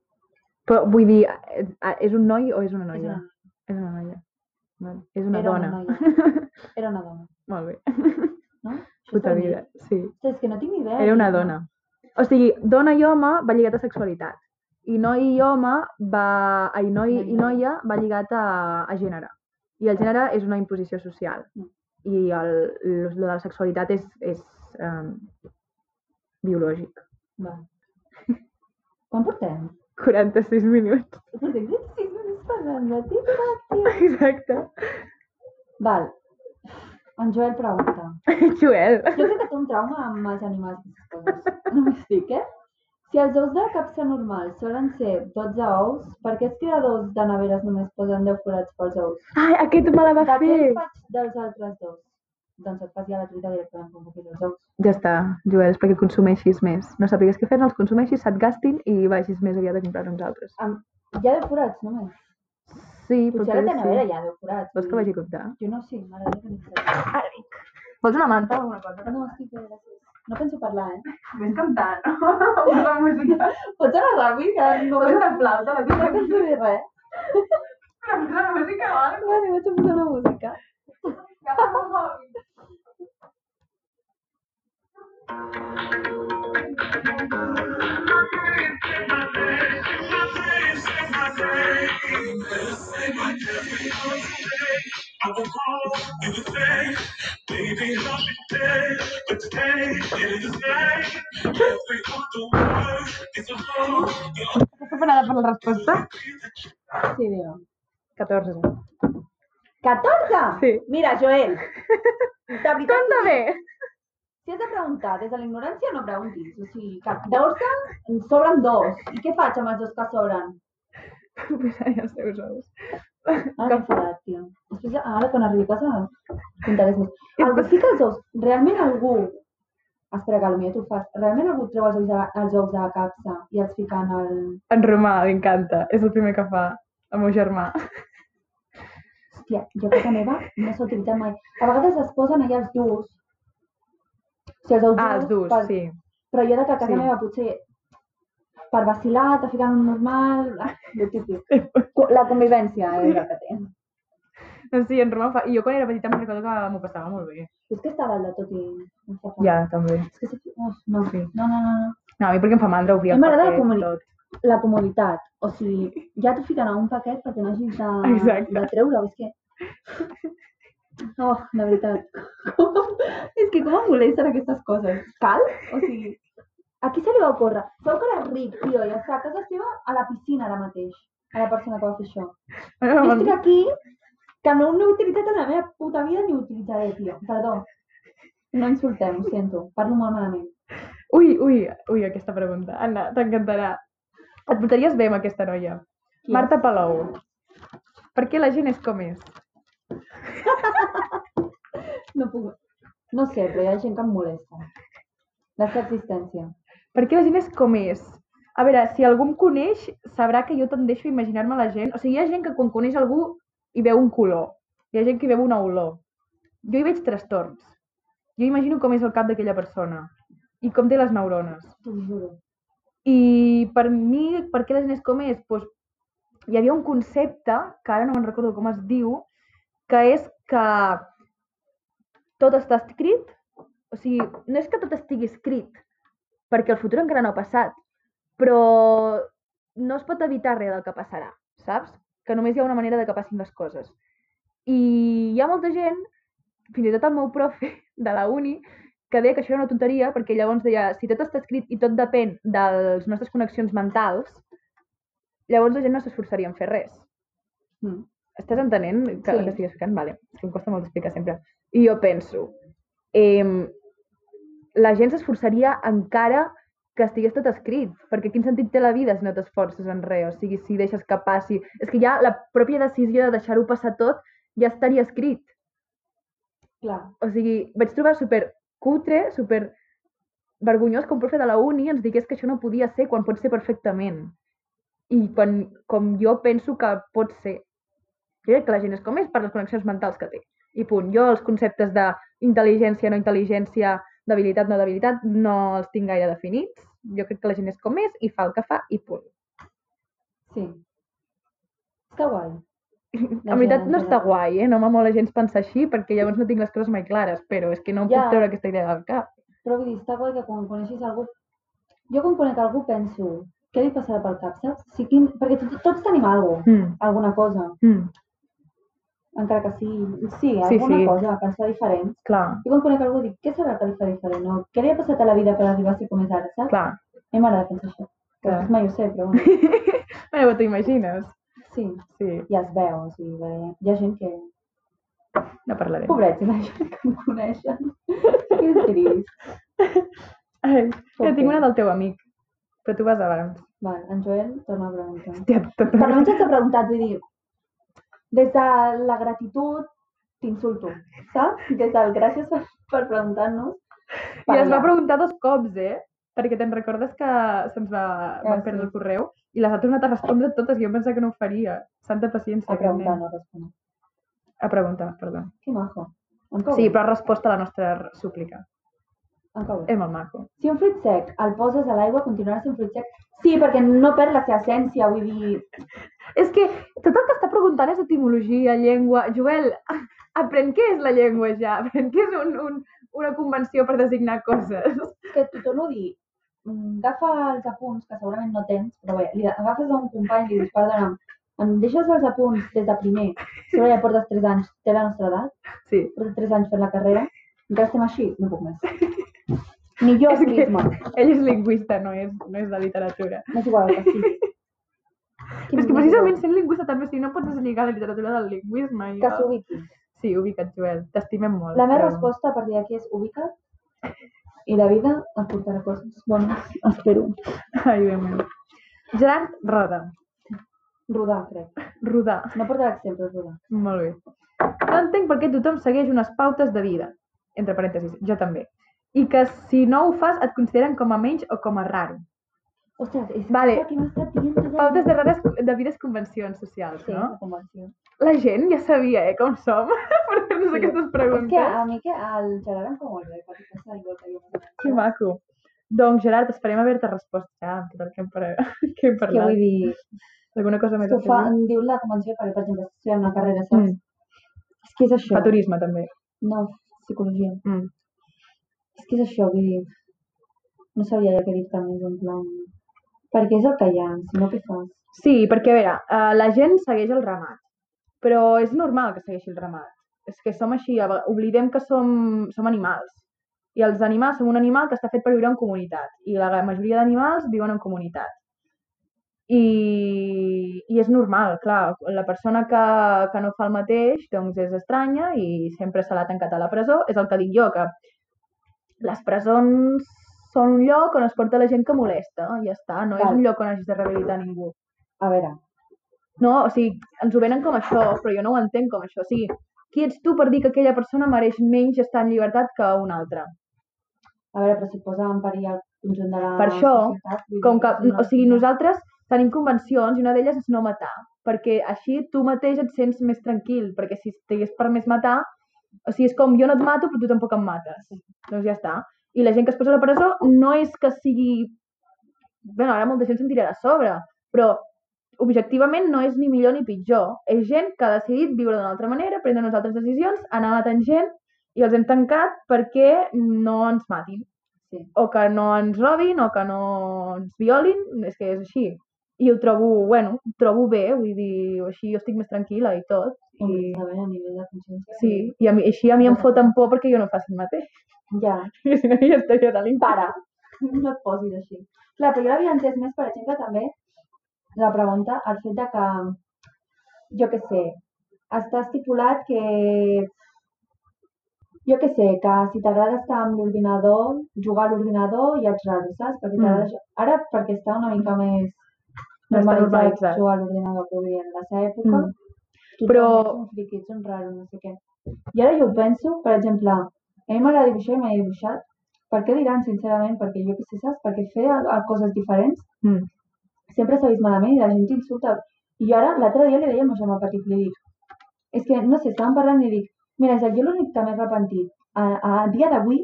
Speaker 1: Però vull dir, eh, eh, és un noi o és una
Speaker 2: És
Speaker 1: noia?
Speaker 2: una,
Speaker 1: És una noia. Vale. És una
Speaker 2: era
Speaker 1: dona.
Speaker 2: Una noia.
Speaker 1: [LAUGHS]
Speaker 2: Era una dona,
Speaker 1: Molt bé.
Speaker 2: no? Això
Speaker 1: Puta
Speaker 2: està bé.
Speaker 1: vida. Sí.
Speaker 2: Ostres, És que no tinc ni idea.
Speaker 1: Era una dona. O sigui, dona i home va lligat a sexualitat. I noi i home va... Ai, noi i noia va lligat a, a gènere. I el gènere és una imposició social. I el, lo de la sexualitat és, és um, biològic.
Speaker 2: Va. Quan portem?
Speaker 1: 46 minuts. [LAUGHS]
Speaker 2: Portem 26 minuts parlant de TikTok.
Speaker 1: Exacte.
Speaker 2: Val. En Joel pregunta.
Speaker 1: [LAUGHS] Joel.
Speaker 2: Jo crec que té un trauma amb els animals i les coses. Només dic, eh? Si els ous de capsa normal solen ser 12 ous, per què els criadors de neveres només posen 10 forats pels ous?
Speaker 1: Ai, aquest me la va
Speaker 2: De què
Speaker 1: fer.
Speaker 2: en faig dels altres dos? Doncs et faig ja la truita directament com puc els ous.
Speaker 1: Ja està, Joel, és perquè consumeixis més. No sàpigues què fer, no els consumeixis, se't gastin i vagis més aviat a comprar uns altres.
Speaker 2: Amb... Hi ha 10 forats només.
Speaker 1: Sí,
Speaker 2: Potser a la nevera hi ha 10 forats.
Speaker 1: Vols que
Speaker 2: vull
Speaker 1: vagi
Speaker 2: dir,
Speaker 1: a comptar?
Speaker 2: Jo no ho sé, m'agradaria que m'hi
Speaker 1: Vols una manta o alguna cosa?
Speaker 2: No, estic bé, gràcies. No penso parlar, eh? [LAUGHS]
Speaker 5: Vés cantant,
Speaker 1: [LAUGHS]
Speaker 5: no? Amb la música.
Speaker 2: Pots anar ràpid? Que no
Speaker 5: Posa
Speaker 2: penso,
Speaker 5: la flauta, la
Speaker 2: no
Speaker 5: teva.
Speaker 1: [LAUGHS]
Speaker 2: penso dir res.
Speaker 5: Posa la música o algo.
Speaker 2: Vale, vaig a posar una música.
Speaker 5: Agafa el mòbil.
Speaker 6: Baby, holiday, but today it is a day. Every other word is a home.
Speaker 5: Està preparada per la resposta?
Speaker 2: Sí, digue'm.
Speaker 1: 14.
Speaker 2: 14?
Speaker 1: Sí.
Speaker 2: Mira,
Speaker 1: [LAUGHS]
Speaker 2: Joel, de veritat,
Speaker 1: Compte bé! [LAUGHS]
Speaker 2: si has de preguntar des de la ignorància, no preguntis. O sigui, 14, en sobren dos. I què faig amb els dos que sobren?
Speaker 1: Posaré els teus ous. Ah,
Speaker 2: Ara m'he enfadat, tio. Després, ah, ara, quan arribi a casa, contaré més. Algú fica els ous. Realment algú... Espera, que potser tu ho fas. Realment algú treu els ous de, els ous de la capsa i els fica en el...
Speaker 1: En Romà, m'encanta. És el primer que fa el meu germà.
Speaker 2: Hòstia, jo a casa meva no s'ha utilitzat mai. A vegades es posen allà els durs. O sigui, els ous
Speaker 1: Ah, els durs,
Speaker 2: pel-
Speaker 1: sí.
Speaker 2: Però jo de que a casa
Speaker 1: Sí.
Speaker 2: meva potser per vacilar, te fiquen un normal... Ah, lo típic. Co- La convivència és la que té.
Speaker 1: No, sí, en Romà fa... I jo quan era petita em recordo que m'ho passava molt bé.
Speaker 2: És que està dalt de tot i... em fa por.
Speaker 1: Ja, també.
Speaker 2: És que... sí- Uf, no,
Speaker 1: Sí.
Speaker 2: no, no, no, no.
Speaker 1: No, a mi perquè em fa mandra obrir
Speaker 2: A
Speaker 1: el
Speaker 2: mi m'agrada
Speaker 1: paper,
Speaker 2: la comuni-
Speaker 1: tot.
Speaker 2: La comoditat. O sigui, ja t'ho fiquen a un paquet perquè no hagis de,
Speaker 1: Exacte.
Speaker 2: de treure-ho. És que... Oh, de veritat. és que com em molesten aquestes coses. Cal? O sigui, a qui se li va ocórrer? Segur que era ric, tio, i està a casa seva a la piscina ara mateix. A la persona que va fer això. Jo
Speaker 1: [LAUGHS]
Speaker 2: estic aquí, que no, no he utilitzat en la meva puta vida ni ho utilitzaré, tio. Perdó. No insultem, ho sento. Parlo molt malament.
Speaker 1: Ui, ui, ui, aquesta pregunta. Anna, t'encantarà. Et portaries bé amb aquesta noia.
Speaker 2: Qui
Speaker 1: Marta Palou. Per què la gent és com és?
Speaker 2: No puc... No sé, però hi ha gent que em molesta. La seva existència.
Speaker 1: Per què la gent és com és? A veure, si algú em coneix, sabrà que jo tendeixo a imaginar-me la gent. O sigui, hi ha gent que quan coneix algú hi veu un color. Hi ha gent que hi veu una olor. Jo hi veig trastorns. Jo imagino com és el cap d'aquella persona i com té les neurones.
Speaker 2: T'ho juro.
Speaker 1: I per mi, per què la gent és com és? Pues, hi havia un concepte, que ara no me'n recordo com es diu, que és que tot està escrit, o sigui, no és que tot estigui escrit, perquè el futur encara no ha passat, però no es pot evitar res del que passarà, saps? Que només hi ha una manera de que passin les coses. I hi ha molta gent, fins i tot el meu profe de la uni, que deia que això era una tonteria, perquè llavors deia, si tot està escrit i tot depèn de les nostres connexions mentals, llavors la gent no s'esforçaria en fer res.
Speaker 2: Mm.
Speaker 1: Estàs entenent que,
Speaker 2: Sí.
Speaker 1: que estic explicant? Vale, és que em costa molt explicar sempre. I jo penso, eh, la gent s'esforçaria encara que estigués tot escrit, perquè quin sentit té la vida si no t'esforces en res? O sigui, si deixes que passi... És que ja la pròpia decisió de deixar-ho passar tot ja estaria escrit.
Speaker 2: Clar.
Speaker 1: O sigui, vaig trobar super cutre, super vergonyós que un profe de la uni ens digués que això no podia ser quan pot ser perfectament. I quan, com jo penso que pot ser. Jo crec que la gent és com és per les connexions mentals que té. I punt. Jo els conceptes d'intel·ligència, no intel·ligència, d'habilitat, no d'habilitat, no els tinc gaire definits. Jo crec que la gent és com és i fa el que fa i punt.
Speaker 2: Sí. Està guai.
Speaker 1: en veritat no està guai, eh? No m'amola gens pensar així perquè llavors no tinc les coses mai clares, però és que no em
Speaker 2: Ja.
Speaker 1: puc treure aquesta idea del cap.
Speaker 2: Però vull dir, està guai que quan coneixis algú... Jo quan conec algú penso, què li passarà pel cap, saps? Si quin... Perquè tots, tots tenim alguna cosa,
Speaker 1: Mm.
Speaker 2: alguna cosa,
Speaker 1: Mm.
Speaker 2: encara que sigui... Sí,
Speaker 1: Sí,
Speaker 2: alguna
Speaker 1: sí.
Speaker 2: cosa, que ens fa diferent.
Speaker 1: Clar,
Speaker 2: Jo quan conec algú dic, què serà que li fa diferent? O què li ha passat a la vida per arribar a ser com és ara, saps?
Speaker 1: clar.
Speaker 2: A mi m'agrada pensar això.
Speaker 1: Clar.
Speaker 2: Clar. Mai ho sé, però
Speaker 1: [LAUGHS]
Speaker 2: bueno,
Speaker 1: Bueno, però t'ho imagines.
Speaker 2: sí,
Speaker 1: Sí,
Speaker 2: ja es veu. O sigui, bé, hi ha gent que...
Speaker 1: no parlarem.
Speaker 2: Pobrets, hi ha gent que em coneixen. que trist.
Speaker 1: Ai, jo
Speaker 2: Ok.
Speaker 1: tinc una del teu amic, però tu vas abans.
Speaker 2: Vale, en Joel torna a preguntar.
Speaker 1: Hòstia, tot...
Speaker 2: Però almenys t'ha preguntat, vull dir, des de la gratitud t'insulto, saps? Des del gràcies per, per preguntar-nos.
Speaker 1: I les va
Speaker 2: allà.
Speaker 1: preguntar dos cops, eh? Perquè te'n recordes que se'ns va, van
Speaker 2: Ah, sí.
Speaker 1: perdre el correu i les ha tornat a respondre totes i jo pensava que no ho faria. Santa paciència,
Speaker 2: A
Speaker 1: aquest
Speaker 2: preguntar,
Speaker 1: nen.
Speaker 2: no respondre.
Speaker 1: A preguntar, perdó.
Speaker 2: Que majo. Em cau
Speaker 1: Sí,
Speaker 2: bé,
Speaker 1: però eh. ha respost a la nostra r- súplica.
Speaker 2: em cau bé.
Speaker 1: És molt maco.
Speaker 2: Si un fruit sec el poses a l'aigua, continuarà sent fruit sec? Sí, perquè no perd la seva essència, vull dir...
Speaker 1: És que tot el que està preguntant és etimologia, llengua... Joel, [LAUGHS] aprèn què és la llengua ja, aprèn què és un, un, una convenció per designar coses.
Speaker 2: És que t'ho torno a dir, mm, agafa els apunts, que segurament no tens, però bé, li agafes a un company i li dius, perdona'm, em deixes els apunts des de primer, si ara ja portes 3 anys, té la nostra edat,
Speaker 1: Sí.
Speaker 2: porto 3 anys fent la carrera, encara estem així, no puc més. Ni jo
Speaker 1: És que-
Speaker 2: misma,
Speaker 1: Ell és lingüista, no és, no és de literatura.
Speaker 2: m'és igual el que sigui.
Speaker 1: Però és que precisament sent lingüista també, o sigui, no pots deslligar la literatura del lingüisme. I
Speaker 2: Que
Speaker 1: el-
Speaker 2: s'ubiqui.
Speaker 1: Sí, ubica't, Joel. T'estimem molt.
Speaker 2: La meva
Speaker 1: però-
Speaker 2: resposta a partir d'aquí és ubica i la vida et portarà coses bones, espero.
Speaker 1: [LAUGHS] Ai, Déu meu. Gerard Roda.
Speaker 2: Rodar, crec.
Speaker 1: Rodar.
Speaker 2: No portarà exemple, rodar.
Speaker 1: Molt bé. No entenc per què tothom segueix unes pautes de vida, entre parèntesis, jo també, i que si no ho fas et consideren com a menys o com a raro.
Speaker 2: Ostres, és
Speaker 1: Vale.
Speaker 2: que m'ha estat dient tota la
Speaker 1: Pautes de, rares, de vides convencions socials,
Speaker 2: Sí,
Speaker 1: no?
Speaker 2: la convenció.
Speaker 1: La gent ja sabia, eh, com som, [LAUGHS] per fer-nos
Speaker 2: Sí.
Speaker 1: aquestes
Speaker 2: És que
Speaker 1: preguntes.
Speaker 2: a mi que el Gerard em cau molt bé, perquè pensa igual que jo.
Speaker 1: Que maco. Doncs, Gerard, esperem haver-te respost ja, amb tot el [LAUGHS] que hem, par- que hem
Speaker 2: És que
Speaker 1: parlat.
Speaker 2: vull dir,
Speaker 1: Alguna cosa
Speaker 2: és
Speaker 1: més
Speaker 2: que
Speaker 1: a
Speaker 2: ho fa,
Speaker 1: fer?
Speaker 2: em diu la convenció perquè, per exemple, estudiar una carrera, saps?
Speaker 1: Mm.
Speaker 2: És que és això.
Speaker 1: Fa turisme, també.
Speaker 2: No, psicologia.
Speaker 1: Mm.
Speaker 2: És que és això, vull dir, no sabia ja què dir-te més, en plan... Perquè és el que hi ha, si no què fas?
Speaker 1: Sí, perquè, a veure, eh, la gent segueix el ramat, però és normal que segueixi el ramat. És que som així, a ve- oblidem que som, som animals. I els animals, som un animal que està fet per viure en comunitat. I la majoria d'animals viuen en comunitat. I, I és normal, clar, la persona que, que no fa el mateix doncs és estranya i sempre se l'ha tancat a la presó. És el que dic jo, que les presons són un lloc on es porta la gent que molesta, ja està, no és
Speaker 2: Val.
Speaker 1: un lloc on hagis de rehabilitar ningú.
Speaker 2: A veure,
Speaker 1: No, o sigui, ens ho venen com això, però jo no ho entenc com això. O sigui, qui ets tu per dir que aquella persona mereix menys estar en llibertat que una altra?
Speaker 2: a veure, però si posa en perill el conjunt de la
Speaker 1: Per això,
Speaker 2: societat... vull dir,
Speaker 1: Com que,
Speaker 2: és una-
Speaker 1: o sigui, nosaltres tenim convencions i una d'elles és no matar, perquè així tu mateix et sents més tranquil, perquè si t'hagués permès matar, o sigui, és com jo no et mato, però tu tampoc em mates. Doncs ja està. I la gent que es posa a la presó no és que sigui bueno, ara molta gent se'n tirarà a sobre, però objectivament no és ni millor ni pitjor. És gent que ha decidit viure d'una altra manera, prendre unes altres decisions, anar matant gent i els hem tancat perquè no ens matin.
Speaker 2: Sí.
Speaker 1: O que no ens robin, o que no ens violin, és que és així. I ho trobo, bueno, ho trobo bé, vull dir, així jo estic més tranquil·la i tot. I,
Speaker 2: Saben a nivell de consciència.
Speaker 1: sí, i a mi, així a mi em foten por perquè jo no faci el mateix. [LAUGHS]
Speaker 2: Ja,
Speaker 1: Perquè si no ja estaria de l'infant.
Speaker 2: para. [LAUGHS] No et posis així. Clar, però jo l'havia entès més, per exemple, també la pregunta, el fet de que, jo que sé, està estipulat que jo que sé, que si t'agrada estar amb l'ordinador, jugar a l'ordinador ja ets raro, saps? Perquè t'agrada... ju- Ara, perquè està una mica més
Speaker 1: Està
Speaker 2: normalitzat
Speaker 1: normalitzat.
Speaker 2: jugar a l'ordinador que vull dir, en la seva època.
Speaker 1: Mm.
Speaker 2: Tothom
Speaker 1: Però-
Speaker 2: Ets un friqui, ets un raro, no sé què. I ara jo ho penso, per exemple, a mi m'agrada dibuixar i m'he dibuixat. Per què diran, sincerament? Perquè jo què sé, saps? Perquè fer a, a coses diferents
Speaker 1: Mm.
Speaker 2: sempre s'ha vist malament i la gent t'insulta. I jo ara, l'altre dia li deia al meu germà petit, li dic, és que, no sé, estàvem parlant i dic, mira, Isaac, jo l'únic que m'he repentit a, a dia d'avui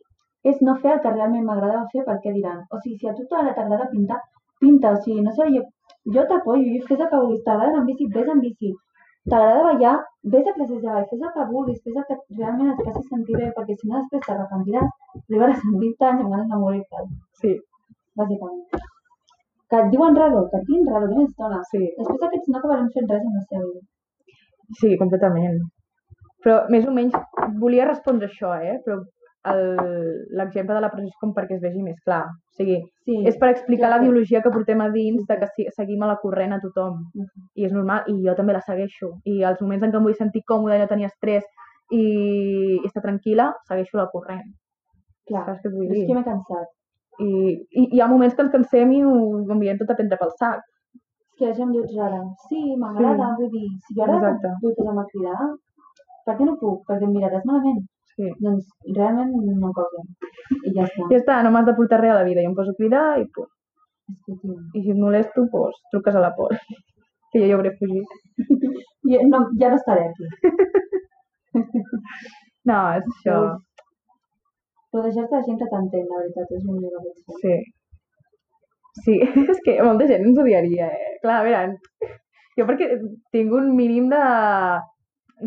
Speaker 2: és no fer el que realment m'agradava fer perquè diran. O sigui, si a tu t'agrada t'agrada pintar, pinta. O sigui, no sé, jo, jo t'apoyo, jo fes el que vulguis. T'agrada anar amb bici, vés amb bici. T'agrada ballar, vés a classes de ball, fes el que vulguis, fes el que realment et faci sentir bé, perquè si no després t'arrepentiràs, arribaràs a 20 anys amb ganes de morir-te,
Speaker 1: Sí,
Speaker 2: bàsicament. Que et diuen raro, que et diuen raro, que més estona.
Speaker 1: sí.
Speaker 2: Després aquests no acabarem fent res amb la seva vida.
Speaker 1: Sí, completament. Però més o menys volia respondre això, eh? Però el- l'exemple de la presó és com perquè es vegi més clar. O sigui,
Speaker 2: Sí,
Speaker 1: és per explicar
Speaker 2: ja
Speaker 1: la
Speaker 2: sé.
Speaker 1: biologia que portem a dins de que si- seguim a la corrent a tothom.
Speaker 2: Mhm.
Speaker 1: I és normal, i jo també la segueixo. I els moments en què em vull sentir còmode i no tenir estrès i, i estar tranquil·la, segueixo la corrent.
Speaker 2: clar.
Speaker 1: Saps què et vull
Speaker 2: És
Speaker 1: dir?
Speaker 2: que m'he cansat.
Speaker 1: I, i, hi ha moments que ens cansem i ho enviem tot a prendre pel sac.
Speaker 2: És que la gent diu rara. Sí, m'agrada, vull dir, si jo ara
Speaker 1: Exacte.
Speaker 2: vull posar-me a cridar, per què no puc? Perquè em miraràs malament.
Speaker 1: Sí.
Speaker 2: Doncs realment no em cosa. I ja està.
Speaker 1: Ja està, no m'has de portar res a la vida. Jo em poso a cridar i pum.
Speaker 2: Escolti,
Speaker 1: I si et molesto, doncs, truques a la por. [LAUGHS] Que jo ja hauré fugit.
Speaker 2: ja no, ja no estaré aquí.
Speaker 1: No, és això.
Speaker 2: Però deixar-te la gent que t'entén, la veritat, és molt millor que pots fer.
Speaker 1: Sí. Sí, [LAUGHS] és que molta gent ens odiaria, eh? Clar, a veure, jo perquè tinc un mínim de...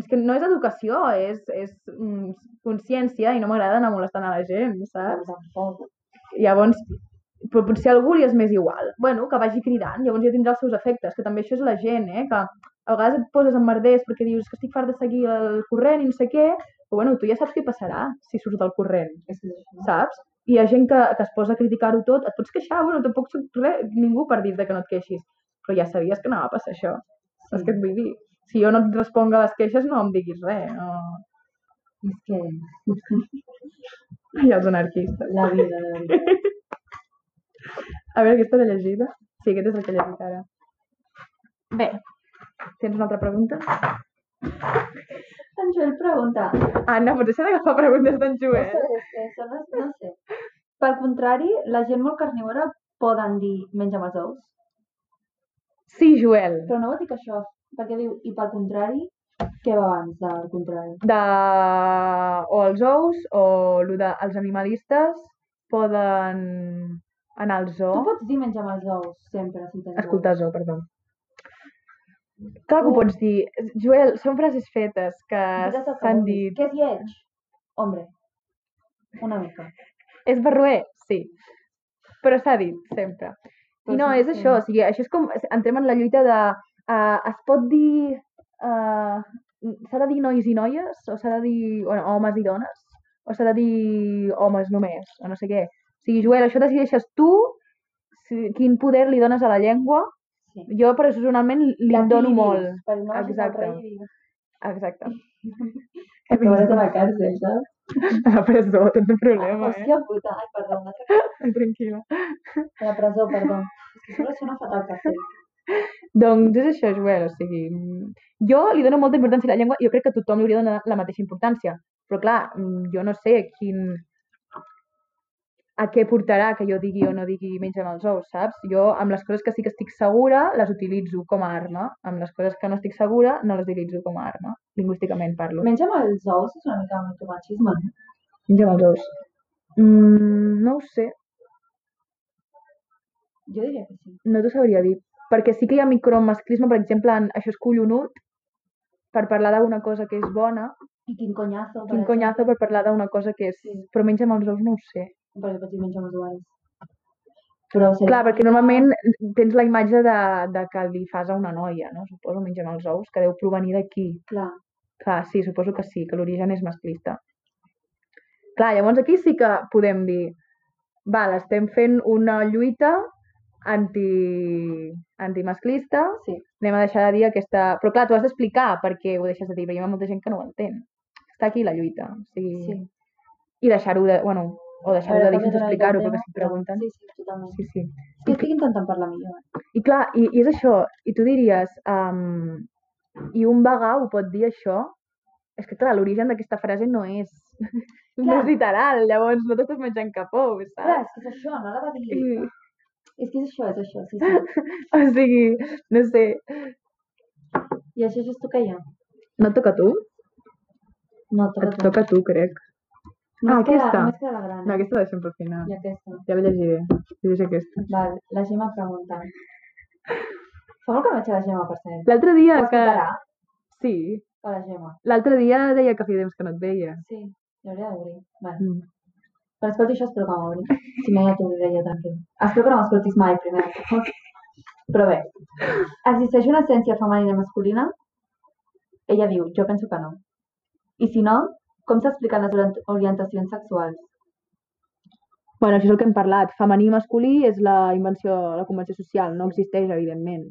Speaker 1: És que no és educació, és, és mm, consciència i no m'agrada anar molestant a la gent, saps?
Speaker 2: Però tampoc.
Speaker 1: Llavors, però potser a algú li és més igual. bueno, que vagi cridant, llavors ja tindrà els seus efectes, que també això és la gent, eh? Que a vegades et poses en merders perquè dius que estic fart de seguir el corrent i no sé què, però bueno, tu ja saps què passarà si surts del corrent,
Speaker 2: És que és això.
Speaker 1: saps? Hi ha gent que, que es posa a criticar-ho tot, et pots queixar, bueno, tampoc soc re, ningú per dir-te que no et queixis, però ja sabies que anava a passar això. Sí. Saps què et vull dir? Si jo no et responc a les queixes, no em diguis res. No...
Speaker 2: És que...
Speaker 1: I els anarquistes.
Speaker 2: La vida, la [LAUGHS] veritat.
Speaker 1: A veure, aquesta l'he llegida. Sí, aquest és el que he llegit ara. Bé, tens una altra pregunta?
Speaker 2: En Joel pregunta,
Speaker 1: Anna, pots deixar d'agafar preguntes d'en Joel?
Speaker 2: Ostres, és que són les- no sé. Pel contrari, la gent molt carnívora poden dir menja els ous,
Speaker 1: Sí, Joel.
Speaker 2: però no vol dir que això, perquè diu, i pel contrari, què va abans del contrari?
Speaker 1: De... O els ous, o lo de... els animalistes poden anar al zoo.
Speaker 2: Tu pots dir menja els ous sempre, si tens
Speaker 1: Escoltar zoo, perdó. Clar que ho pots dir. Joel, són frases fetes Oh. que s'han dit.
Speaker 2: Què és lleig? Hombre, una mica.
Speaker 1: És barruer? Sí. Però s'ha dit, sempre. I
Speaker 2: Però
Speaker 1: Doncs no,
Speaker 2: sí,
Speaker 1: és
Speaker 2: sí.
Speaker 1: això, o sigui, això és com... Entrem en la lluita de... Uh, es pot dir... Uh, s'ha de dir nois i noies? O s'ha de dir bueno, homes i dones? O s'ha de dir homes només? O no sé què. O sigui, Joel, això decideixes tu si, quin poder li dones a la llengua.
Speaker 2: Sí.
Speaker 1: Jo, personalment, li en dono molt.
Speaker 2: Però no
Speaker 1: Exacte.
Speaker 2: Exacte. Rei,
Speaker 1: Exacte.
Speaker 2: que vas a la càrcel, saps?
Speaker 1: A la presó, tot un problema, eh?
Speaker 2: Hòstia puta, ai, perdó, una altra
Speaker 1: Tranquil·la.
Speaker 2: a la presó, perdó. És que solo sona fatal que fer.
Speaker 1: Doncs és això, Joel, o sigui... mm, Jo li dono molta importància a la llengua, jo crec que a tothom li hauria de donar la mateixa importància. Però clar, mm, jo no sé quin... a què portarà que jo digui o no digui menys amb els ous, saps? Jo amb les coses que sí que estic segura les utilitzo com a arma. Amb les coses que no estic segura no les utilitzo com a arma. Lingüísticament parlo.
Speaker 2: Menja els ous és una mica micromachisme, no?
Speaker 1: Menys amb els ous. Mm, no ho sé.
Speaker 2: Jo diria que sí.
Speaker 1: No t'ho sabria dir. Perquè sí que hi ha micromasclisme, per exemple, en això és collonut, per parlar d'una cosa que és bona,
Speaker 2: I quin conyazo.
Speaker 1: quin conyazo per parlar d'una cosa que és... Però menys amb els ous no ho sé.
Speaker 2: Perquè pots dir menys amb els usuaris. Però seria...
Speaker 1: Clar, perquè normalment tens la imatge de, de que li fas a una noia, no? Suposo, menys amb els ous, que deu provenir d'aquí.
Speaker 2: Clar.
Speaker 1: Clar, sí, suposo que sí, que l'origen és masclista. Clar, llavors aquí sí que podem dir val, estem fent una lluita anti... antimasclista,
Speaker 2: Sí.
Speaker 1: anem a deixar de dir aquesta... Però clar, tu has d'explicar per què ho deixes de dir, perquè hi ha molta gent que no ho entén. Està aquí la lluita. O sigui...
Speaker 2: Sí.
Speaker 1: I deixar-ho de... Bueno, o
Speaker 2: A
Speaker 1: deixar-ho
Speaker 2: veure,
Speaker 1: de dir
Speaker 2: canvia
Speaker 1: sense
Speaker 2: totalment el
Speaker 1: explicar-ho,
Speaker 2: tema,
Speaker 1: perquè si et
Speaker 2: però-
Speaker 1: pregunten...
Speaker 2: Sí, sí, totalment.
Speaker 1: Sí, sí.
Speaker 2: Sí, estic intentant parlar millor. eh?
Speaker 1: I clar, i, i és això, i tu diries, um, i un vegà ho pot dir això? És que clar, l'origen d'aquesta frase no
Speaker 2: [LAUGHS]
Speaker 1: és, no
Speaker 2: Clar.
Speaker 1: és literal, llavors no t'estàs menjant cap ou,
Speaker 2: Clar,
Speaker 1: saps?
Speaker 2: és que és això, no la va dir.
Speaker 1: I,
Speaker 2: És que és això, és això, sí, sí.
Speaker 1: o sigui, no sé,
Speaker 2: I això és tu que hi ha.
Speaker 1: no et toca a tu?
Speaker 2: No, toca
Speaker 1: Et toca a tu, crec. Ah,
Speaker 2: Més que la-
Speaker 1: aquesta.
Speaker 2: Més que la gran.
Speaker 1: No, aquesta la deixem pel final.
Speaker 2: I aquesta.
Speaker 1: Ja la llegiré. Llegeix aquesta.
Speaker 2: Val, la Gemma pregunta. Fa molt que no veig a la Gemma, per cert.
Speaker 1: L'altre dia
Speaker 2: Ho
Speaker 1: que...
Speaker 2: explicarà
Speaker 1: Sí,
Speaker 2: a la Gemma.
Speaker 1: l'altre dia deia que feia temps que no et veia.
Speaker 2: Sí, l'hauria d'obrir. Vale.
Speaker 1: Mm.
Speaker 2: Quan escolti això, espero que m'obri. Si no, ja t'obriré jo tranquil. Espero que no m'escoltis mai, primer. Però bé, existeix una essència femenina i masculina? Ella diu, jo penso que no. I si no, com s'expliquen les orient- orientacions sexuals?
Speaker 1: Bueno, això és el que hem parlat. Femení i masculí és la invenció, la convenció social. No existeix, evidentment.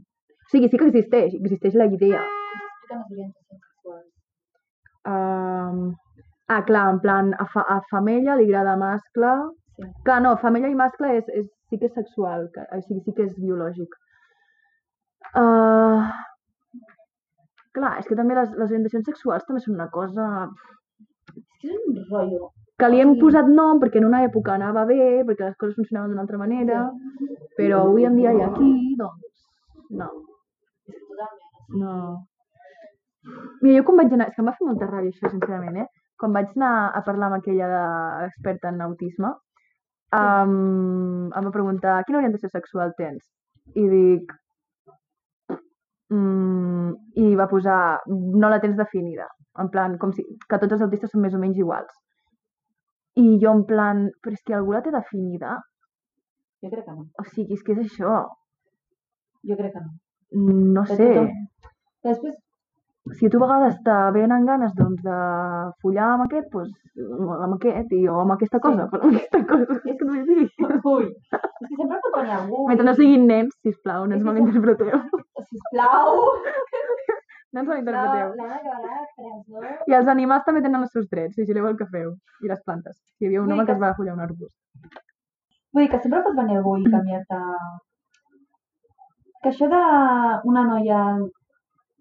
Speaker 1: O sigui, sí que existeix. Existeix la idea.
Speaker 2: Com s'expliquen les orientacions sexuals?
Speaker 1: Um... Ah, clar, en plan, a, fa, a femella li agrada mascle.
Speaker 2: Sí.
Speaker 1: Clar, no, femella i mascle és, és, sí que és sexual, que, o sigui, sí que és biològic. Uh... Clar, és que també les, les orientacions sexuals també són una cosa
Speaker 2: És que és un rotllo.
Speaker 1: que li hem
Speaker 2: Sí.
Speaker 1: posat nom perquè en una època anava bé, perquè les coses funcionaven d'una altra manera, però avui en dia i aquí, doncs, no,
Speaker 2: És que totalment.
Speaker 1: no. Mira, jo quan vaig anar, és que em va fer molta ràbia això, sincerament, eh? Quan vaig anar a parlar amb aquella de- experta en autisme, um, em va preguntar quina orientació sexual tens? I dic... Mm, I va posar, no la tens definida. En plan, com si, que tots els autistes són més o menys iguals. I jo en plan, però és que algú la té definida?
Speaker 2: Jo crec que no.
Speaker 1: O sigui, és que és això.
Speaker 2: Jo crec que no.
Speaker 1: No
Speaker 2: De
Speaker 1: sé.
Speaker 2: tothom. [LAUGHS] Després,
Speaker 1: Si a tu a vegades te venen ganes doncs, de follar amb aquest, doncs, amb aquest, i, o amb aquesta cosa, però amb aquesta cosa, és que no vull dir.
Speaker 2: ui, és que sempre pot venir algú.
Speaker 1: Mentre no siguin nens, sisplau, [LAUGHS] no ens
Speaker 2: Sí, sí, sí.
Speaker 1: malinterpreteu.
Speaker 2: Sisplau.
Speaker 1: No ens
Speaker 2: La,
Speaker 1: malinterpreteu.
Speaker 2: la acabarà de presó.
Speaker 1: I els animals també tenen els seus drets, vigileu el que feu. I les plantes. Hi havia un
Speaker 2: Vull
Speaker 1: home
Speaker 2: dir
Speaker 1: que
Speaker 2: que-
Speaker 1: es va follar un arbust.
Speaker 2: Vull dir que sempre pot venir algú i canviar-te... Que això d'una noia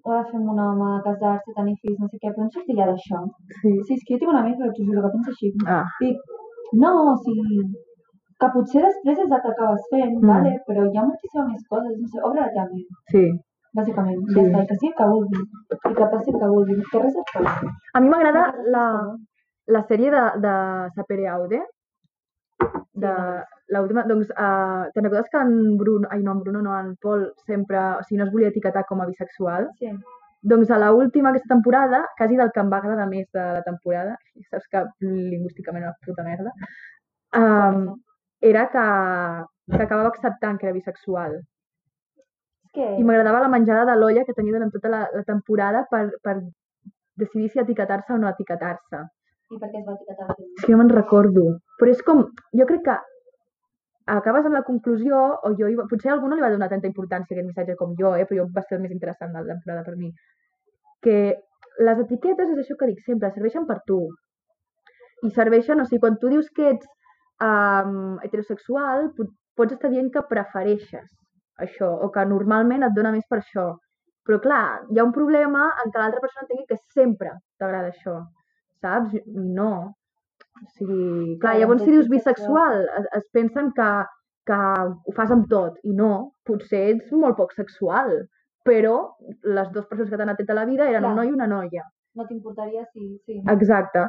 Speaker 2: o de fer amb un home, casar-se, tenir fills, no sé què, però em sortir ja d'això.
Speaker 1: Sí.
Speaker 2: Sí, és que jo tinc una amiga que t'ho juro que pensa així.
Speaker 1: Ah,
Speaker 2: Dic, no, o sigui, que potser després és el que acabes fent,
Speaker 1: Mm.
Speaker 2: vale? però hi ha moltíssimes més coses, no sé, obre la teva ment.
Speaker 1: sí.
Speaker 2: bàsicament.
Speaker 1: Sí.
Speaker 2: Sí. Ja està, i que sigui el que vulgui. I que passi el que vulgui. Que res et passi.
Speaker 1: A mi m'agrada la, la sèrie de, de Sapere Aude, de l'última, doncs, uh, te'n recordes que en Bruno, ai no, en Bruno no, en Pol sempre, o sigui, no es volia etiquetar com a bisexual?
Speaker 2: Sí.
Speaker 1: Doncs a l'última aquesta temporada, quasi del que em va agradar més de la temporada, i saps que lingüísticament era una puta merda, um, era que, que acabava acceptant que era bisexual.
Speaker 2: És que...
Speaker 1: I m'agradava la menjada de l'olla que tenia durant tota la, la temporada per, per decidir si etiquetar-se o no etiquetar-se.
Speaker 2: I per què es va etiquetar el
Speaker 1: És que no me'n recordo. Però és com, jo crec que acabes amb la conclusió, o jo, hi va- potser a algú no li va donar tanta importància a aquest missatge com jo, eh? però jo va ser el més interessant de la temporada per mi, que les etiquetes és això que dic sempre, serveixen per tu. I serveixen, o sigui, quan tu dius que ets um, heterosexual, pot, pots estar dient que prefereixes això, o que normalment et dona més per això. Però clar, hi ha un problema en que l'altra persona entengui que sempre t'agrada això, saps? I no. O sigui, clar,
Speaker 2: Clar,
Speaker 1: llavors si dius
Speaker 2: l'identitat
Speaker 1: bisexual, es, es pensen que, que ho fas amb tot, i no, potser ets molt poc sexual, però les dues persones que t'han atret a la vida eren
Speaker 2: Clar.
Speaker 1: un noi i una noia. Ah,
Speaker 2: No t'importaria si... Sí.
Speaker 1: Exacte.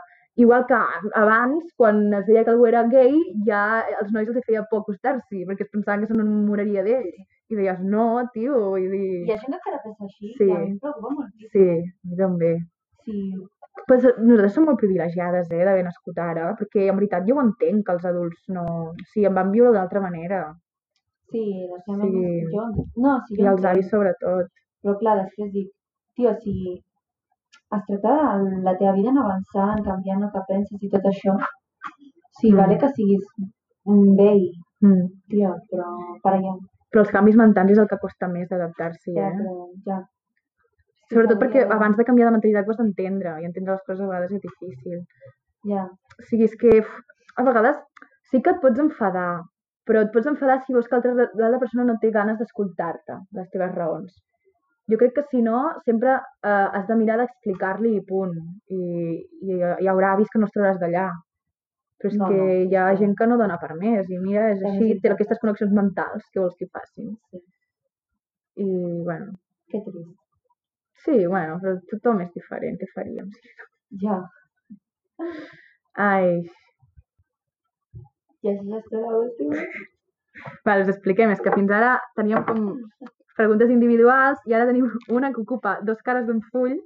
Speaker 1: Igual que abans, quan es deia que algú era gay, ja els nois els hi feia por acostar-s'hi, perquè es pensaven que se n'enamoraria d'ell. I deies, no, tio, vull dir...
Speaker 2: Hi ha gent que encara pensa així,
Speaker 1: Sí.
Speaker 2: sí. i a mi em preocupa moltíssim.
Speaker 1: Sí, a mi també.
Speaker 2: Sí.
Speaker 1: Pues, nosaltres som molt privilegiades, eh, d'haver nascut ara, perquè en veritat jo ho entenc, que els adults no... O sigui, em van viure d'altra manera.
Speaker 2: Sí, la seva
Speaker 1: Sí.
Speaker 2: sí. Jo, no, sí,
Speaker 1: I
Speaker 2: jo
Speaker 1: els
Speaker 2: entenc.
Speaker 1: avis sobretot.
Speaker 2: Però clar, després dic, tio, si es tracta de la teva vida en avançar, en canviar en el que penses i tot això, sí,
Speaker 1: Mm.
Speaker 2: vale que siguis un vell,
Speaker 1: Mm.
Speaker 2: tio, però per allà,
Speaker 1: Però els canvis mentals és el que costa més d'adaptar-s'hi,
Speaker 2: ja,
Speaker 1: eh?
Speaker 2: però ja.
Speaker 1: Sobretot
Speaker 2: també
Speaker 1: perquè
Speaker 2: ja-
Speaker 1: abans de canviar de mentalitat ho has d'entendre, i entendre les coses a vegades és difícil.
Speaker 2: Ja,
Speaker 1: O sigui, és que uf, a vegades sí que et pots enfadar, però et pots enfadar si veus que altra- l'altra persona no té ganes d'escoltar-te, les teves raons. Jo crec que si no, sempre eh, has de mirar d'explicar-li i punt. I, i hi haurà avis que no els trauràs d'allà. Però és
Speaker 2: No,
Speaker 1: no, que
Speaker 2: no, sí,
Speaker 1: hi ha
Speaker 2: sí.
Speaker 1: gent que no dona per més. I mira, és
Speaker 2: També és
Speaker 1: així, té
Speaker 2: veritat.
Speaker 1: aquestes connexions mentals que vols que hi facin.
Speaker 2: Sí.
Speaker 1: I, bueno,
Speaker 2: que trist.
Speaker 1: sí, bueno, però tothom és diferent, què faríem?
Speaker 2: Ja,
Speaker 1: Ai,
Speaker 2: i això ja està l'última.
Speaker 1: Vale, us expliquem, és que fins ara teníem com preguntes individuals i ara tenim una que ocupa dos cares d'un full.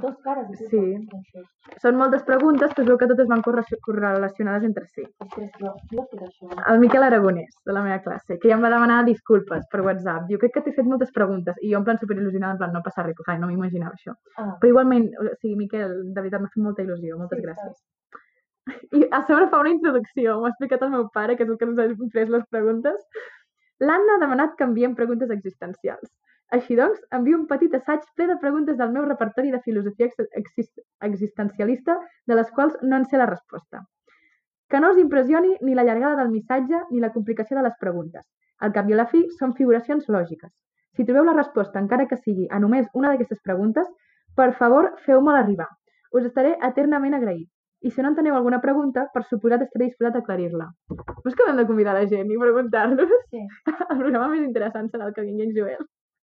Speaker 2: Dos cares. i tu
Speaker 1: Sí.
Speaker 2: saps això.
Speaker 1: Són moltes preguntes, però es veu que totes van corre- correlacionades entre si.
Speaker 2: Ostres, però qui va fer això?
Speaker 1: El Miquel Aragonès, de la meva classe, que ja em va demanar disculpes per WhatsApp. Jo crec que t'he fet moltes preguntes i jo en plan superil·lusionada, en plan no passa res, clar, no m'imaginava això.
Speaker 2: Ah,
Speaker 1: Però igualment, o sigui, Miquel, de veritat m'ha fet molta il·lusió, moltes
Speaker 2: Sí,
Speaker 1: gràcies. I a sobre fa una introducció, m'ho ha explicat el meu pare, que és el que ens ha fet les preguntes. L'Anna ha demanat que enviem preguntes existencials. Així doncs, envio un petit assaig ple de preguntes del meu repertori de filosofia ex- exist- existencialista, de les quals no en sé la resposta. Que no us impressioni ni la llargada del missatge ni la complicació de les preguntes. Al cap i a la fi, són figuracions lògiques. Si trobeu la resposta, encara que sigui a només una d'aquestes preguntes, per favor, feu-me arribar. Us estaré eternament agraït. I si no en teniu alguna pregunta, per suposat estaré disposat a aclarir-la. No és que hem de convidar la gent i preguntar-los? [LAUGHS]
Speaker 2: Sí.
Speaker 1: El programa més interessant serà el que vingui en Joel.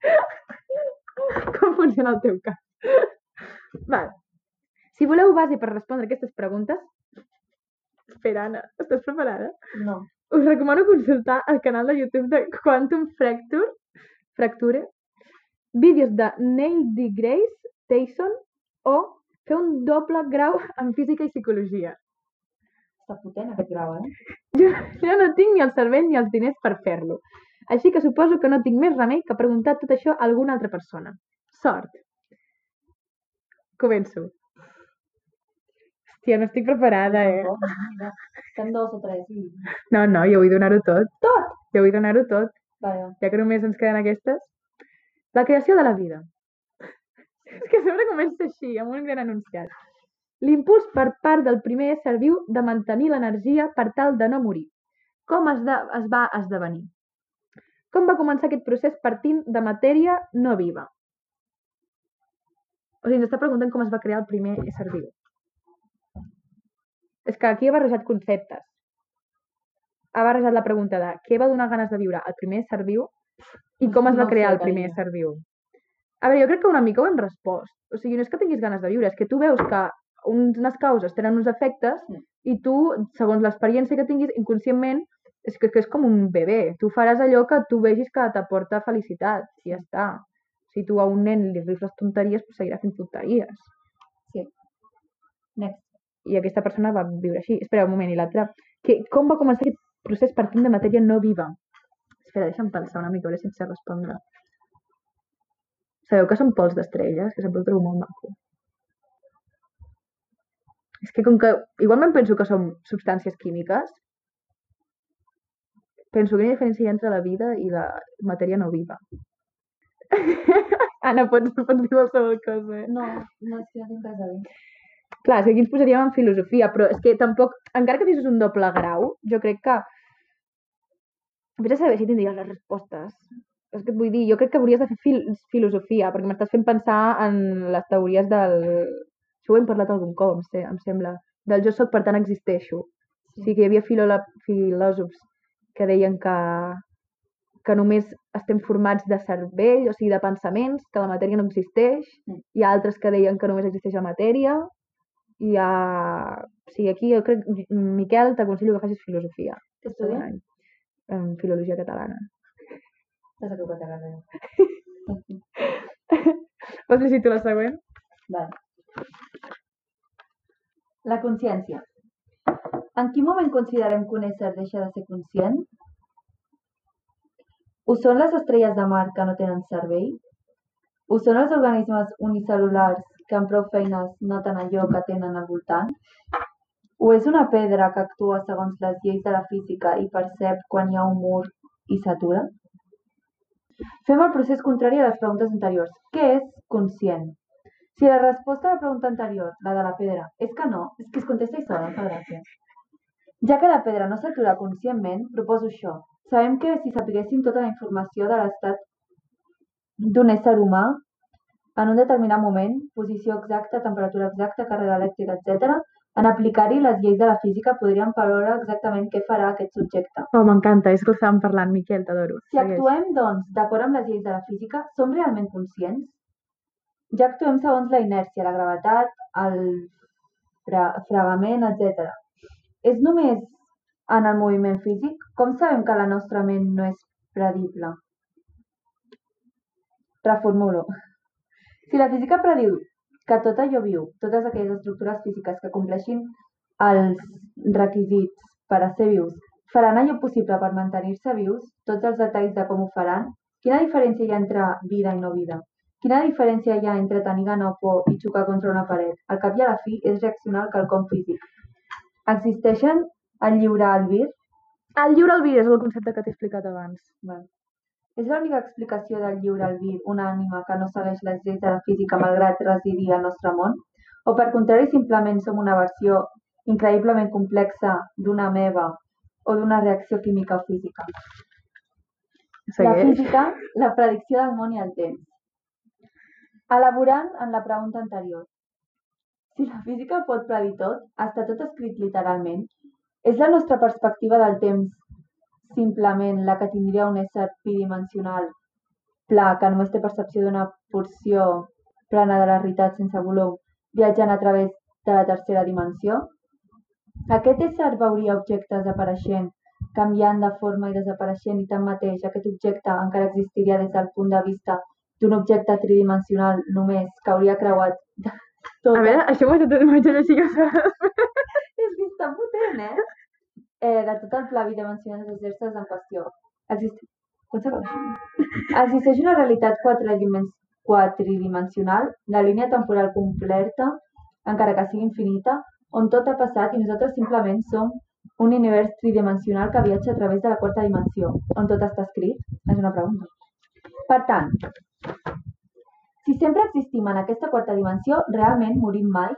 Speaker 1: [LAUGHS] Com funciona el teu cas? [LAUGHS] Val. Si voleu base per respondre aquestes preguntes... Espera, Anna, estàs preparada?
Speaker 2: no.
Speaker 1: us recomano consultar el canal de YouTube de Quantum Fracture, Fracture, vídeos de Neil D. Grace, Tyson, o fer un doble grau en física i psicologia.
Speaker 2: Està potent aquest grau, eh?
Speaker 1: Jo, jo no tinc ni el cervell ni els diners per fer-lo. Així que suposo que no tinc més remei que preguntar tot això a alguna altra persona. Sort. Començo. Hòstia, no estic preparada, eh?
Speaker 2: Tampoc, Oh, mira. Estan dos o tres. I...
Speaker 1: No, no, jo vull donar-ho tot. Tot? Jo vull donar-ho tot.
Speaker 2: Vaja.
Speaker 1: ja que només ens queden aquestes. La creació de la vida. És que sempre comença així, amb un gran enunciat. L'impuls per part del primer ésser viu de mantenir l'energia per tal de no morir. Com es, de, es va esdevenir? Com va començar aquest procés partint de matèria no viva? O sigui, ens està preguntant com es va crear el primer ésser viu. És que aquí he barrejat conceptes. Ha barrejat la pregunta de què va donar ganes de viure al primer ésser viu i com es
Speaker 2: No
Speaker 1: va
Speaker 2: ho
Speaker 1: crear
Speaker 2: sé,
Speaker 1: el primer
Speaker 2: carinyo.
Speaker 1: ésser viu. A veure, jo crec que una mica ho hem respost. O sigui, no és que tinguis ganes de viure, és que tu veus que unes causes tenen uns efectes
Speaker 2: Mm.
Speaker 1: i tu, segons l'experiència que tinguis, inconscientment, és que, que és com un bebè. Tu faràs allò que tu vegis que t'aporta felicitat i ja està. Si tu a un nen li rifles tonteries, pues seguirà fent tonteries.
Speaker 2: Next.
Speaker 1: I aquesta persona va viure així. Espera un moment, i l'altra. Que- Com va començar aquest procés partint de matèria no viva? Espera, deixa'm pensar una mica, a veure si em sé respondre. Sabeu que són pols d'estrelles, que sempre ho trobo molt maco. És que com que igualment penso que són substàncies químiques, penso que hi ha diferència hi ha entre la vida i la matèria no viva. [LAUGHS] Anna, pots, pots dir qualsevol cosa, eh?
Speaker 2: No, no, és que no tinc res a dir.
Speaker 1: Clar, és que aquí ens posaríem en filosofia, però és que tampoc, encara que fessis un doble grau, jo crec que... Vés a saber si tindries les respostes. És que et vull dir, jo crec que hauries de fer fil filosofia, perquè m'estàs fent pensar en les teories del... Això ho hem parlat algun cop, em, se em sembla. Del jo soc, per tant existeixo. O sigui que hi havia filòla... filòsofs que deien que que només estem formats de cervell, o sigui, de pensaments, que la matèria no existeix,
Speaker 2: Mm.
Speaker 1: hi ha altres que deien que només existeix la matèria, i a... Sí, aquí jo crec, Miquel, t'aconsello que facis filosofia.
Speaker 2: Què
Speaker 1: segon
Speaker 2: estudies?
Speaker 1: any, en filologia catalana.
Speaker 2: T'has equivocat de carrera.
Speaker 1: Vols llegir tu la següent?
Speaker 2: Vale. La consciència. En quin moment considerem que un ésser deixa de ser conscient? Ho són les estrelles de mar que no tenen cervell? Ho són els organismes unicel·lulars que amb prou feines noten allò que tenen al voltant? O és una pedra que actua segons les lleis de la física i percep quan hi ha un mur i s'atura? Fem el procés contrari a les preguntes anteriors. Què és conscient? Si la resposta a la pregunta anterior, la de la pedra, és que no, és que es contesta i sola, fa gràcia. Ja que la pedra no s'atura conscientment, proposo això. Sabem que si sapiguéssim tota la informació de l'estat d'un ésser humà en un determinat moment, posició exacta, temperatura exacta, càrrega elèctrica, etc., en aplicar-hi les lleis de la física podríem preveure exactament què farà aquest subjecte.
Speaker 1: Oh, m'encanta, és que estàvem parlant, Miquel, t'adoro.
Speaker 2: Si actuem, doncs, d'acord amb les lleis de la física, som realment conscients? Ja actuem segons la inèrcia, la gravetat, el fre fregament, etc. És només en el moviment físic? Com sabem que la nostra ment no és predible? Reformulo. Si la física prediu que tot allò viu, totes aquelles estructures físiques que compleixin els requisits per a ser vius, faran allò possible per mantenir-se vius, tots els detalls de com ho faran, quina diferència hi ha entre vida i no vida? Quina diferència hi ha entre tenir gana o por i xocar contra una paret? Al cap i a la fi és reaccionar al quelcom físic. Existeixen el lliure albir?
Speaker 1: El lliure albir és el concepte que t'he explicat abans.
Speaker 2: Val. És l'única explicació del lliure albir una ànima que no segueix les lleis de la física malgrat residir al nostre món? O per contrari, simplement som una versió increïblement complexa d'una meva o d'una reacció química o física? La
Speaker 1: Segueix.
Speaker 2: física, la predicció del món i el temps. Elaborant en la pregunta anterior. Si la física pot predir tot, està tot escrit literalment, és la nostra perspectiva del temps simplement la que tindria un ésser bidimensional pla que només té percepció d'una porció plana de la realitat sense volum viatjant a través de la tercera dimensió? Aquest ésser veuria objectes apareixent, canviant de forma i desapareixent i tanmateix aquest objecte encara existiria des del punt de vista d'un objecte tridimensional només que hauria creuat tot.
Speaker 1: A veure, això m'ho he de llegir jo sola.
Speaker 2: [LAUGHS] és que està potent, eh? eh de tot el pla bidimensional dels éssers en qüestió. Existe... Quan s'acaba? Existeix una realitat quatridimen- quatridimensional, la línia temporal completa, encara que sigui infinita, on tot ha passat i nosaltres simplement som un univers tridimensional que viatja a través de la quarta dimensió, on tot està escrit? És una pregunta. Per tant, si sempre existim en aquesta quarta dimensió, realment morim mai?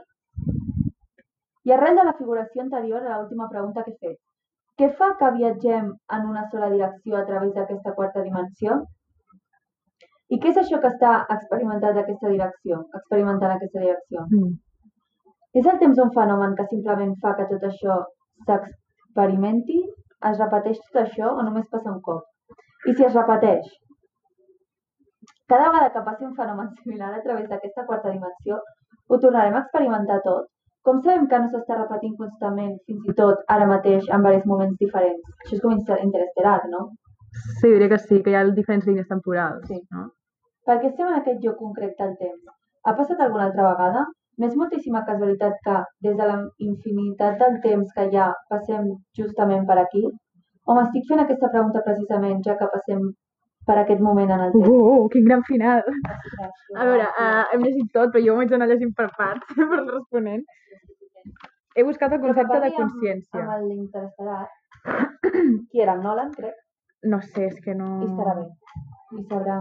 Speaker 2: I arrel de la figuració anterior a l'última pregunta que he fet, què fa que viatgem en una sola direcció a través d'aquesta quarta dimensió? I què és això que està experimentat d'aquesta direcció, experimentant aquesta direcció?
Speaker 1: Mm.
Speaker 2: És el temps un fenomen que simplement fa que tot això s'experimenti? Es repeteix tot això o només passa un cop? I si es repeteix? Cada vegada que passi un fenomen similar a través d'aquesta quarta dimensió, ho tornarem a experimentar tot? Com sabem que no s'està repetint constantment, fins i tot ara mateix, en diversos moments diferents? Això és com inter- interestel·lar, no?
Speaker 1: Sí, diria que sí, que hi ha diferents línies temporals.
Speaker 2: Sí.
Speaker 1: No?
Speaker 2: Per què estem en aquest lloc concret del temps? Ha passat alguna altra vegada? No és moltíssima casualitat que, des de la infinitat del temps que hi ha, passem justament per aquí? O m'estic fent aquesta pregunta precisament, ja que passem per aquest moment en el
Speaker 1: Uh,
Speaker 2: temps?
Speaker 1: uh, uh, quin gran final!
Speaker 2: Ostres,
Speaker 1: A veure, uh, hem llegit tot, però jo m'ho haig d'anar llegint per parts, [LAUGHS] per responent. He buscat el
Speaker 2: Però que
Speaker 1: concepte de
Speaker 2: parli amb-
Speaker 1: consciència.
Speaker 2: Amb el interesselat, qui era el Nolan, crec,
Speaker 1: No sé, és que no...
Speaker 2: i estarà bé. I sabrà...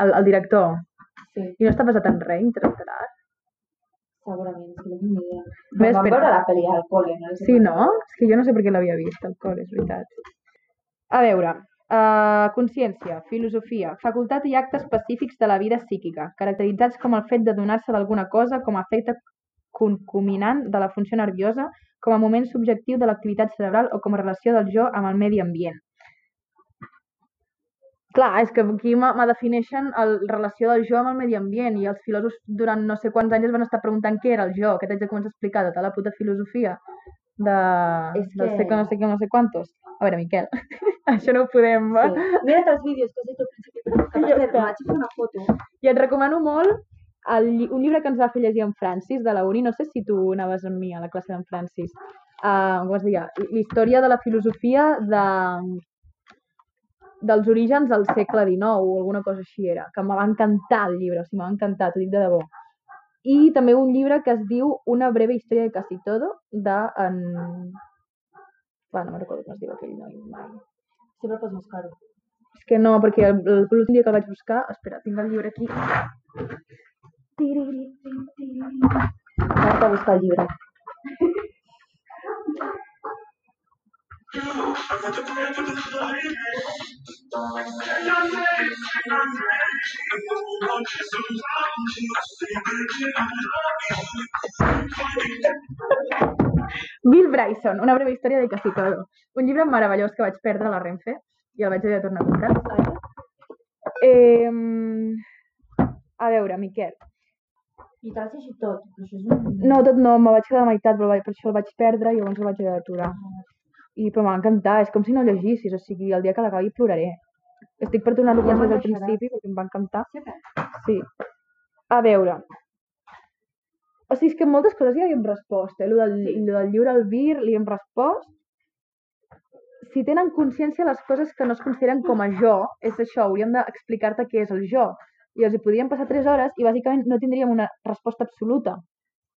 Speaker 1: El, el director.
Speaker 2: Sí,
Speaker 1: I no està basat en res, interestarà.
Speaker 2: segurament, és que no tinc ni idea.
Speaker 1: Bé,
Speaker 2: Vam
Speaker 1: espera.
Speaker 2: veure la pel·li al col·le, no?
Speaker 1: Sí, no? És que jo no sé per què l'havia vist, el cor, és veritat. A veure, uh, consciència, filosofia, facultat i actes específics de la vida psíquica, caracteritzats com el fet de donar-se d'alguna cosa com a efecte concominant de la funció nerviosa, com a moment subjectiu de l'activitat cerebral o com a relació del jo amb el medi ambient. Clar, és que aquí me, me defineixen el, la relació del jo amb el medi ambient i els filòsofs durant no sé quants anys es van estar preguntant què era el jo, que t'haig de començar a explicar tota la puta filosofia de,
Speaker 2: És
Speaker 1: del
Speaker 2: que-
Speaker 1: segle no sé què, no sé quantos. A veure, Miquel, [LAUGHS] això no ho podem... Va?
Speaker 2: Sí. Mira't els vídeos que has dit al principi, [LAUGHS] que per cert, vaig fer una foto.
Speaker 1: I et recomano molt el, lli- un llibre que ens va fer llegir en Francis de la Uni, no sé si tu anaves amb mi a la classe d'en Francis, uh, com es deia, l'història de la filosofia de, dels orígens del segle XIX o alguna cosa així era, que me va encantar el llibre, o sigui, me va encantar, t'ho dic de debò. I també un llibre que es diu Una breve història de casi todo, de en... Bueno, no me'n recordo com es diu aquell noi, mai.
Speaker 2: Sempre pots buscar-ho.
Speaker 1: És que no, perquè el- el- l'últim dia que el vaig buscar... Espera, tinc el llibre aquí.
Speaker 2: Anar-te a buscar el llibre.
Speaker 1: Bill Bryson, una breve història de casi todo. Un llibre meravellós que vaig perdre a la Renfe i el vaig haver de tornar a comprar. Eh, a veure, Miquel.
Speaker 2: I te l'has llegit tot, però això és un...
Speaker 1: No, tot no, me vaig quedar a la meitat, però vaig, per això el vaig perdre i llavors el vaig haver d'aturar. I, però m'ha encantat, és com si no llegissis, o sigui, el dia que l'acabi ploraré. Estic per tornar-lo a
Speaker 2: Ja me'l
Speaker 1: començar des del
Speaker 2: deixaràs.
Speaker 1: principi perquè em va encantar. Sí. A veure. O sigui, és que moltes coses ja li hem respost, eh? Lo del, sí. lo del lliure al vir li hem respost. Si tenen consciència les coses que no es consideren com a jo, és això, hauríem d'explicar-te què és el jo. I els hi podríem passar tres hores i bàsicament no tindríem una resposta absoluta.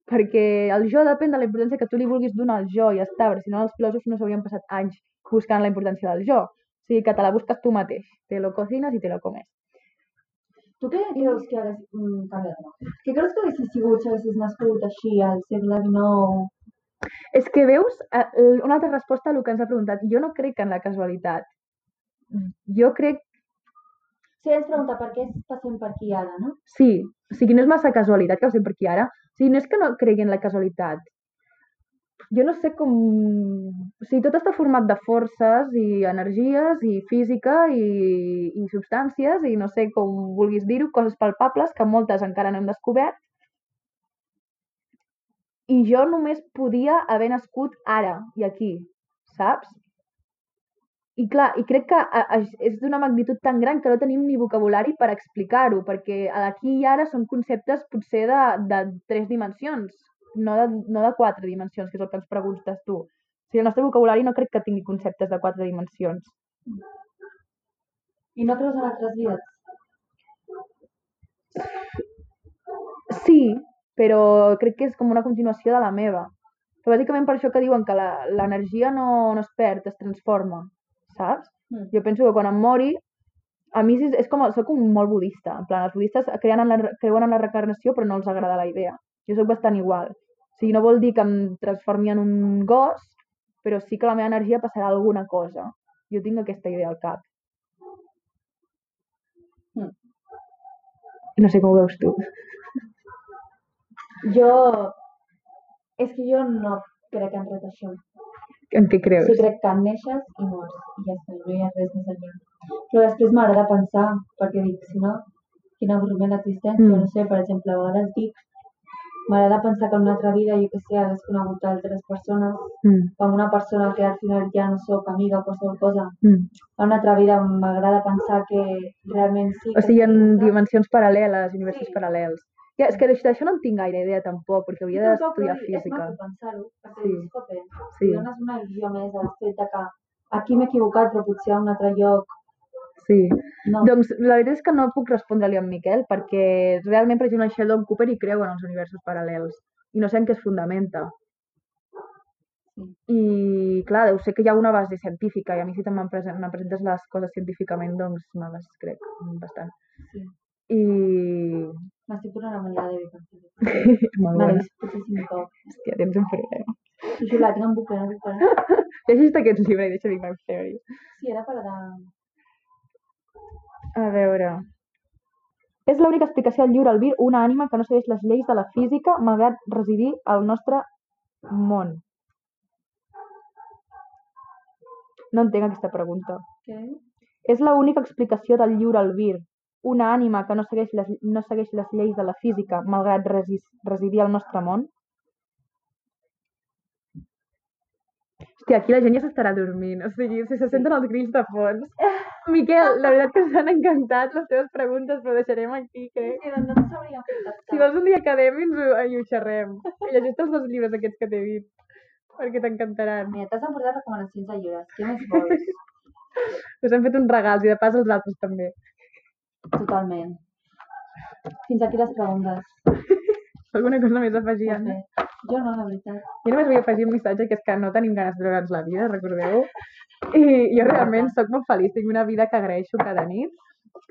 Speaker 1: Perquè el jo depèn de la importància que tu li vulguis donar al jo i ja està, perquè si no els filòsofs no s'haurien passat anys buscant la importància del jo. O sigui que te la busques tu mateix, te lo cocines i te lo comes.
Speaker 2: Tu què creus que hagués... Mm, canviat, no. Què creus que haguessis sigut si haguessis nascut així al segle XIX?
Speaker 1: És que veus eh, l- una altra resposta a el que ens ha preguntat. Jo no crec en la casualitat. Jo crec...
Speaker 2: Si ens pregunta per què passem per aquí ara, no?
Speaker 1: Sí, o sigui, no és massa casualitat que ho sé per aquí ara. O sigui, no és que no cregui en la casualitat. Jo no sé com... O sigui, tot està format de forces i energies i física i, i substàncies i no sé com vulguis dir-ho, coses palpables que moltes encara no hem descobert. I jo només podia haver nascut ara i aquí, saps? I clar, i crec que a- a- és d'una magnitud tan gran que no tenim ni vocabulari per explicar-ho, perquè aquí i ara són conceptes potser de, de tres dimensions, no de, no de quatre dimensions, que és el que ens preguntes tu. O sigui, el nostre vocabulari no crec que tingui conceptes de quatre dimensions.
Speaker 2: I no creus en altres vides?
Speaker 1: Sí, però crec que és com una continuació de la meva. Però bàsicament per això que diuen que la- l'energia no, no es perd, es transforma, saps?
Speaker 2: Mm.
Speaker 1: Jo penso que quan em mori, a mi és, és com, soc un molt budista, en plan, els budistes creuen en, la, re- creuen en la reencarnació però no els agrada la idea. Jo sóc bastant igual. O sigui, no vol dir que em transformi en un gos, però sí que la meva energia passarà a alguna cosa. Jo tinc aquesta idea al cap.
Speaker 2: Mm.
Speaker 1: No sé com ho veus tu.
Speaker 2: Jo... És que jo no crec en res d'això.
Speaker 1: En què creus?
Speaker 2: Sí, crec que neixes i mors. I ja està, no hi ha res més enllà. Però després m'agrada pensar, perquè dic, si no, quin avorriment l'existència.
Speaker 1: Mm.
Speaker 2: No sé, per exemple, a vegades dic, m'agrada pensar que en una altra vida, jo que sé, hagués conegut altres persones,
Speaker 1: Mm,
Speaker 2: o amb una persona que al final ja no sóc amiga o qualsevol cosa.
Speaker 1: mm.
Speaker 2: A una altra vida m'agrada pensar que realment sí.
Speaker 1: O
Speaker 2: que
Speaker 1: sigui, en
Speaker 2: estic pensant.
Speaker 1: dimensions paral·leles, universos
Speaker 2: Sí.
Speaker 1: paral·lels. Ja, és que d'això d'això no en tinc gaire idea tampoc, perquè
Speaker 2: Jo
Speaker 1: hauria
Speaker 2: tampoc, però
Speaker 1: d'estudiar
Speaker 2: dic,
Speaker 1: física.
Speaker 2: És maco pensar-ho, perquè
Speaker 1: Sí.
Speaker 2: dius, "Jope,
Speaker 1: Sí.
Speaker 2: li dones una visió més al fet de que aquí m'he equivocat, però potser a un altre lloc.
Speaker 1: Sí.
Speaker 2: No,
Speaker 1: Doncs la veritat és que no puc respondre-li a en Miquel, perquè realment, per exemple, en Sheldon Cooper hi creu en els universos paral·lels i no sé en què es fundamenta. I clar, deu ser que hi ha una base científica i a mi si te me'n presen- me'n presentes les coses científicament, doncs me les crec bastant.
Speaker 2: sí.
Speaker 1: I...
Speaker 2: M'estic posant una manera de pensar.
Speaker 1: Ah, Molt
Speaker 2: Vale,
Speaker 1: bona.
Speaker 2: vist moltíssim cop.
Speaker 1: Hòstia, tens un problema.
Speaker 2: Jo la tinc en bucle, no puc parar.
Speaker 1: Llegeix aquest [LAUGHS] llibre i deixa Big Bang Theory.
Speaker 2: Sí, era per de...
Speaker 1: A veure... És l'única explicació al lliure albir una ànima que no segueix les lleis de la física malgrat residir al nostre món. No entenc aquesta pregunta.
Speaker 2: Què?
Speaker 1: És l'única explicació del lliure albir, una ànima que no segueix les, no segueix les lleis de la física, malgrat resi residir al nostre món? Hòstia, aquí la gent ja s'estarà dormint, o sigui, si se senten els grills de [LAUGHS] fons. Miquel, la veritat que ens han encantat les teves preguntes, però deixarem aquí, crec.
Speaker 2: Sí, doncs no sabríem què
Speaker 1: Si vols un dia quedem i, ens ho, i ho xerrem. I llegeix els dos llibres aquests que t'he dit, perquè t'encantaran.
Speaker 2: Mira, t'has emportat recomanacions de llibres. Què més vols?
Speaker 1: Us hem fet uns regals i de pas els altres també.
Speaker 2: Totalment. Fins aquí les preguntes.
Speaker 1: Alguna cosa més a afegir? Anna?
Speaker 2: Jo no, la veritat.
Speaker 1: Jo només vull afegir un missatge que és que no tenim ganes de veure'ns la vida, recordeu? I jo realment sóc molt feliç, tinc una vida que agraeixo cada nit,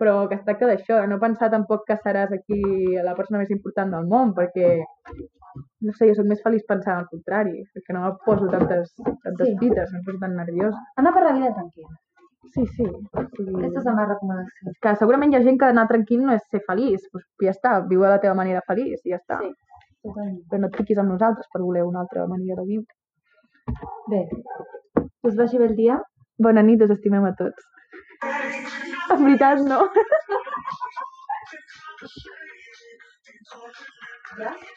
Speaker 1: però que es tracta d'això, de no pensar tampoc que seràs aquí la persona més important del món, perquè, no sé, jo sóc més feliç pensant al contrari, perquè no em poso tantes, tantes
Speaker 2: Sí.
Speaker 1: pites, no em poso tan nerviosa.
Speaker 2: Anar per la vida tranquil·la.
Speaker 1: Sí, sí. o sigui,
Speaker 2: Aquesta és la meva recomanació.
Speaker 1: que segurament hi ha gent que anar tranquil no és ser feliç, doncs ja està, viu a la teva manera feliç, i ja està.
Speaker 2: Sí. Totalment.
Speaker 1: Però no et fiquis amb nosaltres per voler una altra manera de viure.
Speaker 2: Bé, que us vagi bé el dia.
Speaker 1: Bona nit, us estimem a tots. En veritat, no.
Speaker 2: Ja?